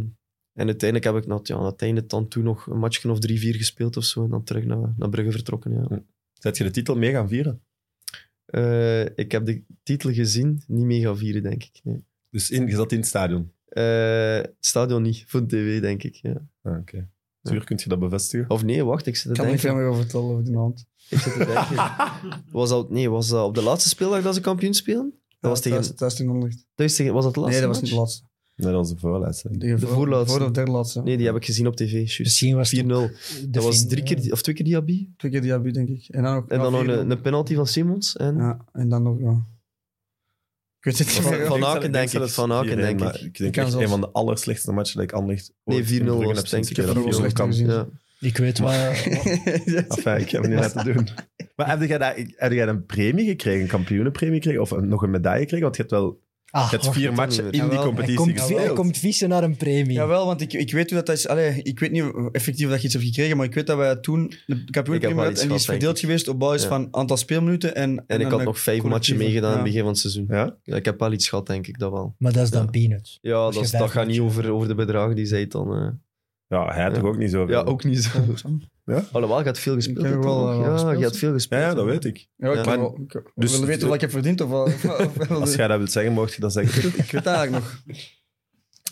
S5: en uiteindelijk heb ik na het, ja, na het einde dan toen nog een matchje of drie, vier gespeeld of zo. En dan terug naar, naar Brugge vertrokken. Ja.
S1: Zet je de titel mee gaan vieren?
S5: Eh, ik heb de titel gezien, niet mee gaan vieren, denk ik. Nee.
S1: Dus in, je zat in het stadion.
S5: Eh, het stadion niet, voor de tv, denk ik. Ja.
S1: Ah, Oké. Zuur, kun je dat bevestigen?
S5: Of nee, wacht, ik zit te
S3: Ik kan er
S5: denken.
S3: niet veel meer over vertellen over die hand.
S5: Ik zit te denken. Was dat, nee, was dat op de laatste speeldag dat ze kampioen spelen? Dat was tegen...
S3: Dat is Nee,
S5: Dat is tegen was dat de laatste
S3: dat was niet de
S5: match?
S3: laatste.
S1: Nee, dat is de voorlaatste.
S3: De, voor-
S5: voorlaatste.
S3: Voor of derde laatste. Dus-
S5: Nee, die heb ik gezien op tv. juist. 4-0.
S2: Misschien was het ook de
S5: Dat was
S2: fin-
S5: drie keer, die- of twee keer Diaby.
S3: Twee keer die heb ik, denk ik. En dan nog,
S5: En
S3: ja,
S5: dan nog
S3: vier-
S5: een, een penalty van Simons. En
S3: Ja, en dan nog, ja. Ik weet het niet
S5: Van-
S3: meer.
S5: van- Aken,
S1: zelf-
S5: denk ik.
S1: zelfs
S5: Van Aken,
S1: 4-1,
S5: denk
S1: maar
S5: ik.
S1: Ik denk
S3: kan
S1: echt
S3: zelfs-
S1: een van de allerslechtste matchen dat ik Anderlecht ooit
S5: Nee, 4-0
S1: in Brugge
S5: was
S1: heb
S5: het,
S1: zien
S5: denk ik.
S1: spelen.
S3: Ik heb
S1: Dat
S3: er wel
S1: kan.
S3: slecht
S5: ja.
S2: Ik weet wat...
S1: Enfin, ik heb het niet laten doen. Maar heb jij, daar, heb jij een premie gekregen, een kampioenenpremie gekregen? Of een- nog een medaille gekregen? Want je hebt wel
S2: Ah,
S1: je hebt
S2: och,
S1: vier
S5: dat
S1: matchen in
S5: doen we.
S1: die
S3: Jawel, hij
S2: hij,
S1: competitie
S2: komt, hij
S1: gespeeld.
S2: komt vissen naar een premie.
S3: Jawel, want ik, ik weet hoe dat is. Allee, ik weet niet effectief dat je iets hebt gekregen, maar ik weet dat wij toen de kampioen
S5: wel
S3: en
S5: iets
S3: die
S5: gehad,
S3: is
S5: denk
S3: verdeeld
S5: ik.
S3: geweest op basis
S5: Ja.
S3: van aantal speelminuten en...
S5: En ik had nog vijf matchen
S3: collectieve,
S5: meegedaan
S3: ja.
S5: in het begin van het seizoen.
S1: Ja?
S5: Ja, ik heb wel iets gehad, denk ik, dat wel.
S2: Maar dat is dan
S5: Ja.
S2: peanuts.
S5: Ja,
S2: Als
S5: dat,
S2: je
S5: is-
S2: vijf
S5: dat gaat niet
S2: matchen-
S5: over, over de bedragen die zij dan... eh,
S1: Ja, hij toch ook niet zo.
S5: Ja, ook niet zo. Alhoewel, je had veel gespeeld.
S3: heb
S5: hè,
S3: wel,
S5: toch?
S3: eh,
S5: ja,
S3: wel gespeeld,
S5: je had veel
S1: Ja,
S5: gespeeld.
S1: ja, dat
S5: hè.
S1: weet ik.
S3: Ja, ik
S5: Ja.
S3: wil- ik wil-
S1: Dus-
S3: wil weten wat ik heb verdiend of wat. of- of-
S1: Als jij dat wilt zeggen, mocht je dat zeggen.
S3: Ik weet dat eigenlijk nog. Ik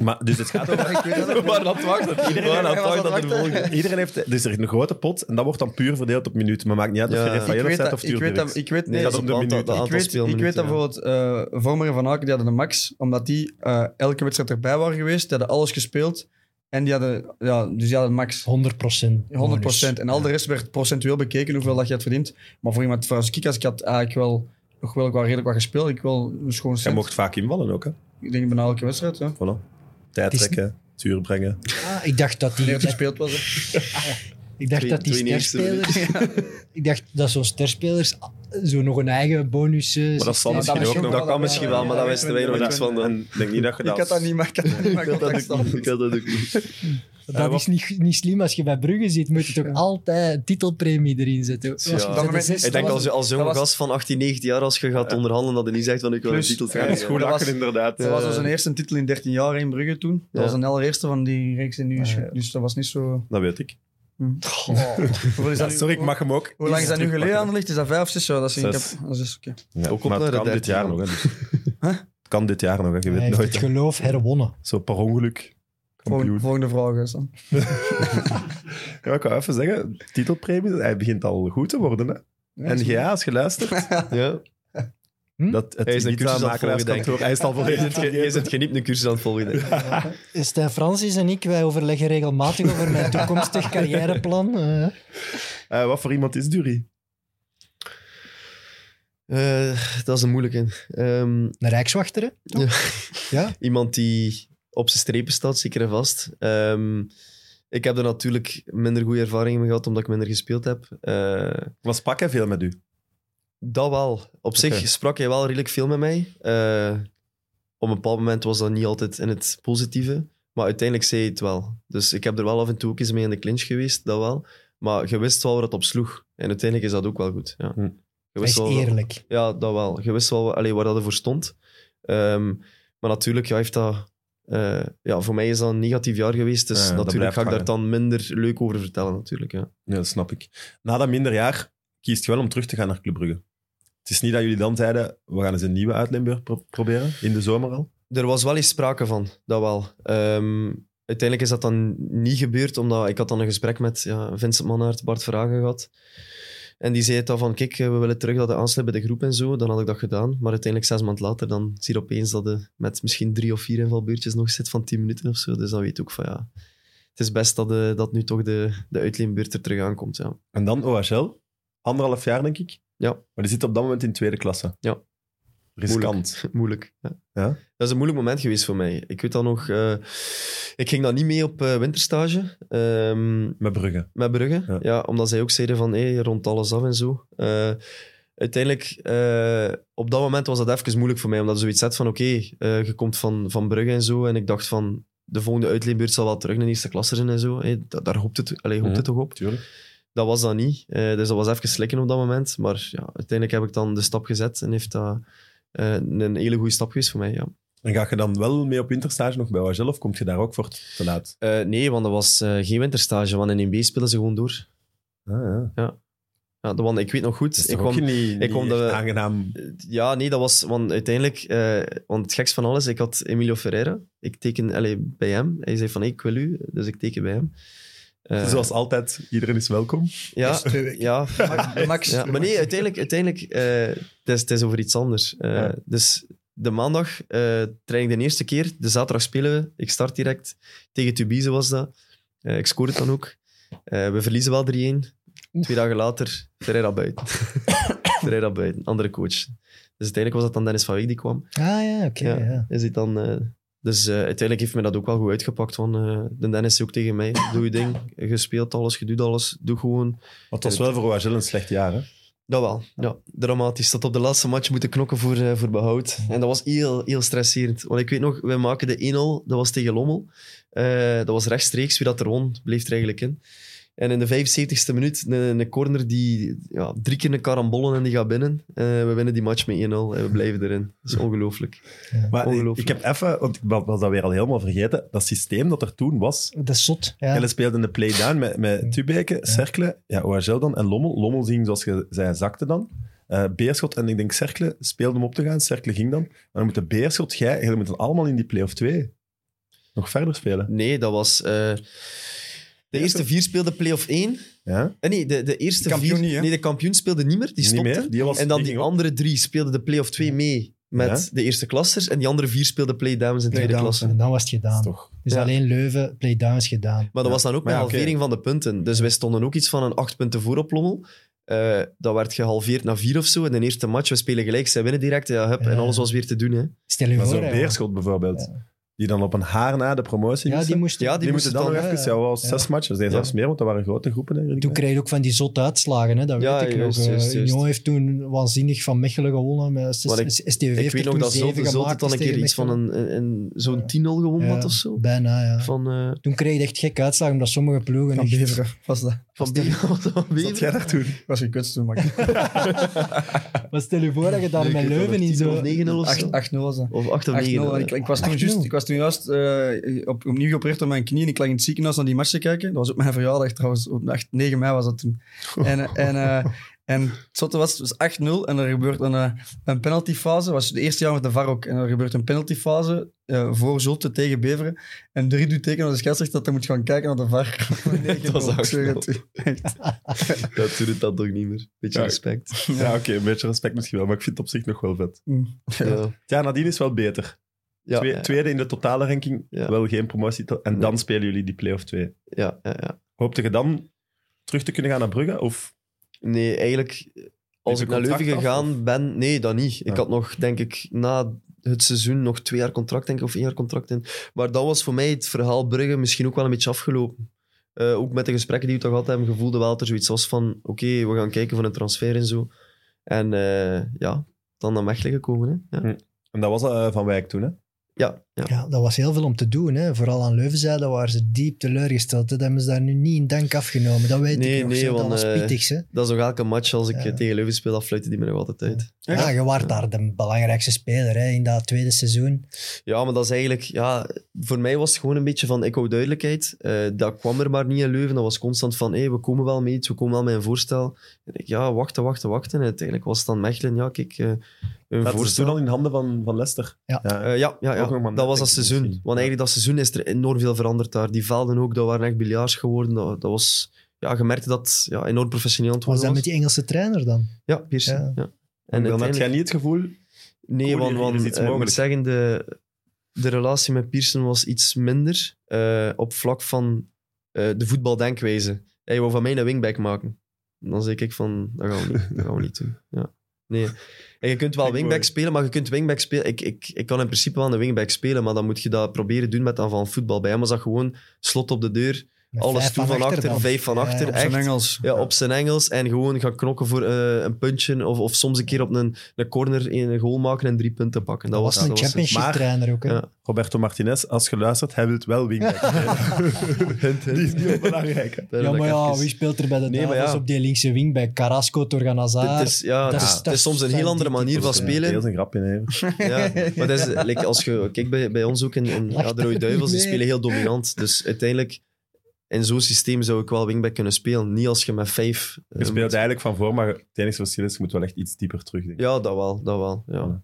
S1: Maar, dus het gaat over...
S3: Ik weet dat ook
S5: We waren aan het wachten. We
S1: Iedereen,
S5: waren aan het
S3: was aan
S5: wachten
S3: het
S5: dat er de
S3: wachten.
S5: volgende...
S1: iedereen heeft... Dus er is een grote pot en dat wordt dan puur verdeeld op minuten. Maar maakt niet uit of
S5: Ja.
S1: je
S5: Ik
S3: Ik
S1: Rafael
S3: weet
S1: zet
S3: dat,
S1: of
S3: ik weet
S1: Tuurlijk.
S3: dat, ik weet,
S5: Nee,
S3: nee,
S1: dat
S5: dat
S1: is
S5: is
S1: op
S5: op
S1: de minuut. Ik
S5: aantal
S3: ik weet, ik
S5: speelminuten,
S3: weet dat
S5: ja.
S3: bijvoorbeeld eh Vormer en Van Aken, die hadden de max, omdat die eh, elke wedstrijd erbij waren geweest, die hadden alles gespeeld en die hadden, ja, dus die hadden max.
S2: 100 procent.
S3: 100 En al de rest werd procentueel bekeken hoeveel dat je had verdiend. Maar voor iemand als Kikas, ik had eigenlijk wel nog wel qua redelijk wat gespeeld. Ik wil een schoon
S1: Jij
S3: cent.
S1: mocht vaak invallen ook, hè.
S3: Ik denk bijna elke wedstrijd. Ja.
S1: Voilà. Tijd
S2: Het is
S1: trekken, zuur brengen.
S2: Ah, ik dacht dat die,
S3: Wanneer het gespeeld was. hè.
S2: ik dacht
S5: Twee-
S2: dat die
S5: twee nieuwe
S2: sterspelers... ik dacht dat zo'n sterspelers zo nog een eigen bonus... eh,
S1: Maar dat zal
S2: systeem-
S1: misschien
S3: was
S1: ook nog...
S3: ook
S5: Dat
S3: wel-
S5: kan misschien wel, maar daar wisten wij nog
S1: Maar
S5: niks van.
S1: dat-
S5: dan.
S1: en Ik denk niet dat je dat...
S3: Ik had dat niet, maar ik had dat niet. maar ik had dat gespeeld.
S5: Ik had dat ook niet.
S2: Dat is niet, niet slim. Als je bij Brugge zit, moet je toch altijd een titelpremie erin zetten. Als je
S5: Ja.
S2: bij
S5: Op
S2: de
S5: dat
S3: moment
S2: zesde
S5: Ik denk
S2: was,
S5: als, als
S3: dat
S5: zo'n
S3: was-
S5: gast van 18, 19 jaar, als je gaat onderhandelen, dat hij niet zegt van ik wil een
S3: Plus,
S5: titel
S1: Ja, dat is goed
S3: Dat was-
S1: lachen, inderdaad.
S3: Dat was zijn eerste titel in 13 jaar in Brugge toen. Dat
S5: Ja.
S3: was een allereerste van die reeks die nu is. ge- Dus dat was niet zo. hm.
S1: Dat weet ik.
S3: Hoeveel is dat nu-
S1: Sorry, ik mag hem ook.
S3: Hoe lang is dat nu geleden aan
S1: Ja,
S3: de licht? Is dat vijf of zes jaar? Dat is, ik
S1: Zes.
S3: heb, ah, dat is oké.
S5: Ook op
S1: maar het
S5: naar
S1: kan
S5: de
S1: dit jaar nog, hè.
S5: dertien.
S1: dus. Het kan dit jaar nog, hè. Je
S2: Hij
S1: weet
S2: heeft
S1: nooit.
S2: het
S1: hè.
S2: geloof herwonnen.
S1: Zo per ongeluk.
S3: Volgende,
S1: Kampioen.
S3: volgende vraag is dan.
S1: Ja, ik wou even zeggen, titelpremie, hij begint al goed te worden. Hè? NGA, als je luistert,
S5: Ja.
S1: dat, het
S5: Hij is een cursus aan het volgen, denk
S1: Hij is het al volledig
S5: Je zit geniep een cursus aan het volgen. denk ik.
S2: Stijn Francis en ik, wij overleggen regelmatig over mijn toekomstig carrièreplan. eh.
S1: Eh, Wat voor iemand is Dury?
S5: Eh, dat is een moeilijke. Ehm,
S2: een rijkswachter, hè?
S5: iemand die op zijn strepen staat, zeker en vast. Ehm, ik heb er natuurlijk minder goede ervaringen mee gehad, omdat ik minder gespeeld heb. Eh,
S1: Was Pakken veel met u?
S5: dat wel. Op
S1: Oké.
S5: zich sprak hij wel redelijk veel met mij. Eh, op een bepaald moment was dat niet altijd in het positieve. Maar uiteindelijk zei hij het wel. Dus ik heb er wel af en toe ook eens mee in de clinch geweest, dat wel. Maar je wist wel waar het op sloeg. En uiteindelijk is dat ook wel goed. Ja.
S1: Hm.
S5: Je
S2: Hij is
S5: wist wel-
S2: eerlijk.
S5: ja, dat wel. Je wist wel allee, waar dat voor stond. Ehm, maar natuurlijk ja, heeft dat... eh, ja, voor mij is dat een negatief jaar geweest,
S1: Ja,
S5: dus
S1: dat
S5: natuurlijk
S1: blijft
S5: ga ik daar
S1: hangen.
S5: dan minder leuk over vertellen. Natuurlijk, ja.
S1: Ja, dat snap ik. Na dat minderjaar kiest je wel om terug te gaan naar Club Brugge. Het is niet dat jullie dan zeiden, we gaan eens een nieuwe uitleenbeurt pro- proberen, in de zomer al.
S5: Er was wel eens sprake van, dat wel. Ehm, uiteindelijk is dat dan niet gebeurd, omdat ik had dan een gesprek met ja, Vincent Mannaert, Bart Vragen gehad. En die zei het dan van, kijk, eh, we willen terug dat hij aansluit bij de groep en zo. Dan had ik dat gedaan. Maar uiteindelijk, zes maanden later, dan zie je opeens dat hij met misschien drie of vier invalbeurtjes nog zit van tien minuten of zo. Dus dan weet ik ook van, ja, het is best dat, eh, dat nu toch de, de uitleenbeurt er terug aankomt. Ja.
S1: En dan OHL, anderhalf jaar denk ik.
S5: Ja.
S1: Maar die zit op dat moment in tweede klasse.
S5: Ja.
S1: Riskant.
S5: Moeilijk. Ja.
S1: Ja?
S5: Dat is een moeilijk moment geweest voor mij. Ik weet dan nog, eh, ik ging dan niet mee op eh, winterstage. Ehm,
S1: Met Brugge.
S5: met Brugge.
S1: Ja.
S5: Ja. omdat zij ook zeiden van, hé, rond alles af en zo. Eh, uiteindelijk, eh, op dat moment was dat even moeilijk voor mij, omdat je zoiets had van, oké, eh, je komt van, van Brugge en zo. En ik dacht van, de volgende uitleenbeurt zal wel terug naar de eerste klasse zijn en zo. Hé, da- daar hoopt het, allee, hoopt het toch op.
S1: Tuurlijk.
S5: Dat was dat niet. Eh, dus dat was even slikken op dat moment. Maar ja, uiteindelijk heb ik dan de stap gezet en heeft dat eh, een hele goede stap geweest voor mij, ja.
S1: En ga je dan wel mee op winterstage nog bij OHL of kom je daar ook voor te laat?
S5: Eh, nee, want dat was eh, geen winterstage, want in 1B spelen ze gewoon door.
S1: Ah, ja.
S5: Ja, want ik weet nog goed,
S1: Dat is
S5: Dus ik
S1: toch
S5: kwam,
S1: ook niet, niet
S5: kwam
S1: echt
S5: de-
S1: aangenaam.
S5: Ja, nee, dat was... Want uiteindelijk... eh, want het geks van alles, ik had Emilio Ferreira. Ik teken allee, bij hem. Hij zei van, hey, ik wil u. Dus ik teken bij hem. Eh,
S1: Zoals altijd, iedereen is welkom.
S5: Ja,
S3: Eerst twee weken.
S5: ja,
S3: Max, Max,
S5: ja. Maar nee, uiteindelijk... uiteindelijk eh, het, is, het is over iets anders. Eh,
S1: Ja.
S5: Dus de maandag eh train ik de eerste keer. De zaterdag spelen we. Ik start direct. Tegen Tubize was dat. Eh, ik scoorde dan ook. Eh, we verliezen wel 3-1. Twee dagen later, Ferreira buiten. Ferreira buiten, andere coach. Dus uiteindelijk was dat dan Dennis van Wijk die kwam.
S2: Ah ja, oké.
S5: Ja.
S2: ja.
S5: Is dit dan, eh, dus eh, uiteindelijk heeft me dat ook wel goed uitgepakt. Van, eh de Dennis zei ook tegen mij, doe je ding, je speelt alles, je doet alles, doe gewoon.
S1: Want het was wel voor OHL een slecht jaar, hè?
S5: Dat wel, ja. Dramatisch. Dat op de laatste match moeten knokken voor, eh, voor behoud. En dat was heel, heel stresserend. Want ik weet nog, wij maken de 1-0, dat was tegen Lommel. Eh, dat was rechtstreeks, wie dat er won, bleef er eigenlijk in. En in de 75ste minuut, een, een corner die ja, drie keer een karambollen en die gaat binnen. Eh, we winnen die match met 1-0 en we blijven erin. Dat is ongelooflijk.
S1: Maar ik, ik
S5: Ongelooflijk.
S1: heb even, want ik wa- was dat weer al helemaal vergeten, dat systeem dat er toen was.
S2: Dat is zot. Ja.
S1: Jelle speelde in de play-down met, met Tubeke, Cercle, ja, OHL dan en Lommel. Lommel ging, zoals je zei, zakte dan. Eh, Beerschot en ik denk Cercle speelde om op te gaan. Cercle ging dan. Maar dan moeten Beerschot, jij, jullie moeten allemaal in die play-off 2. Nog verder spelen.
S5: Nee, dat was... eh, de eerste vier speelde play-off 1.
S1: Ja?
S5: Eh, nee, de, de eerste
S3: Kampioen
S5: vier...
S3: niet, hè?
S5: nee, de kampioen speelde niet meer. Die
S1: Niet
S5: stopte.
S1: meer. Die was,
S5: En dan die
S1: ging op.
S5: andere drie speelden de play-off 2 mee met
S1: Ja.
S5: de eerste klassers. En die andere vier speelden play-downs in tweede
S3: Play-downs,
S5: klasse.
S2: En dan was het gedaan.
S1: Toch.
S2: Dus
S5: Ja.
S2: alleen Leuven, playdowns gedaan.
S5: Maar dat was dan ook
S1: Maar
S5: een
S1: ja, oké.
S5: halvering van de punten. Dus wij stonden ook iets van een acht punten voor op Lommel. Eh, dat werd gehalveerd naar vier of zo. En de eerste match, we spelen gelijk, zij winnen direct. Ja, hup,
S2: Ja.
S5: En alles was weer te doen. Hè.
S2: Stel je
S1: Maar
S2: voor.
S1: zo'n
S2: hè,
S1: Beerschot bijvoorbeeld, die dan op een haar na de promotie
S2: ja, die
S1: moesten.
S2: moest.
S5: Ja, die
S1: Die,
S5: moesten
S1: moeten dan nog
S5: dan,
S1: even,
S2: eh,
S1: ja, wel zes matches. Nee, zelfs meer, want dat waren grote groepen. Denk ik.
S2: Toen kreeg je ook van die zotte uitslagen, hè? dat
S5: Ja,
S2: weet ik
S5: juist,
S2: nog. Eh,
S5: juist, juist.
S2: Union heeft toen waanzinnig van Mechelen gewonnen. Met
S5: Maar ik-
S2: S- STV heeft
S5: Ik weet
S2: er
S5: nog
S2: toen
S5: dat
S2: zeven
S5: Zulte Zulte
S2: gemaakt
S5: dan een
S2: tegen
S5: keer iets van
S2: Mechelen.
S5: een, een, een- zo'n 10-0 gewonnen had
S2: Ja,
S5: of zo.
S2: Bijna, ja.
S5: Van, eh
S2: Toen kreeg je echt gek uitslagen, omdat sommige ploegen...
S3: Van
S2: echt-
S3: Beveren was dat.
S5: van Beveren. Van
S1: Wat jij
S5: Beveren.
S1: daar toen?
S3: Ik was gekutst toen, maar ik-
S2: Maar stel je voor dat je daar
S5: Nee,
S2: met
S5: ik weet dat
S2: Leuven in
S5: nog
S2: zo...
S5: 10 of
S3: 8
S5: 9-0 of zo.
S3: 8-0 was dat.
S5: Of 8 of
S3: 8-0.
S5: 9.
S3: Ik, ik, was toen
S2: 8-0.
S3: juist, ik was toen juist eh, op, opnieuw oprecht op mijn knie en ik lag in het ziekenhuis naar die match te kijken. Dat was op mijn verjaardag trouwens. Op 8, 9 mei was dat toen. En, eh, en, eh, en het zotte was, het was 8-0 en er gebeurt een, eh, een penaltyfase. Dat was het eerste jaar met de VAR ook. En er gebeurt een penaltyfase eh, voor Zulte tegen Beveren. En drie doet teken aan de scheidsrechter dat hij moet gaan kijken naar de VAR. Nee,
S5: Dat was
S3: ik zweer het.
S5: 8-0. Dat doet het dan toch niet meer. Beetje
S1: Ja.
S5: respect.
S1: Ja, oké, een beetje respect misschien wel, maar ik vind het op zich nog wel vet.
S5: Ja.
S1: Ja, nadien is wel beter.
S5: Ja,
S1: Twee-
S5: ja,
S1: Tweede in de totale ranking,
S5: Ja.
S1: wel geen promotie. En
S5: Nee.
S1: dan spelen jullie die play-off 2.
S5: ja, ja, ja.
S1: Hoopte je dan terug te kunnen gaan naar Brugge? Of
S5: Nee, eigenlijk, eh, als
S1: je
S5: ik naar Leuven
S1: contract af,
S5: gegaan
S1: of?
S5: ben... Nee, dat niet.
S1: Ja.
S5: Ik had nog, denk ik, na het seizoen nog twee jaar contract, denk ik, of één jaar contract in. Maar dat was voor mij het verhaal Brugge misschien ook wel een beetje afgelopen. Eh, ook met de gesprekken die we toch gehad hebben, gevoelde wel dat er zoiets was van... Oké, we gaan kijken van een transfer en zo. En eh, ja, dan naar Mechelen gekomen. Hè? Ja.
S1: en dat was eh, Van Wijk toen, hè?
S5: Ja, ja.
S2: Ja, dat was heel veel om te doen. Hè. Vooral aan Leuvenzijde waren ze diep teleurgesteld. hè. Dat hebben ze daar nu niet in dank afgenomen. Dat weet
S5: Nee,
S2: ik nog.
S5: nee,
S2: zo. dat
S5: want,
S2: was
S5: eh,
S2: pittig. hè.
S5: dat is nog elke match als ik
S2: Ja.
S5: eh, tegen Leuven speel, dat fluiten die me nog altijd uit.
S2: Ja, je waart daar de belangrijkste speler hè, in dat tweede seizoen.
S5: Ja, maar dat is eigenlijk... Ja, voor mij was het gewoon een beetje van, ik hou duidelijkheid. Eh, dat kwam er maar niet in Leuven. Dat was constant van, hey, we komen wel mee iets, we komen wel met een voorstel. En ik, ja, wachten, wachten, wachten. En uiteindelijk was het dan Mechelen, ja, kijk, eh, een
S1: Dat was
S5: voorstel.
S1: toen al in handen van, van Leicester.
S2: Ja.
S5: Eh, ja, ja, ja.
S1: Ook nog maar
S5: dat
S1: net,
S5: was dat
S1: denk ik,
S5: seizoen.
S1: misschien.
S5: Want eigenlijk dat seizoen is er enorm veel veranderd daar. Die velden ook, dat waren echt biljaars geworden. Dat, dat was... Ja, je merkte dat het, ja, enorm professioneel aan het
S2: Was
S5: worden
S2: dat met
S5: was.
S2: die Engelse trainer dan?
S5: Ja, Pearson.
S2: Ja.
S5: Ja.
S1: en dan had jij
S5: uiteindelijk-
S1: niet het gevoel...
S5: Nee,
S1: Cool,
S5: want,
S1: hier
S5: want
S1: is iets
S5: eh, ik moet
S1: mogelijk.
S5: zeggen, de, de relatie met Pearson was iets minder eh, op vlak van eh, de voetbaldenkwijze. Hij wou van mij een wingback maken. En Dan zei ik van, dat gaan we niet, dat gaan we niet doen. Ja. Nee. En je kunt wel
S1: Ik
S5: wingback
S1: hoor.
S5: spelen, maar je kunt wingback spelen. Ik, ik, ik kan in principe wel een wingback spelen, maar dan moet je dat proberen doen met aanvallend voetbal. Bij hem was dat gewoon slot op de deur,
S2: Met
S5: alles
S2: vijf
S5: toe van achter,
S2: dan.
S5: vijf van
S2: Ja,
S5: achter.
S2: op
S3: Zijn
S5: echt.
S3: Engels.
S5: Ja, op zijn Engels. En gewoon gaan knokken voor eh, een puntje. Of, of soms een keer op een, een corner in een goal maken en drie punten pakken.
S2: Dat was een
S5: dat het.
S2: championship
S1: Maar-
S2: trainer ook. Hè?
S5: Ja.
S1: Roberto Martinez, als je luistert, hij wil wel wingback. die is niet onbelangrijk. hè.
S5: Daar
S2: Ja,
S5: wil ik
S2: maar ja,
S5: even-
S2: wie speelt er bij de
S5: Nee, maar
S2: Navas
S5: ja.
S2: op die linkse wingback? Carrasco, Torgan Hazard.
S5: Het is, ja, het
S2: Dat
S5: is,
S2: is-
S5: het is soms een
S2: dat
S5: heel
S2: is-
S5: andere
S2: die- die-
S5: manier van
S2: die-
S1: Heel
S5: spelen.
S1: zijn grap in, hè.
S5: Ja. Maar dat is, like, als je kijkt bij, bij ons ook in, in ja, de Rode Duivels, die
S2: Nee.
S5: spelen heel dominant. Dus uiteindelijk, in zo'n systeem zou ik wel wingback kunnen spelen. Niet als je met vijf... eh,
S1: Je speelt
S5: moet-
S1: eigenlijk van voor, maar het enige verschil is, je moet wel echt iets dieper terugdenken.
S5: Ja, dat wel. Dat wel ja.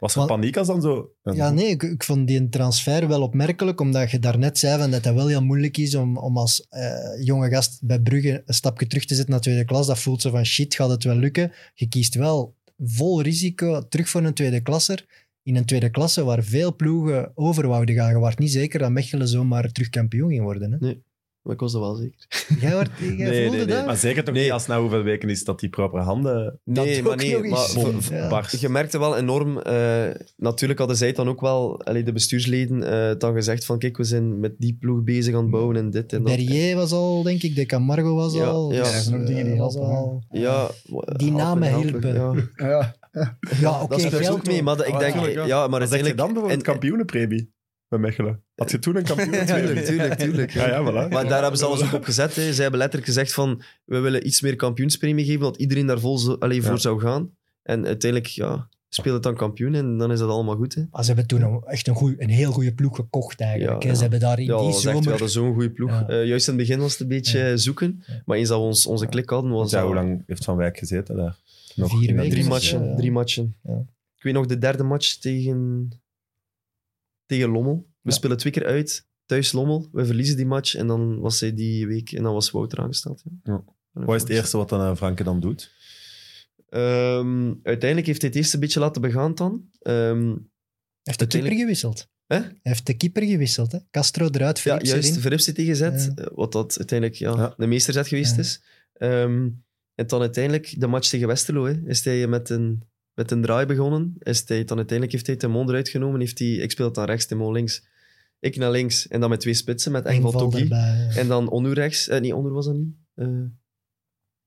S1: Was er
S2: Maar-
S1: paniek als dan zo...
S2: Ja, nee, ik, ik vond die transfer wel opmerkelijk, omdat je daarnet zei van dat het wel heel moeilijk is om, om als eh, jonge gast bij Brugge een stapje terug te zetten naar tweede klas. Dat voelt zo van shit, gaat het wel lukken? Je kiest wel vol risico terug voor een tweede klasser. In een tweede klasse waar veel ploegen over wouden gaan. Je waart niet zeker dat Mechelen zomaar terug kampioen ging worden. Hè?
S5: Maar ik was dat wel zeker.
S2: Jij, werd, jij
S1: Nee, nee,
S2: voelde
S1: nee.
S2: dat?
S1: Maar zeker toch
S5: Nee.
S1: niet als na hoeveel weken is dat die propere handen... eh,
S5: Nee,
S2: ook
S5: maar nee.
S2: nog
S5: Maar,
S2: eens.
S5: voor-
S2: Ja.
S1: barst.
S5: Je merkte wel enorm, eh, natuurlijk hadden zij het dan ook wel, allee, de bestuursleden, eh, dan gezegd van kijk, we zijn met die ploeg bezig aan het bouwen en dit en dat.
S2: Berrier was al, denk ik. De Camargo was
S5: Ja,
S2: al.
S5: ja.
S2: dus,
S5: Ja,
S3: dat zijn ook dingen die
S2: eh, was
S3: helpen, hè.
S2: al-
S5: Ja, wa-
S2: Die
S5: helpen,
S2: namen
S5: helpen,
S2: hielpen.
S5: Ja.
S3: Ja.
S2: Ja,
S5: dat
S2: oké,
S5: speelt
S2: geld
S5: ook mee,
S2: ook.
S5: maar dat- ik
S3: Ah,
S5: denk,
S3: tuurlijk, ja.
S5: ja, maar
S1: Wat zeg je
S5: uiteindelijk...
S1: dan bijvoorbeeld
S5: en-
S1: kampioenenpremie bij Mechelen? Had je toen een
S5: Tuurlijk,
S1: kampioenenpremie?
S5: tuurlijk, tuurlijk.
S1: ja, ja, voilà.
S5: Maar daar hebben ze alles ook op gezet. Hè. Zij hebben letterlijk gezegd van, we willen iets meer kampioenspremie geven, want iedereen daar vol zo- allee, voor
S1: Ja.
S5: zou gaan. En uiteindelijk, ja, speelt het dan kampioen en dan is dat allemaal goed. Hè.
S2: Ah, ze hebben toen een- echt een, goeie, een heel goede ploeg gekocht eigenlijk.
S5: Ja,
S2: hè. Ze
S5: ja.
S2: hebben daar in
S5: Ja, dat
S2: die
S5: was echt, we
S2: zomer...
S5: hadden zo'n goede ploeg.
S2: Ja.
S5: Eh, juist in het begin was het een beetje eh, zoeken, maar eens dat we ons, onze klik hadden, was
S1: Ja,
S5: dat-
S1: hoe lang heeft Van Wijk gezeten daar?
S2: Vier
S1: in dat
S2: weken.
S5: Drie
S1: drie-
S2: Dus,
S5: matchen.
S2: eh,
S5: drie matchen.
S2: ja.
S5: Ik weet nog de derde match tegen, tegen Lommel. We
S2: Ja.
S5: spelen twee keer uit. thuis Lommel. We verliezen die match en dan was hij die week en dan was Wouter aangesteld. Ja.
S1: Ja. Wat is het eerste wat dan, eh, Franke dan doet?
S5: Ehm, uiteindelijk heeft hij het eerst een beetje laten begaan dan. Ehm,
S2: heeft de keeper gewisseld.
S5: Hè?
S2: Hij heeft de keeper gewisseld. Hè? Castro eruit,
S5: ja,
S2: Philips
S5: juist,
S2: erin.
S5: Verrips tegenzet, eh, wat dat uiteindelijk ja,
S1: Ja.
S5: de meesterzet geweest
S2: Ja.
S5: is. Ehm, en dan uiteindelijk de match tegen Westerlo, hè, is hij met een, met een draai begonnen. Is hij, dan uiteindelijk heeft hij Timon eruit genomen. Heeft hij, ik speel dan rechts, Timon links. Ik naar links. En dan met twee spitsen, met Engel
S2: Inval
S5: Togi.
S2: erbij.
S5: En dan Onur rechts. Eh, nee, Onur was dat niet. Eh,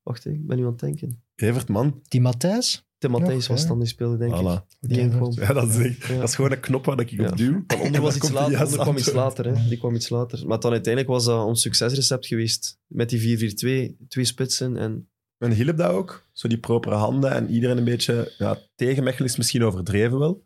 S5: wacht, hè, ik ben nu aan het denken.
S1: Evert, man.
S2: Die Matthijs.
S5: Tim Matthijs
S2: Nog,
S5: was
S2: ja.
S5: dan die speelde, denk ik.
S1: Voilà.
S5: Die inkwam.
S1: Ja, dat, is echt-
S5: Ja.
S1: dat is gewoon een knop waar ik
S5: Ja.
S1: op duw. Van
S5: Onder was iets later, onder kwam iets
S1: laat.
S5: later. Hè. Die kwam iets later. Maar dan uiteindelijk was dat ons succesrecept geweest. Met die 4-4-2, twee spitsen en...
S1: En hielp dat ook? Zo die propere handen en iedereen een beetje... Ja, tegen Mechelen is misschien overdreven wel.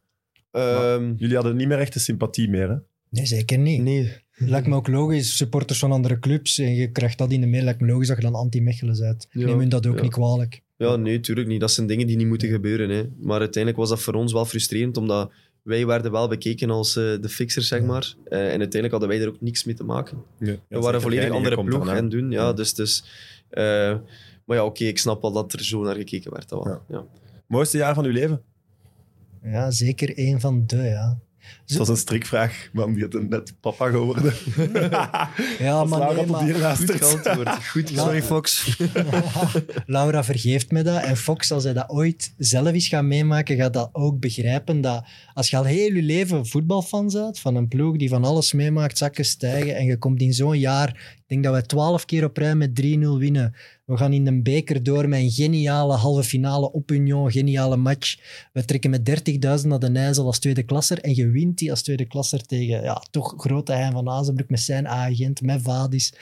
S5: ehm,
S1: Jullie hadden niet meer echt de sympathie meer, hè?
S2: Nee, zeker niet.
S5: nee,
S2: Lijkt me ook logisch, supporters van andere clubs. En je krijgt dat in de mail. Lijkt me logisch dat je dan anti-Mechelen bent. Ik
S5: Ja,
S2: neem hun dat ook
S5: ja.
S2: niet kwalijk.
S5: ja, nee, tuurlijk niet. Dat zijn dingen die niet moeten gebeuren. Hè. Maar uiteindelijk was dat voor ons wel frustrerend, omdat wij werden wel bekeken als eh, de fixers, zeg
S2: Ja.
S5: maar. Eh, en uiteindelijk hadden wij er ook niks mee te maken.
S1: Ja,
S5: we waren volledig
S1: een
S5: een andere ploeg en doen. Ja,
S1: Ja.
S5: Dus, dus, eh, maar ja, oké, ik snap wel dat er zo naar gekeken werd. Dat wel.
S1: Ja.
S5: Ja.
S1: Mooiste jaar van uw leven?
S2: Ja, zeker één van de, ja.
S1: Dat was een strikvraag, man. Die had net papa geworden.
S2: Ja,
S1: Als
S2: maar,
S1: Laura
S2: nee,
S1: tot hier
S2: maar
S1: luistert.
S5: Antwoord. Goed, sorry.
S3: Fox.
S2: Laura vergeeft me dat. En Fox, als hij dat ooit zelf is gaan meemaken, gaat dat ook begrijpen. Dat als je al heel je leven voetbalfan bent, van een ploeg die van alles meemaakt, zakken stijgen, en je komt in zo'n jaar, ik denk dat wij twaalf keer op rij met 3-0 winnen. We gaan in een beker door met een geniale halve finale op Union, geniale match. We trekken met 30.000 naar de IJssel als tweede klasser en je wint die als tweede klasser tegen ja, toch grote Hein van Azenbroek met zijn agent, met Vadis.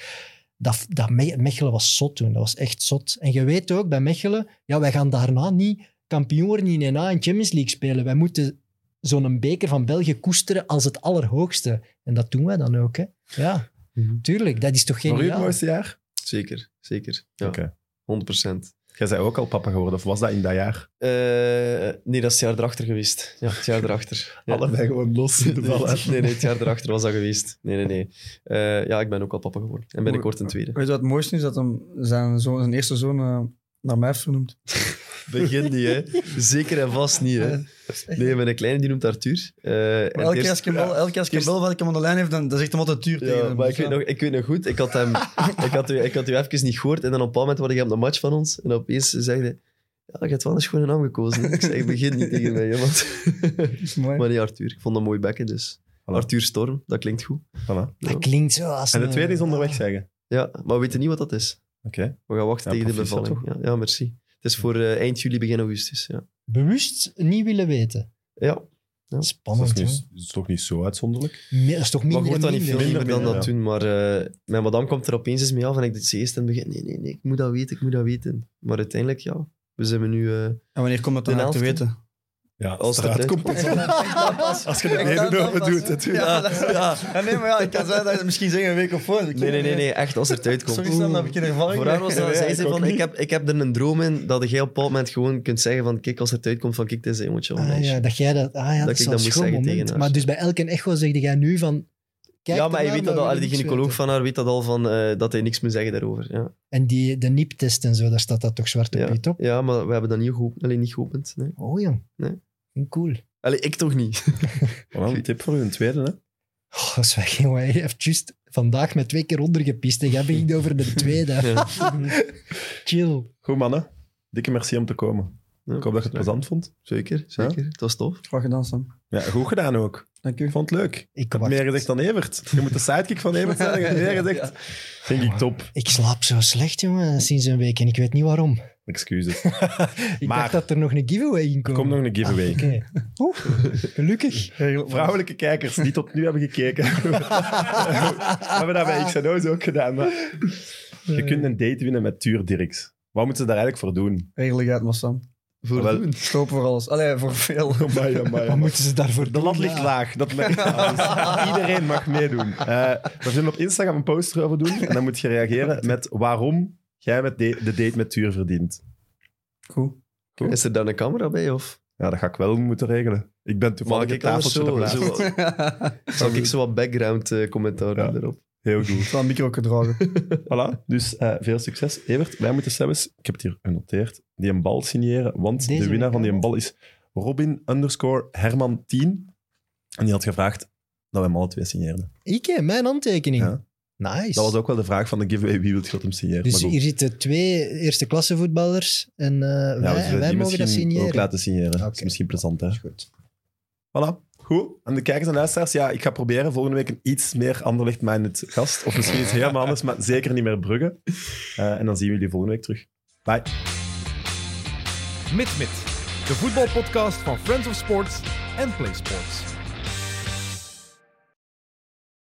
S2: Dat, dat Me- Mechelen was zot toen, dat was echt zot. En je weet ook, bij Mechelen, ja, wij gaan daarna niet kampioen worden in 1A en Champions League spelen. Wij moeten zo'n beker van België koesteren als het allerhoogste. En dat doen wij dan ook, hè. Ja,
S5: Mhm.
S2: tuurlijk, dat is toch
S1: Voor u het
S2: geniaal.
S1: mooiste jaar?
S5: Zeker, zeker. Ja,
S1: Oké.
S5: 100%.
S1: Jij bent ook al papa geworden, of was dat in dat jaar?
S5: Eh, nee, dat is het jaar erachter geweest. Ja, het jaar erachter. Ja.
S1: Allebei gewoon los in de
S5: Nee,
S1: bal.
S5: nee, nee, het jaar erachter was dat geweest. Nee, nee, nee. Eh, ja, ik ben ook al papa geworden. En binnenkort een tweede.
S3: Weet je wat het mooiste is? Dat hem zijn, zoon, zijn eerste zoon eh, naar mij heeft vernoemd.
S5: Begin niet, hè. Zeker en vast niet, hè. Nee, mijn kleine die noemt Arthur. Eh, en
S3: Maar elke
S5: het
S3: keer
S5: eerst-
S3: als ik hem bel, elke keer als ik hem bel wat ik hem aan de lijn heeft, dan, dan zegt hij altijd tuur tegen
S5: Ja,
S3: hem.
S5: maar ik weet, nog, ik weet nog goed, ik had, hem, ik, had u, ik had u even niet gehoord en dan op een bepaald moment was ik op de match van ons en opeens zei hij, ja, je hebt wel een schone naam gekozen. hè." Ik zei, begin niet tegen mij, hè, want...
S3: is mooi.
S5: Maar nee, Arthur, ik vond dat mooi bekken, dus... Arthur Storm, dat klinkt goed.
S1: Voilà.
S2: Dat klinkt zo als
S1: En de
S2: een-
S1: tweede is onderweg zeggen.
S5: Ja, maar we weten niet wat dat is.
S1: Oké.
S5: We gaan wachten
S1: Ja,
S5: tegen de
S1: proficiat,
S5: bevalling. Ja, ja, merci. Het is voor eh, eind juli, begin augustus, ja.
S2: bewust niet willen weten.
S5: Ja,
S1: Dat is,
S2: Spannend,
S1: nu-
S2: hè?
S1: dat is dus- toch niet zo uitzonderlijk?
S2: Me- Dat is toch minder
S5: maar je
S2: en
S5: hoort dat niet veel
S2: minder?
S5: minder dan
S1: minder,
S5: dat
S1: ja.
S5: toen. Maar eh, mijn madame komt er opeens eens mee af en ik zei eerst in het begin, nee, nee, nee, ik moet dat weten, ik moet dat weten. Maar uiteindelijk, ja, we zijn nu... eh,
S3: En wanneer komt dat dan
S5: De
S3: uit te
S5: helft,
S3: weten?
S1: Ja,
S5: Als
S1: als
S5: het
S1: eruit
S5: eruit
S1: komt. pas op. Als je de
S3: Ik kan
S1: benen
S3: dat
S1: open
S3: pas-
S1: doet, natuurlijk.
S3: Ja, dat- ja, nee, maar ja, ik kan zeggen dat je het misschien zeggen een week of voor.
S5: Nee, nee, nee, nee, echt, als het eruit komt.
S3: Sorry, Sam, dat heb ik een ervaring.
S5: Voor haar was dat,
S1: Nee,
S5: zei
S1: ik
S5: ze
S1: ook
S5: van,
S1: niet.
S5: ik heb, ik heb er een droom in dat jij op een bepaald moment gewoon kunt zeggen van, kijk, als het uitkomt van, kijk, dit is een jongetje of een
S2: Ah,
S5: meisje.
S2: ja, dat jij dat... Ah ja, dat,
S5: Dat
S2: is
S5: ik
S2: wel een
S5: dat moet
S2: schoon
S5: zeggen
S2: moment.
S5: tegen haar.
S2: Maar dus bij elke echo zeg jij nu van... Kijk
S5: Ja, maar hij
S2: ernaar,
S5: weet dat al,
S2: we willen
S5: die
S2: niks
S5: gynaecoloog
S2: weten.
S5: van haar weet dat al, van, eh, dat hij niks meer zeggen daarover. Ja,
S2: En die, de nieptest en zo, daar staat dat toch zwart op
S5: ja.
S2: wit op?
S5: ja maar we hebben dat niet geopend. Allee, niet geopend, nee.
S2: Oh jong. Hm,
S5: Nee.
S2: Cool.
S5: Allee, ik toch niet.
S1: Voilà, een tip voor u, een tweede. Hè?
S2: Oh, dat is weg, jongen. Hij heeft juist vandaag met twee keer ondergepist. En jij begint over de tweede.
S5: Ja.
S2: Chill.
S1: Goed, mannen. Dikke merci om te komen. Ik hoop dat je het plezant vond.
S5: Zeker, zeker. Het was tof.
S3: Graag gedaan, Sam.
S1: Ja, goed gedaan ook.
S3: Dank
S1: Ik
S3: u.
S1: vond het leuk.
S2: Ik,
S1: Ik heb
S2: wacht.
S1: meer gezegd dan Evert. Je moet de sidekick van Evert zijn. Je hebt meer gezegd. Vind ik top.
S2: ik slaap zo slecht, jongen, sinds een week. En ik weet niet waarom.
S1: Excuses.
S2: Ik
S1: Maar-
S2: dacht dat er nog een giveaway in
S1: Er
S2: kwam.
S1: komt nog een giveaway.
S2: Oké. Oeh, gelukkig.
S1: Vrouwelijke kijkers die tot nu hebben gekeken. we hebben dat bij XNO's ook gedaan. Maar... Je kunt een date winnen met Tuur Dirks. Wat moeten ze daar eigenlijk voor doen?
S3: Redelijkheid, maar Sam.
S5: Voor
S1: Wel,
S5: doen.
S3: Sloop voor alles. Allee, voor veel.
S1: Amai, amai,
S2: Wat
S1: amai.
S2: moeten ze daarvoor
S1: De
S2: doen?
S1: lat ligt
S2: Ja.
S1: laag. Dat merkt alles. Iedereen mag meedoen. Eh, we zullen op Instagram een poster over doen. En dan moet je reageren met waarom jij met de, de date met Tuur verdient.
S3: Goed.
S5: Is er dan een camera bij, of?
S1: Ja, dat ga ik wel moeten regelen. Ik ben toevallig
S5: Mag
S1: het
S5: ik anders
S1: tafeltje
S5: zo,
S1: ernaast.
S5: zo, zal ik zo wat background eh, commentaar
S1: Ja.
S5: doen daarop?
S1: Heel goed.
S3: Van micro gedragen.
S1: Voilà, dus eh, veel succes. Evert, wij moeten zelfs, ik heb het hier genoteerd, die een bal signeren, want
S2: Deze
S1: de winnaar
S2: week,
S1: van
S2: hè?
S1: die een bal is Robin underscore Herman 10. En die had gevraagd dat wij hem alle twee signeerden.
S2: Ikke, mijn handtekening.
S1: Ja.
S2: Nice.
S1: Dat was ook wel de vraag van de giveaway, wie wil God hem signeren?
S2: dus
S1: Maar goed.
S2: hier zitten twee eerste klasse voetballers en eh,
S1: Ja, dus we
S2: wij,
S1: zullen
S2: en wij
S1: die
S2: mogen dat
S1: misschien
S2: signeren.
S1: ook laten signeren. Dat is
S2: Oké.
S1: misschien plezant, hè?
S2: Dat is goed.
S1: Voilà. Goed. En de kijkers en luisteraars, ja, ik ga proberen volgende week een iets meer Anderlecht-minded gast. Of misschien iets helemaal anders, maar zeker niet meer Brugge. Eh, en dan zien we jullie volgende week terug. Bye.
S4: Mit Mit, de voetbalpodcast van Friends of Sports en Play Sports.